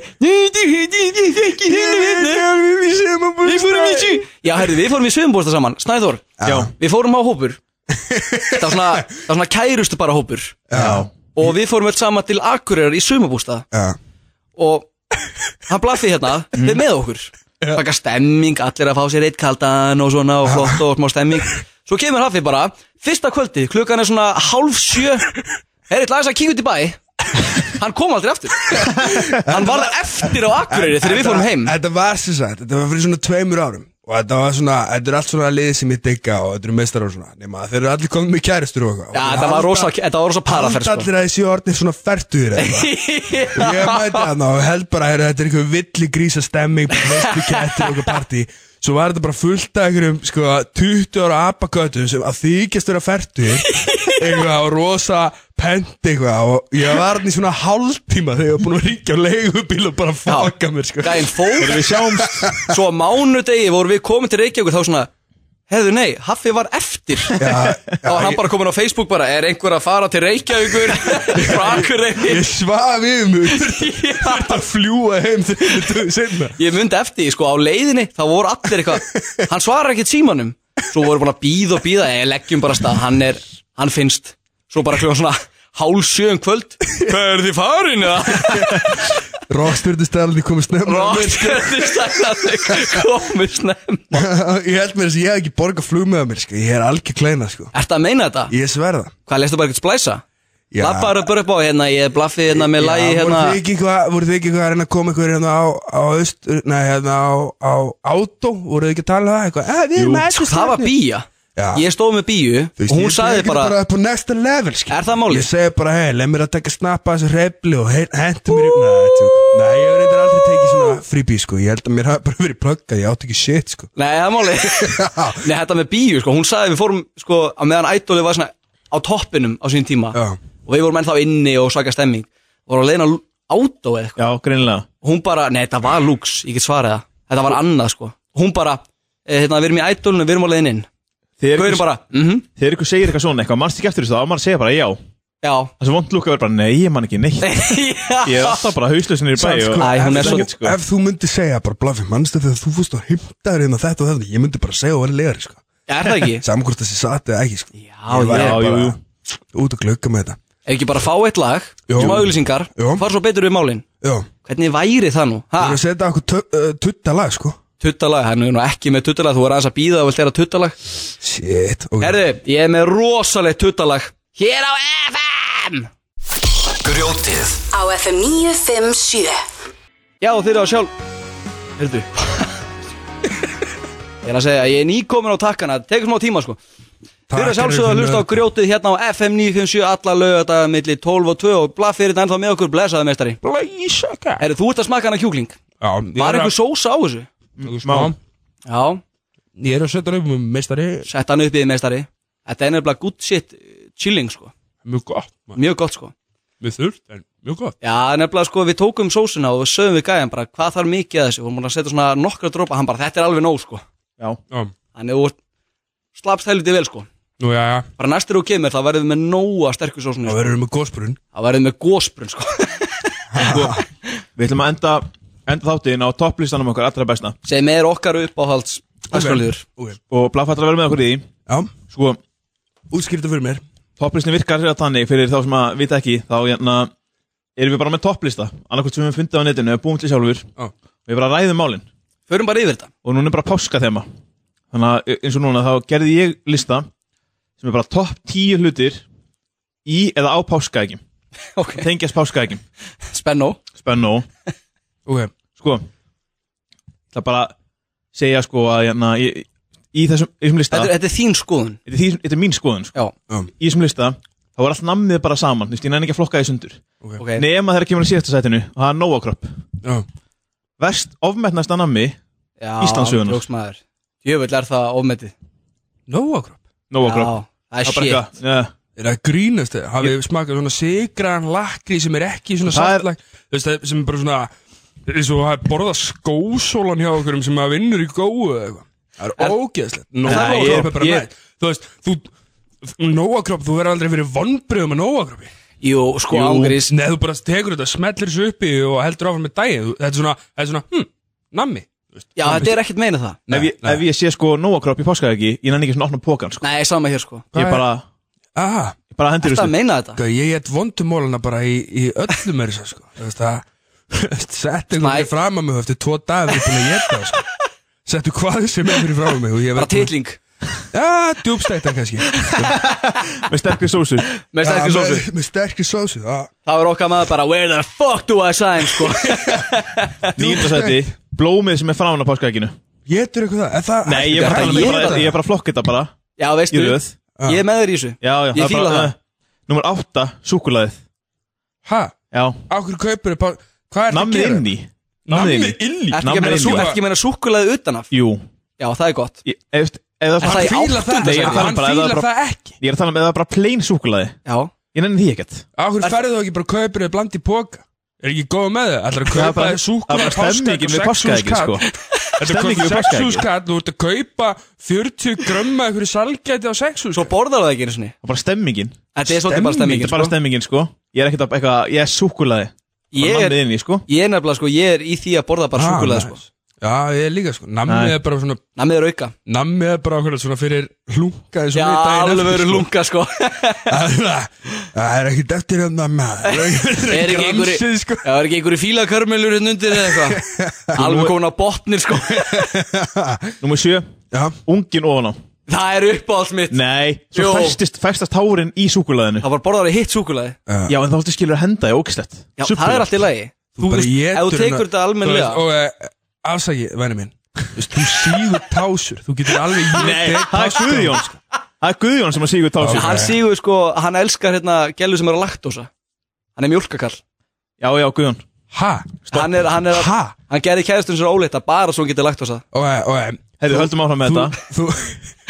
Speaker 3: ekki hérna hérna
Speaker 6: Við séum að búið
Speaker 3: Við fórum í sjú Já, herðu, við fórum í sögumbústa saman Snæður
Speaker 6: Já.
Speaker 3: Við fórum á hópur Það var svona, það var svona kærustu bara hópur
Speaker 6: Já,
Speaker 3: Og við fórum öll saman til Akureyrar í sögumbústa
Speaker 6: já, Mm.
Speaker 3: Og hann blaffi hérna Við með okkur Faka stemming, allir að fá sér eitt kaldan og svona Og flott og smá stemming Svo kemur Hafi bara Fyrsta kvöldi, klukkan er svona hálf sjö Er eitt lagis að kíka út í bæ Hann kom aldrei aftur Hann var það eftir á Akureyri þegar við fórum heim
Speaker 6: Þetta var sem sagt, þetta var fyrir svona tveimur árum Og þetta var svona, þetta er allt svona liðið sem ég digga Og þetta eru meistar og svona Nefna þeir eru allir komið með kæristur og eitthvað
Speaker 3: Já, þetta var rosa, þetta var rosa paraferð
Speaker 6: Allt
Speaker 3: sko.
Speaker 6: allir að þessi orðnir svona færtuður eða eitthvað. Og ég mæti hann og held bara heyrðu, Þetta er einhver villi grísa stemming Veistu kettir og eitthvað partí Svo var þetta bara fullt af einhverjum sko, 20 ára apakötum sem að þykjast vera færtur eitthvað og rosa pent eitthvað og ég var hann í svona hálftíma þegar ég var búin að ríkja á leigubíl og bara fokka mér sko.
Speaker 3: Gæinn fór Við sjáumst Svo á mánudegi vorum við komin til Reykjavík Þá svona Hefðu nei, Haffi var eftir
Speaker 6: Já,
Speaker 3: Þá var hann bara komin á Facebook bara Er einhver að fara til Reykjavíkur Frá Akureyri
Speaker 6: Ég svaf yfir mig Þetta fljúa heim þegar þú segna
Speaker 3: Ég myndi eftir, því, sko á leiðinni Þá voru allir eitthvað Hann svarar ekkert símanum Svo voru búin að býða og býða Ég leggjum bara af stað Hann er, hann finnst Svo bara kljóðan svona Hálf sjö um kvöld Hvað er þið farin eða?
Speaker 6: Rokkstjörnustæðalni komið snemma
Speaker 3: Róttjörnir sagði Komið snemm
Speaker 6: Ég held mér þess að ég hef ekki borgað flug með mér sko. Ég er algjör kleina sko.
Speaker 3: Ertu að meina þetta?
Speaker 6: Ég sverða
Speaker 3: Hvað, lestu bara ekkert splæsa?
Speaker 6: Já.
Speaker 3: Lappaður bara upp á hérna, ég er blaffið hérna með lagi hérna
Speaker 6: voru, þið ekki eitthvað, voru þið ekki eitthvað að reyna að koma ykkur hérna á, á, öst, nei, hérna á, á átó Voru þið ekki að tala um það eitthvað eh, Við erum með
Speaker 3: Sko, Það var bía
Speaker 6: Já.
Speaker 3: Ég stóð með bíu og hún sagði bara,
Speaker 6: bara upp á next level skil.
Speaker 3: Er það málið?
Speaker 6: Ég segi bara, hei, leið mér að taka snappa þessu reyfli og hendur mér upp Nei, þetta er tjók. Nei, ég hef reyndar aldrei tekið svona fríbí sko. Ég held að mér hafi bara verið plöggað Ég átt ekki shit sko.
Speaker 3: Nei, það er máli Nei, þetta með bíu, sko, hún sagði við fórum sko, að meðan ædolið var svona á toppinum á sín tíma
Speaker 6: Já.
Speaker 3: og við vorum ennþá inni og svaka stemming voru að leiðina átó eða eitthvað
Speaker 4: Já, greinilega
Speaker 3: hún bara, nei þetta var lúks, ég get svarið það þetta var annað sko, hún bara eh, hérna, við erum í ædolinu, við erum á leiðin inn
Speaker 4: Þegar
Speaker 3: Gauðin
Speaker 4: ykkur,
Speaker 3: bara, mhm,
Speaker 4: þegar ykkur segir eitthvað svona eitthvað Mannst ekki eftir þessu þá á maður að segja bara já
Speaker 3: já
Speaker 4: Það sem vond lúka verður bara Nei, ég man ekki neitt Ég er alltaf bara hauslausin í bæ
Speaker 6: Samt,
Speaker 4: og-
Speaker 6: sko,
Speaker 3: Æ, hún er
Speaker 6: ef,
Speaker 3: svo-
Speaker 6: þú,
Speaker 4: sko.
Speaker 6: ef þú myndi segja bara blafi, mannstu þegar þú fórst á himtaður inn á þetta og þetta, ég myndi bara segja og verið legar sko.
Speaker 3: Er það ekki?
Speaker 6: saman hvort þessi satt eða ekki sko.
Speaker 3: Já,
Speaker 6: ég var
Speaker 3: já,
Speaker 6: bara
Speaker 4: jú, jú.
Speaker 6: út að glögga með þetta
Speaker 3: Er ekki bara að fá eitt lag,
Speaker 6: Jó.
Speaker 3: smá auglýsingar
Speaker 6: Jó.
Speaker 3: fara svo betur við málin
Speaker 6: já,
Speaker 3: Hvernig væri það nú?
Speaker 6: þú erum að
Speaker 3: Ha,
Speaker 6: setja okkur tö- uh, tuttalag sko.
Speaker 3: tuttalag, hann er nú ekki með tuttalag Þú er aðeins að býða og vilt þeirra tuttalag
Speaker 6: shit, ok
Speaker 3: Herðu, ég er með rosalegt tuttalag Hér á FM
Speaker 1: Grjótið
Speaker 2: Á FM 957
Speaker 3: Já, þeir eru á sjálf Herðu Ég er að segja, ég er nýkomin á takkana Tekur smá tíma sko Þeir eru sjálfsögðu að hlusta á grjótið hérna á FM 957 alla lögadaga milli 12 og 2 og blaff fyrir þetta ennþá með okkur blessaðu meistari
Speaker 6: glæsaka
Speaker 3: Herðu, þú ert að smakka hana kjúkling Var einhver sósa á þessu?
Speaker 6: svo
Speaker 3: Já,
Speaker 6: ég er að setja hann upp með meistari
Speaker 3: sett hann upp í því meistari Þetta er nefnilega good shit eh, chilling sko
Speaker 6: mjög gott,
Speaker 3: Mjög gott sko
Speaker 6: við þurft en mjög gott
Speaker 3: Já, nefnilega sko við tókum sósuna og við sögum við gæðan bara hvað þarf mikið að þessu og múin að setja svona nokkra dropa hann bara þetta er alveg nóg sko
Speaker 4: Já,
Speaker 6: Já.
Speaker 3: Þannig að þú slappst helviti vel sko
Speaker 6: Nú, já, já,
Speaker 3: Bara næstur þú kemur þá verðum við með nóga sterkur sósuna
Speaker 6: þá
Speaker 3: sko.
Speaker 6: verður við með gósbrunn
Speaker 3: Þá verðum við með gósbrun sko
Speaker 4: við ætlum að enda, enda þáttiðin á topplistanum okkar allra besta
Speaker 3: sem er okkar uppáhalds öskraliður
Speaker 6: okay.
Speaker 4: og blaffættar að vera með okkur í því
Speaker 6: Já,
Speaker 4: sko,
Speaker 6: útskýrta fyrir mér
Speaker 4: topplistin virkar hérna þannig fyrir þá sem að vita ekki þá hérna erum við bara með topplista annarkvæmt sem við höfum fundið á netinu eða búum til sjálfur
Speaker 6: Já.
Speaker 4: við bara ræðum málin
Speaker 3: Förum bara yfir þetta
Speaker 4: og núna er bara páska þema þannig að e, eins og núna þá gerði ég lista sem er bara topp 10 hlutir í eða á páskaækjum
Speaker 3: Ok,
Speaker 4: tengjast páskaækjum
Speaker 3: spennó
Speaker 4: spennu
Speaker 6: Ok,
Speaker 4: sko það bara að segja sko að hérna í, í þessum, í þessum lista
Speaker 3: þetta, er- þetta er þín skoðun
Speaker 4: þetta er, því, þetta er mín skoðun sko.
Speaker 3: Já,
Speaker 4: í þessum lista þá er allt nammið bara saman þú veist, ég næði ekki að flokka því sundur
Speaker 3: ok
Speaker 4: nema þegar kemur að síðasta sætinu og það er Nóakropp
Speaker 6: já,
Speaker 4: verst ofmetnasta nammi
Speaker 3: Já,
Speaker 4: Íslandssögunar.
Speaker 3: Íslandsögunar Jöfull er það ofmetið
Speaker 6: nóakropp
Speaker 4: Nóakropp
Speaker 3: Já, það er shit
Speaker 6: Er það grínast þegar? Hafið þið smakað svona sigraðan lakri sem er ekki svona
Speaker 4: Það er-
Speaker 6: saltlag Þú veist það sem er bara svona eins og að borða skósólan hjá okkurum sem að vinnur í góðu eða eitthvað Það er ógeðslegt
Speaker 4: Nei, ég-
Speaker 6: Nóakropp er bara
Speaker 4: ég-
Speaker 6: nætt Þú veist, þú Nóakropp, þú verður aldrei fyrir vonbröðum með nóakroppi
Speaker 3: Jú, sko
Speaker 4: Jú.
Speaker 3: ángrís
Speaker 6: Nei, þú bara tekur þetta, smellir þessu uppi og heldur áfram með daginn Þú- Þetta er svona, þetta er svona, hm, nammi
Speaker 3: Já, þetta er ekkert meina það
Speaker 4: ef, ég- ef ég sé sko Nóakropp í páskaðegi ég næði ekki svona opna pókan sko.
Speaker 3: Nei, sama hér sko
Speaker 4: ég bara,
Speaker 6: Aha,
Speaker 4: ég bara hendur
Speaker 3: Þetta meina þetta
Speaker 6: gau, ég get vondumólana bara í, í öllum er þess að sko Þú veist það Sett
Speaker 3: Snæ.
Speaker 6: einhvern veginn fram að mig og eftir tvo dagar er ég búin að geta það sko Settu hvað sem er fyrir fram að mig og ég
Speaker 3: Bara
Speaker 6: verð búin-
Speaker 3: titling
Speaker 6: Já, djúbstæktan kannski
Speaker 4: með sterkri sósu
Speaker 3: Með
Speaker 6: Já,
Speaker 3: sterkur sósu
Speaker 6: með- Með sterkri sósu, ah. já
Speaker 3: Það var okkar maður bara Where the fuck do I sign sko
Speaker 4: nýjunda sæti blómið sem er framan á páskaðeginu
Speaker 6: Getur eitthvað það? Er það
Speaker 4: nei, ég er bara, um-
Speaker 3: Ætli,
Speaker 4: ég
Speaker 3: ég
Speaker 4: er bara,
Speaker 3: veit
Speaker 4: ég er bara að flokka þetta bara
Speaker 3: Já veistu
Speaker 4: í röð
Speaker 3: Ég er með þér í þessu
Speaker 4: já, já,
Speaker 3: Ég fíla
Speaker 4: eh,
Speaker 3: það.
Speaker 4: nummer 8, súkulaðið
Speaker 6: Hæ?
Speaker 4: já,
Speaker 6: Ákveður kaupur upp á Hvað er það að
Speaker 4: nammið
Speaker 6: gera?
Speaker 4: inn í nammið inn í
Speaker 6: inn í?
Speaker 3: Ertu ekki að
Speaker 4: Nammi
Speaker 3: meina
Speaker 4: inn í.
Speaker 3: sú- ertu ekki að meina súkkulaði utanaf?
Speaker 4: jú,
Speaker 3: Já það er gott
Speaker 4: ég, ef, ef,
Speaker 3: Er
Speaker 4: ef það
Speaker 3: það í
Speaker 6: Fíla það,
Speaker 4: Nei, ég er að tala um
Speaker 6: hann
Speaker 4: bara- það er
Speaker 6: fíla
Speaker 4: bara-
Speaker 6: það ekki
Speaker 4: ég er að tala um eða bara plain súkulaði
Speaker 3: Já
Speaker 4: ég nenni því ekkert
Speaker 6: Áhverju ferðu þú ekki bara kaupir eða bland í póka? Er ekki góð með það? Ætlar
Speaker 4: Það
Speaker 6: að
Speaker 4: er
Speaker 6: kaupa
Speaker 4: bara-
Speaker 6: þér súkulega
Speaker 4: það er bara stemmingin við páskaeggið, sko.
Speaker 6: Þetta er
Speaker 4: Stemmingin við
Speaker 6: komið
Speaker 4: páskaeggið.
Speaker 6: 600 skall Þú ert að kaupa 40 grömma einhverju salgæti á 600
Speaker 3: Svo borðar það ekki einu sinni
Speaker 4: það er bara stemmingin
Speaker 3: Þetta er svolítið bara
Speaker 4: Þetta
Speaker 3: stemmingin
Speaker 4: er bara
Speaker 3: sko
Speaker 4: stemmingin sko Ég er ekkert að eitthvað, ég er súkulaði Ég
Speaker 3: Ég
Speaker 4: er
Speaker 3: er,
Speaker 4: inn í sko
Speaker 3: ég er nefnilega sko Ég er í því að borða bara
Speaker 6: Ah,
Speaker 3: súkkulaði
Speaker 6: nice.
Speaker 3: sko
Speaker 6: Já, ég er líka sko Nammið
Speaker 4: Nei.
Speaker 6: er bara svona
Speaker 3: Namið er auka
Speaker 6: Nammið er bara okkur svona fyrir hlungaði
Speaker 3: Já
Speaker 6: svona í daginn
Speaker 3: alveg verið
Speaker 6: sko.
Speaker 3: lunga sko
Speaker 6: Það er ekkert eftir hérna maður
Speaker 3: Er ekki einhverju
Speaker 6: Gramsið, sko.
Speaker 3: Já er ekki einhverju fílakörmelur hérna undir eða eitthvað Alveg komin á botnir sko
Speaker 4: Númer 7,
Speaker 6: Já,
Speaker 4: ungin ofan á
Speaker 3: Það er uppáhalds mitt
Speaker 4: Nei,
Speaker 3: Jó.
Speaker 4: svo festist, festast hárin í súkulaðinu
Speaker 3: Það var borðar í hitt súkkulaði
Speaker 4: Já, en þá ætti skilur að henda, ég ógislegt
Speaker 3: Já, það er allt í lagi Þú
Speaker 6: bara
Speaker 3: veist,
Speaker 6: étur
Speaker 3: ef þú
Speaker 6: hana-
Speaker 3: tekur þetta almennilega
Speaker 6: Þú veist, Og eh, afsaki, venni minn Þú veist, Þú sígur tásur Þú getur alveg
Speaker 4: Nei,
Speaker 6: étið
Speaker 4: það er Guðjón sko. Það er Guðjón sem að sígur
Speaker 6: Já,
Speaker 4: tásir
Speaker 3: Hann sígur sko, hann elskar hérna gælu sem er að laktósa Hann er mjólkakall
Speaker 4: Já, já, Guðjón
Speaker 6: Ha?
Speaker 3: Hann er, hann er að,
Speaker 6: Ha?
Speaker 3: hann gerði kæðastun sér óleita bara svo hann getur laktósa
Speaker 6: Og, eh, og, eh,
Speaker 4: Herri, höldum áfram með
Speaker 6: þú,
Speaker 4: þetta
Speaker 6: þú,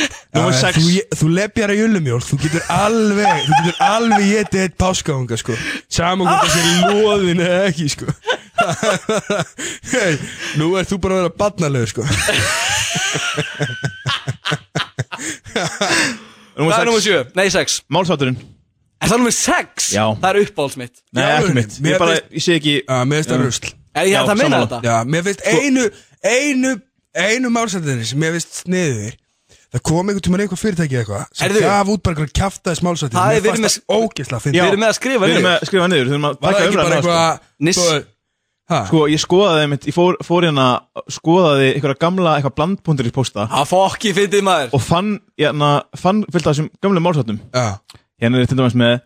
Speaker 4: Númer
Speaker 6: Já,
Speaker 4: sex.
Speaker 6: þú, ég- þú lepjar að jölumjólk Þú getur alveg Þú getur alveg getið eitt páskaunga sko. Saman hvort það sé loðin eða ekki sko. hey, Nú ert þú bara að vera barnalegur sko.
Speaker 3: Það er
Speaker 4: Númer
Speaker 3: nummer
Speaker 4: 6,
Speaker 3: 7, nei 6
Speaker 4: málsátturinn
Speaker 3: Er það nummer 6?
Speaker 4: Já.
Speaker 3: Það er uppáhalds mitt
Speaker 4: Nei,
Speaker 6: Já,
Speaker 4: ekki mitt
Speaker 6: mér
Speaker 4: Ég bara,
Speaker 6: finnst-
Speaker 4: ég sé ekki
Speaker 6: ah, Mér finnst það rusl
Speaker 3: Er ég
Speaker 4: Já, Sko-
Speaker 3: það meina
Speaker 4: sammála.
Speaker 3: þetta?
Speaker 6: Já, mér finnst einu Einu, einu málsættinni sem mér finnst sniður Það kom einhvern tímann eitthvað fyrirtæki eða eitthvað sem
Speaker 3: Heyrðu.
Speaker 6: gaf út bara einhverja kjaftaðis málsætti
Speaker 3: Það er
Speaker 6: Mér
Speaker 3: verið
Speaker 6: fannst það ógeðslega að
Speaker 3: Við
Speaker 6: finna
Speaker 3: erum með að skrifa
Speaker 4: Við erum
Speaker 3: niður
Speaker 4: að skrifa niður, við erum að
Speaker 6: Var það
Speaker 4: taka
Speaker 6: ekki bara
Speaker 4: umræðan
Speaker 6: eitthvað
Speaker 3: Niss.
Speaker 6: þú- Ha?
Speaker 4: Sko, ég skoðaði einmitt, ég fór, fór hérna skoðaði einhverja gamla, eitthvað blandbúndur í posta
Speaker 3: Það fokki Ah, fyndið maður
Speaker 4: og fann, hérna, fann fyllt af þessum gamlu málsáttum
Speaker 6: Já.
Speaker 4: Hérna er til dæmis með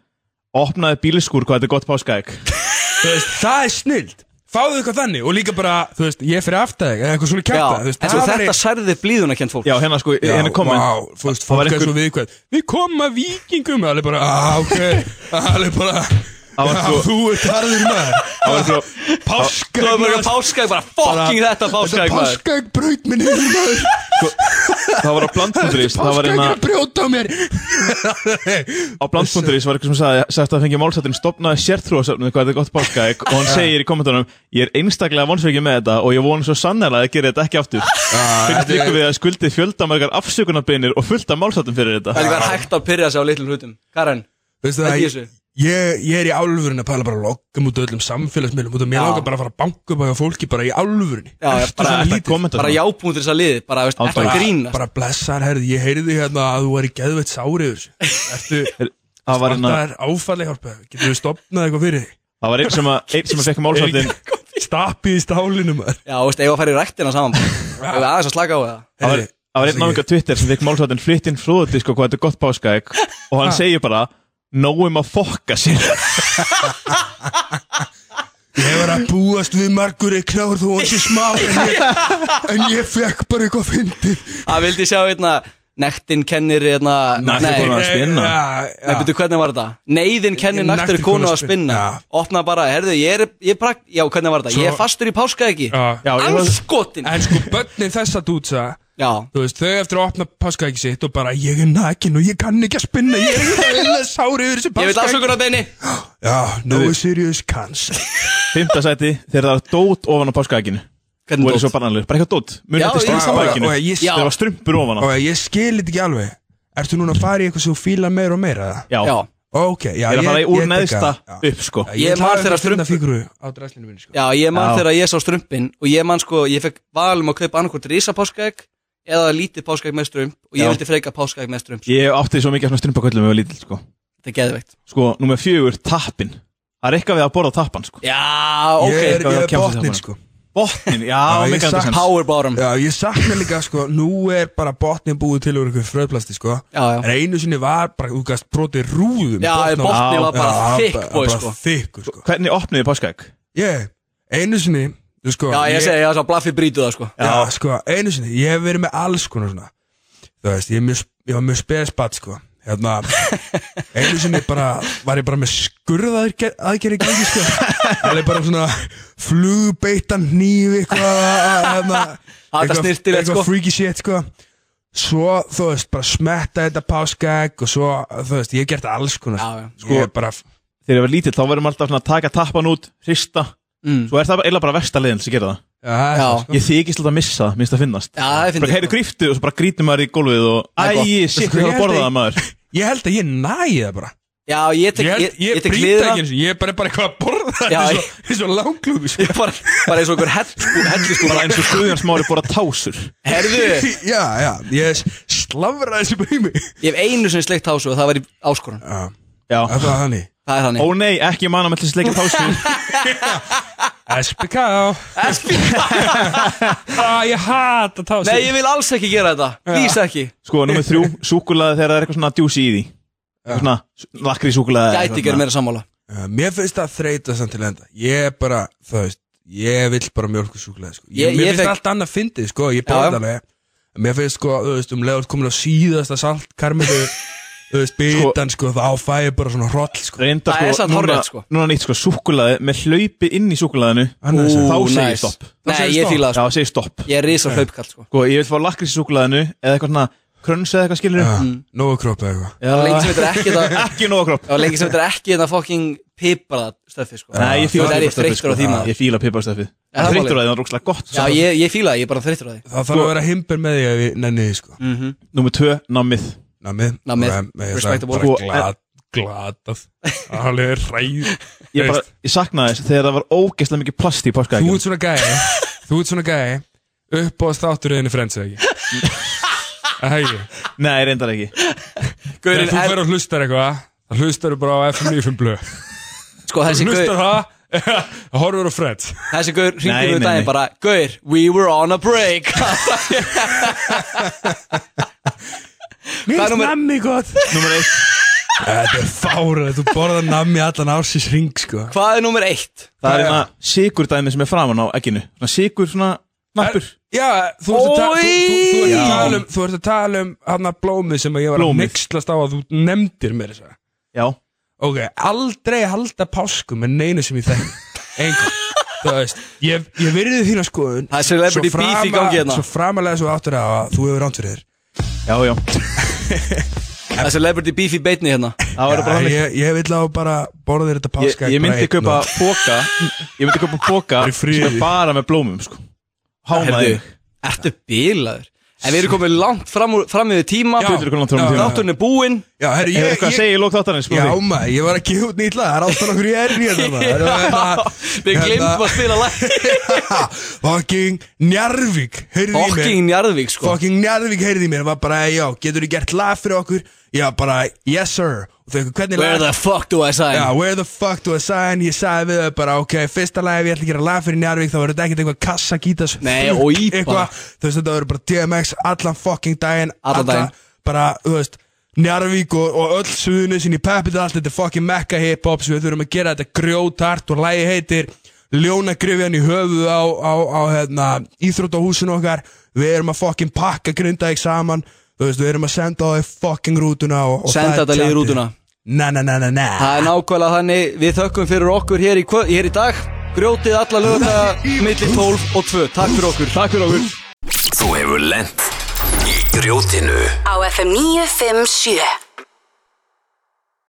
Speaker 4: Opnaði bílskúr hvað þetta er gott páskaegg
Speaker 6: Þú veist, það er snild Fáðu eitthvað þannig og líka bara, þú veist, ég er fyrir aftar þig eða eitthvað svona
Speaker 3: Já,
Speaker 6: kjarta
Speaker 3: eins og þetta særði blíðuna kent fólk
Speaker 4: Já, hérna sko, hérna kom
Speaker 6: vá,
Speaker 4: wow.
Speaker 6: þú veist,
Speaker 4: Það var
Speaker 6: fólk er
Speaker 4: einhver-
Speaker 6: "Ah, svo viðkvæð Við komum að vikingum, alveg bara, á, ok Alveg bara,
Speaker 4: Það var
Speaker 6: Já,
Speaker 4: sko
Speaker 6: Þú ert harður maður
Speaker 4: Það var sko
Speaker 3: Það var bara páskaeg,
Speaker 6: Páskaegg
Speaker 3: bara fucking þetta páskaeg maður
Speaker 6: Páskaegg braut minn yfir maður
Speaker 4: Það var á bland.is Það var hérna-
Speaker 6: Páskaegg
Speaker 4: einna
Speaker 6: er að brjóta á mér
Speaker 4: Á bland.is var eitthvað sem sagði Sætt að fengja málsættin Stopnaði sértrúasöfnum Hvað þetta er gott páskaegg Og hann segir í kommentunum Ég er einstaklega vonsveikið með þetta Og ég vona svo sannarlega að gera þetta ekki aftur Finnst líka við að skuldi fjöldamargar afsökunarbeinir Og fullta málsættin fyrir
Speaker 3: Það er
Speaker 4: þetta
Speaker 3: líka hægt að pyrja sig á litlum hlutum Karen,
Speaker 6: Veistu
Speaker 3: hvað
Speaker 6: það,
Speaker 3: er í
Speaker 6: ég,
Speaker 3: þessu?
Speaker 6: ég er í álfurinn að pæla bara að loggum út öllum samfélagsmiðlum út að mér
Speaker 3: Já.
Speaker 6: langar bara að fara að banka upp á hjá fólki bara í álfurinn
Speaker 3: Já, já,
Speaker 6: Ertu
Speaker 3: bara,
Speaker 6: svona
Speaker 4: Þetta
Speaker 6: lítið?
Speaker 4: kommentar
Speaker 3: bara jábúndir þess að liði Bara, veist,
Speaker 4: Áfram.
Speaker 3: eftir að grína
Speaker 6: bara blessar herði, ég heyrði hérna að þú er í geðveitt sárið Ertu,
Speaker 4: Það var hérna- einna
Speaker 6: það er áfallið hjálpa Getur við stopnað eitthvað fyrir þig
Speaker 4: Það var einn sem að Einn sem að fekk málsættin
Speaker 6: Stappið í stálinu maður
Speaker 3: Já, veist, eiga að fara í ræktina saman Það er aðeins að slaka á það
Speaker 4: Það var-
Speaker 6: Heyrðu,
Speaker 4: það var einn náðingar Twitter sem fekk málsvöldin flytt inn flóðudisk og hvað þetta er gott páskaegg og hann segir bara nóum að fokka sér
Speaker 6: Ég var að búast við margur í klár þó hann sé smá en ég, en ég fekk bara eitthvað fyndið
Speaker 3: Það vildi sjá hérna Nektin kennir hérna
Speaker 4: Nei,
Speaker 3: Nei,
Speaker 4: Kona að spinna.
Speaker 6: Já, já.
Speaker 3: Nei, betur hvernig var þetta? Neiðin kennir nættur konu að spinna
Speaker 6: Já.
Speaker 3: Opna bara, herðu, ég er, ég er prak... Já, hvernig var þetta?
Speaker 6: Svo-
Speaker 3: Ég er fastur í páska ekki
Speaker 6: Já. Já,
Speaker 4: ég var-
Speaker 3: Anskotin
Speaker 6: En sko börnin þessa dútsa
Speaker 3: Já,
Speaker 6: Þú veist, þau eftir að opna páskaæk sitt og bara ég er nakin og ég kann ekki að spinna ég er ekki að vilja sári yfir þessu
Speaker 3: ég vil
Speaker 6: páskaæk
Speaker 3: afsökunar beini
Speaker 6: Já, no serious cans
Speaker 4: Fymta sæti þegar það er dót ofan á páskaegginu og
Speaker 3: Hvernig
Speaker 4: er svo
Speaker 3: dótt?
Speaker 4: barnanlegur, bara eitthvað dót
Speaker 3: Hérna Já,
Speaker 4: munið þetta
Speaker 3: já,
Speaker 4: stengst á
Speaker 6: já,
Speaker 4: bækinu
Speaker 6: já, ég-
Speaker 4: þegar það var strumpur ofan á
Speaker 6: Og ég skil þetta ekki alveg Ertu núna að fara í eitthvað sem þú fílar meira og meira eða?
Speaker 4: Já,
Speaker 3: Já,
Speaker 6: Ok,
Speaker 4: ég
Speaker 6: já
Speaker 4: er að fara í úr
Speaker 6: ég
Speaker 4: neðsta
Speaker 6: tekka- já.
Speaker 4: upp sko
Speaker 6: Ég um
Speaker 3: Ég
Speaker 6: er
Speaker 3: man
Speaker 6: maður
Speaker 3: þegar
Speaker 6: þeirra strumpa
Speaker 3: strump-
Speaker 6: fígru á dræslinu minni sko
Speaker 3: Já, ég man
Speaker 4: Já.
Speaker 3: þegar ég sá strumpin og ég man sko, ég fekk valum að kaupa annarkvort risapáskaegg eða lítið páskaegg með strump og ég
Speaker 4: Já.
Speaker 3: vildi freka páskaegg með strump
Speaker 4: Ég átti svo mikið af svona strumpaköllum með lítill sko
Speaker 3: Þetta er geðveikt
Speaker 4: Sko, nummer fjögur, tappin Það er eitthvað við að borða tappan sko
Speaker 3: Já,
Speaker 6: Ég
Speaker 3: ok,
Speaker 6: er,
Speaker 4: hvað kemst
Speaker 6: ég er
Speaker 4: þetta
Speaker 6: botnin
Speaker 4: bara?
Speaker 6: sko
Speaker 4: Botnin, já,
Speaker 6: Já, ég
Speaker 4: mikið
Speaker 6: sagt-
Speaker 4: andur sens
Speaker 3: power bottom Já,
Speaker 6: Já, ég sakna líka sko Nú er bara botnin búið til úr einhverju fröðplasti sko
Speaker 3: já,
Speaker 6: En einu sinni var bara, þú gæst brotið rúðum
Speaker 3: já
Speaker 6: botnum.
Speaker 3: botni
Speaker 4: Já,
Speaker 3: var bara
Speaker 6: Já,
Speaker 3: thick boy
Speaker 6: bara
Speaker 3: sko
Speaker 6: Þykkur sko
Speaker 4: Hvernig opniði páskaegg?
Speaker 6: Ég, einu sinni þú sko,
Speaker 3: Já, ég segi, ég var svo blaffi brýtu það sko
Speaker 6: já. sko, einu sinni, ég hef verið með alls konar svona Þú veist, ég, er mjög, ég var mjög spesbatt sko Hérna, einu sinni bara Var ég bara með skurðaðgerð aðgerð í gangi sko Það er bara svona flugbeittan nýf Eitthvað hérna,
Speaker 3: Þetta
Speaker 6: eitthvað-
Speaker 3: snyrtilegt,
Speaker 6: eitthvað
Speaker 3: sko.
Speaker 6: freaky shit sko Svo, þú veist, bara smetta þetta páskaegg Og svo, þú veist, ég hef gert alls konar
Speaker 3: Já, já.
Speaker 6: Sko, ég er bara
Speaker 4: Þegar ég var lítill þá verðum alltaf svona að taka tappan út, hrista
Speaker 3: Mm.
Speaker 4: Svo er það bara- eiginlega bara versta leiðin sem gera það
Speaker 6: Já,
Speaker 3: Já.
Speaker 6: já. Sko.
Speaker 4: Ég þykist alltaf að missa, það, minnst að finnast
Speaker 3: Já, það er fyndið,
Speaker 4: Bara heyri
Speaker 3: sko.
Speaker 4: gríftu og svo bara grítum maður í gólfið og
Speaker 3: Það er gott.
Speaker 4: Æ, shit,
Speaker 6: Sko,
Speaker 4: ég
Speaker 6: ég
Speaker 4: þarf að
Speaker 6: held
Speaker 4: borða
Speaker 6: að-
Speaker 4: það maður
Speaker 6: Ég held að ég næði það bara
Speaker 3: Já, ég tek,
Speaker 6: Ég,
Speaker 3: ég,
Speaker 6: ég, ég,
Speaker 3: ég tek
Speaker 6: brýta
Speaker 3: hliðra
Speaker 6: ekki eins og ég er bara, bara eitthvað að borða
Speaker 3: Já,
Speaker 6: það
Speaker 3: ég-
Speaker 6: eins og langklúfi sko.
Speaker 3: Ég bara, bara eins og einhver hellskú-
Speaker 4: Sko, Bara
Speaker 3: helliskúpa
Speaker 4: eins og Guðjón Smári borða tásur
Speaker 3: Herðu,
Speaker 6: Já, já, ég slavra þessu bæmi
Speaker 3: ég hef einu sinni sleikt hásu og það var í áskorun
Speaker 6: Já,
Speaker 4: Já,
Speaker 6: það var þannig
Speaker 3: Það er þannig
Speaker 4: ó nei, ekki sko. manna með þessi leikja tásur
Speaker 6: SBK ah, Ég hata tá
Speaker 3: Nei, ég vil alls ekki gera þetta, please ekki
Speaker 4: Sko, nummið þrjú, súkulaði þegar það er eitthvað svona djúsi í því Eitthvað Svona lakri súkulaði
Speaker 3: Gæti ekki verið meira sammála
Speaker 6: Mér finnst það þreita samt til enda Ég er bara, þú veist, ég vil bara mjölkusúklaði sko.
Speaker 3: Ég-
Speaker 6: Ég- Mér
Speaker 3: ég
Speaker 6: finnst
Speaker 3: fekk-
Speaker 6: allt annað fyndið, sko, ég
Speaker 3: Já, já.
Speaker 6: borða alveg En Mér finnst sko, þú veist, um leiður komin á síðasta saltkarmilu Þú veist, bitan sko, þá fæ ég bara svona hroll sko.
Speaker 4: Reynda,
Speaker 3: Það er
Speaker 4: sko,
Speaker 3: samt
Speaker 4: núna,
Speaker 3: hárrétt, sko.
Speaker 4: núna nýtt sko, súkulaði með hlaupi inn í súkulaðinu
Speaker 6: Annað sem-
Speaker 4: Þá
Speaker 3: Ú,
Speaker 4: segir
Speaker 3: nice.
Speaker 4: stopp
Speaker 3: Nei,
Speaker 6: segir
Speaker 3: ég
Speaker 6: stopp.
Speaker 3: fíla það
Speaker 4: Já, segir stopp
Speaker 3: sko Ég er risa hlaupkall sko
Speaker 4: Sko, ég vil fá lakri súkulaðinu eða eitthvað svona krönsa eða eitthvað skilur
Speaker 6: Já, Nógu kroppa eitthvað
Speaker 3: Það var lengi sem þetta er ekki það
Speaker 4: Ekki nóg kropp
Speaker 3: Það var lengi sem þetta er ekki þetta fucking pipraða stöfi sko
Speaker 4: Nei, ég fíla
Speaker 3: Það er ég
Speaker 4: piparstöfið,
Speaker 3: þreyttur á
Speaker 4: sko.
Speaker 3: því
Speaker 4: Já,
Speaker 3: maður
Speaker 4: Ég fíla piparstöfið
Speaker 3: það er
Speaker 4: Það er
Speaker 3: málið.
Speaker 4: þreyttur á því, það er rúkslega gott sko.
Speaker 3: Já, ég, ég fíla það, ég er bara þreyttur á því
Speaker 6: Það þarf að vera himpur með því að við nenni því
Speaker 4: Mm.
Speaker 6: sko
Speaker 4: Númer 2, námið
Speaker 6: Namið
Speaker 3: Namið.
Speaker 6: Ok, með þess að
Speaker 3: Respectable.
Speaker 6: bara
Speaker 4: Sko,
Speaker 6: glad, Glatað Alveg ræð
Speaker 4: Ég, bara, ég saknaði þess þegar það var ógeðslega mikið plast í
Speaker 6: Þú
Speaker 4: páskaækjum
Speaker 6: ert svona gæi Þú ert svona gæi Upp á þátturöðinni frends eða ekki Það er ekki
Speaker 4: Nei, reyndar ekki
Speaker 6: Þegar
Speaker 3: Gaurinn
Speaker 6: þú
Speaker 3: er,
Speaker 6: verður að hlustar eitthvað Það hlustar bara á FM95 blöð
Speaker 3: sko þessi gaur
Speaker 6: Hlustar það Það horfur á frends
Speaker 3: Þessi gaur
Speaker 4: Nei,
Speaker 3: hringdi við
Speaker 4: nei,
Speaker 3: daginn
Speaker 4: nei.
Speaker 3: bara Gaur, we were on a break númer-
Speaker 6: nammi gott
Speaker 4: Númer eitt,
Speaker 6: Þetta er fárið Þú borðar nammi allan ársins ring sko
Speaker 3: Hvað er nummer eitt?
Speaker 4: það er hérna sigurdæmi sem er framan á egginu Svona sigur svona nappur
Speaker 6: Já, þú ert að, ta
Speaker 3: Oj!
Speaker 6: þú, þú, þú ert að
Speaker 4: Já.
Speaker 6: tala um Þú ert að tala um hana blómið sem að ég var að
Speaker 4: Blómið.
Speaker 6: nexlast á að þú nefndir mér þess að
Speaker 4: Já,
Speaker 6: ok, aldrei halda páskum með neinu sem ég þekk einhver, þú veist ég, ég virði þína skoðun
Speaker 3: Það er celebrity
Speaker 6: svo
Speaker 3: beef í
Speaker 6: frama-
Speaker 3: gangi hérna.
Speaker 6: svo framalega svo áttur að þú hefur ránt fyrir þér
Speaker 4: Já, já,
Speaker 3: Það er celebrity beef í beitni hérna
Speaker 4: það verður bara
Speaker 6: Já,
Speaker 4: þannig
Speaker 6: ég, ég vil á bara borða þér þetta
Speaker 4: Ég,
Speaker 6: páska
Speaker 4: ég myndi kaupa póka Ég myndi kaupa póka
Speaker 6: Bara í
Speaker 4: sem
Speaker 6: fríi.
Speaker 4: er bara með blómum sko. Hámaði
Speaker 3: Herðu, ertu bílaður? En við erum komið langt fram, úr- fram yfir tíma
Speaker 6: Já.
Speaker 4: Hlutur ykkur langt fram í tíma
Speaker 3: Þátturinn er búinn
Speaker 6: já, herri,
Speaker 4: Hefur
Speaker 6: ég,
Speaker 4: eitthvað að
Speaker 6: ég,
Speaker 4: segja í lók þáttarins
Speaker 6: já maður, ég var að gefa út nýtt lag það er alltaf okkur ég er hérna, nýtt
Speaker 3: Við
Speaker 6: hérna,
Speaker 3: glemtum að spila læk
Speaker 6: fucking Njarvík heyrðu í mér
Speaker 3: Fokking Njarðvík sko
Speaker 6: fucking Njarðvík heyrði í mér var bara, já, getur þú gert lag fyrir okkur já, bara, yes sir og þau, hvernig
Speaker 3: Where the fuck do I sign?
Speaker 6: já, where the fuck do I sign ég sagði við þau bara, ok, fyrsta lag ef ég ætla að gera lag fyrir Njarðvík þá verður þetta ekkert eitthvað kassa gítas
Speaker 3: Nei, og í bara.
Speaker 6: eitthvað, þú veist, þetta verður bara DMX allan fucking daginn
Speaker 3: Allan daginn.
Speaker 6: bara, þú veist Njarvík og, og öll suðunni sinni peppið allt þetta er fucking mekka hip-hop sem við þurfum að gera þetta grjótart og lægi heitir Ljónagrifjan í höfuð á, á, á hérna, íþróttahúsinu okkar við erum að fucking pakka grindaðik saman þú veist, við erum að senda á þau fucking rútuna og, og
Speaker 3: Senda
Speaker 6: það er
Speaker 3: þetta liður
Speaker 6: tjaldið.
Speaker 3: rútuna.
Speaker 6: na na na na na
Speaker 3: Það er nákvæmlega þannig Við þökkum fyrir okkur hér í, kvö- hér í dag Grjótið alla lögða Millir 12 og 2 Takk fyrir okkur Takk fyrir okkur
Speaker 1: Þú hefur lent í grjótinu
Speaker 2: á FM 957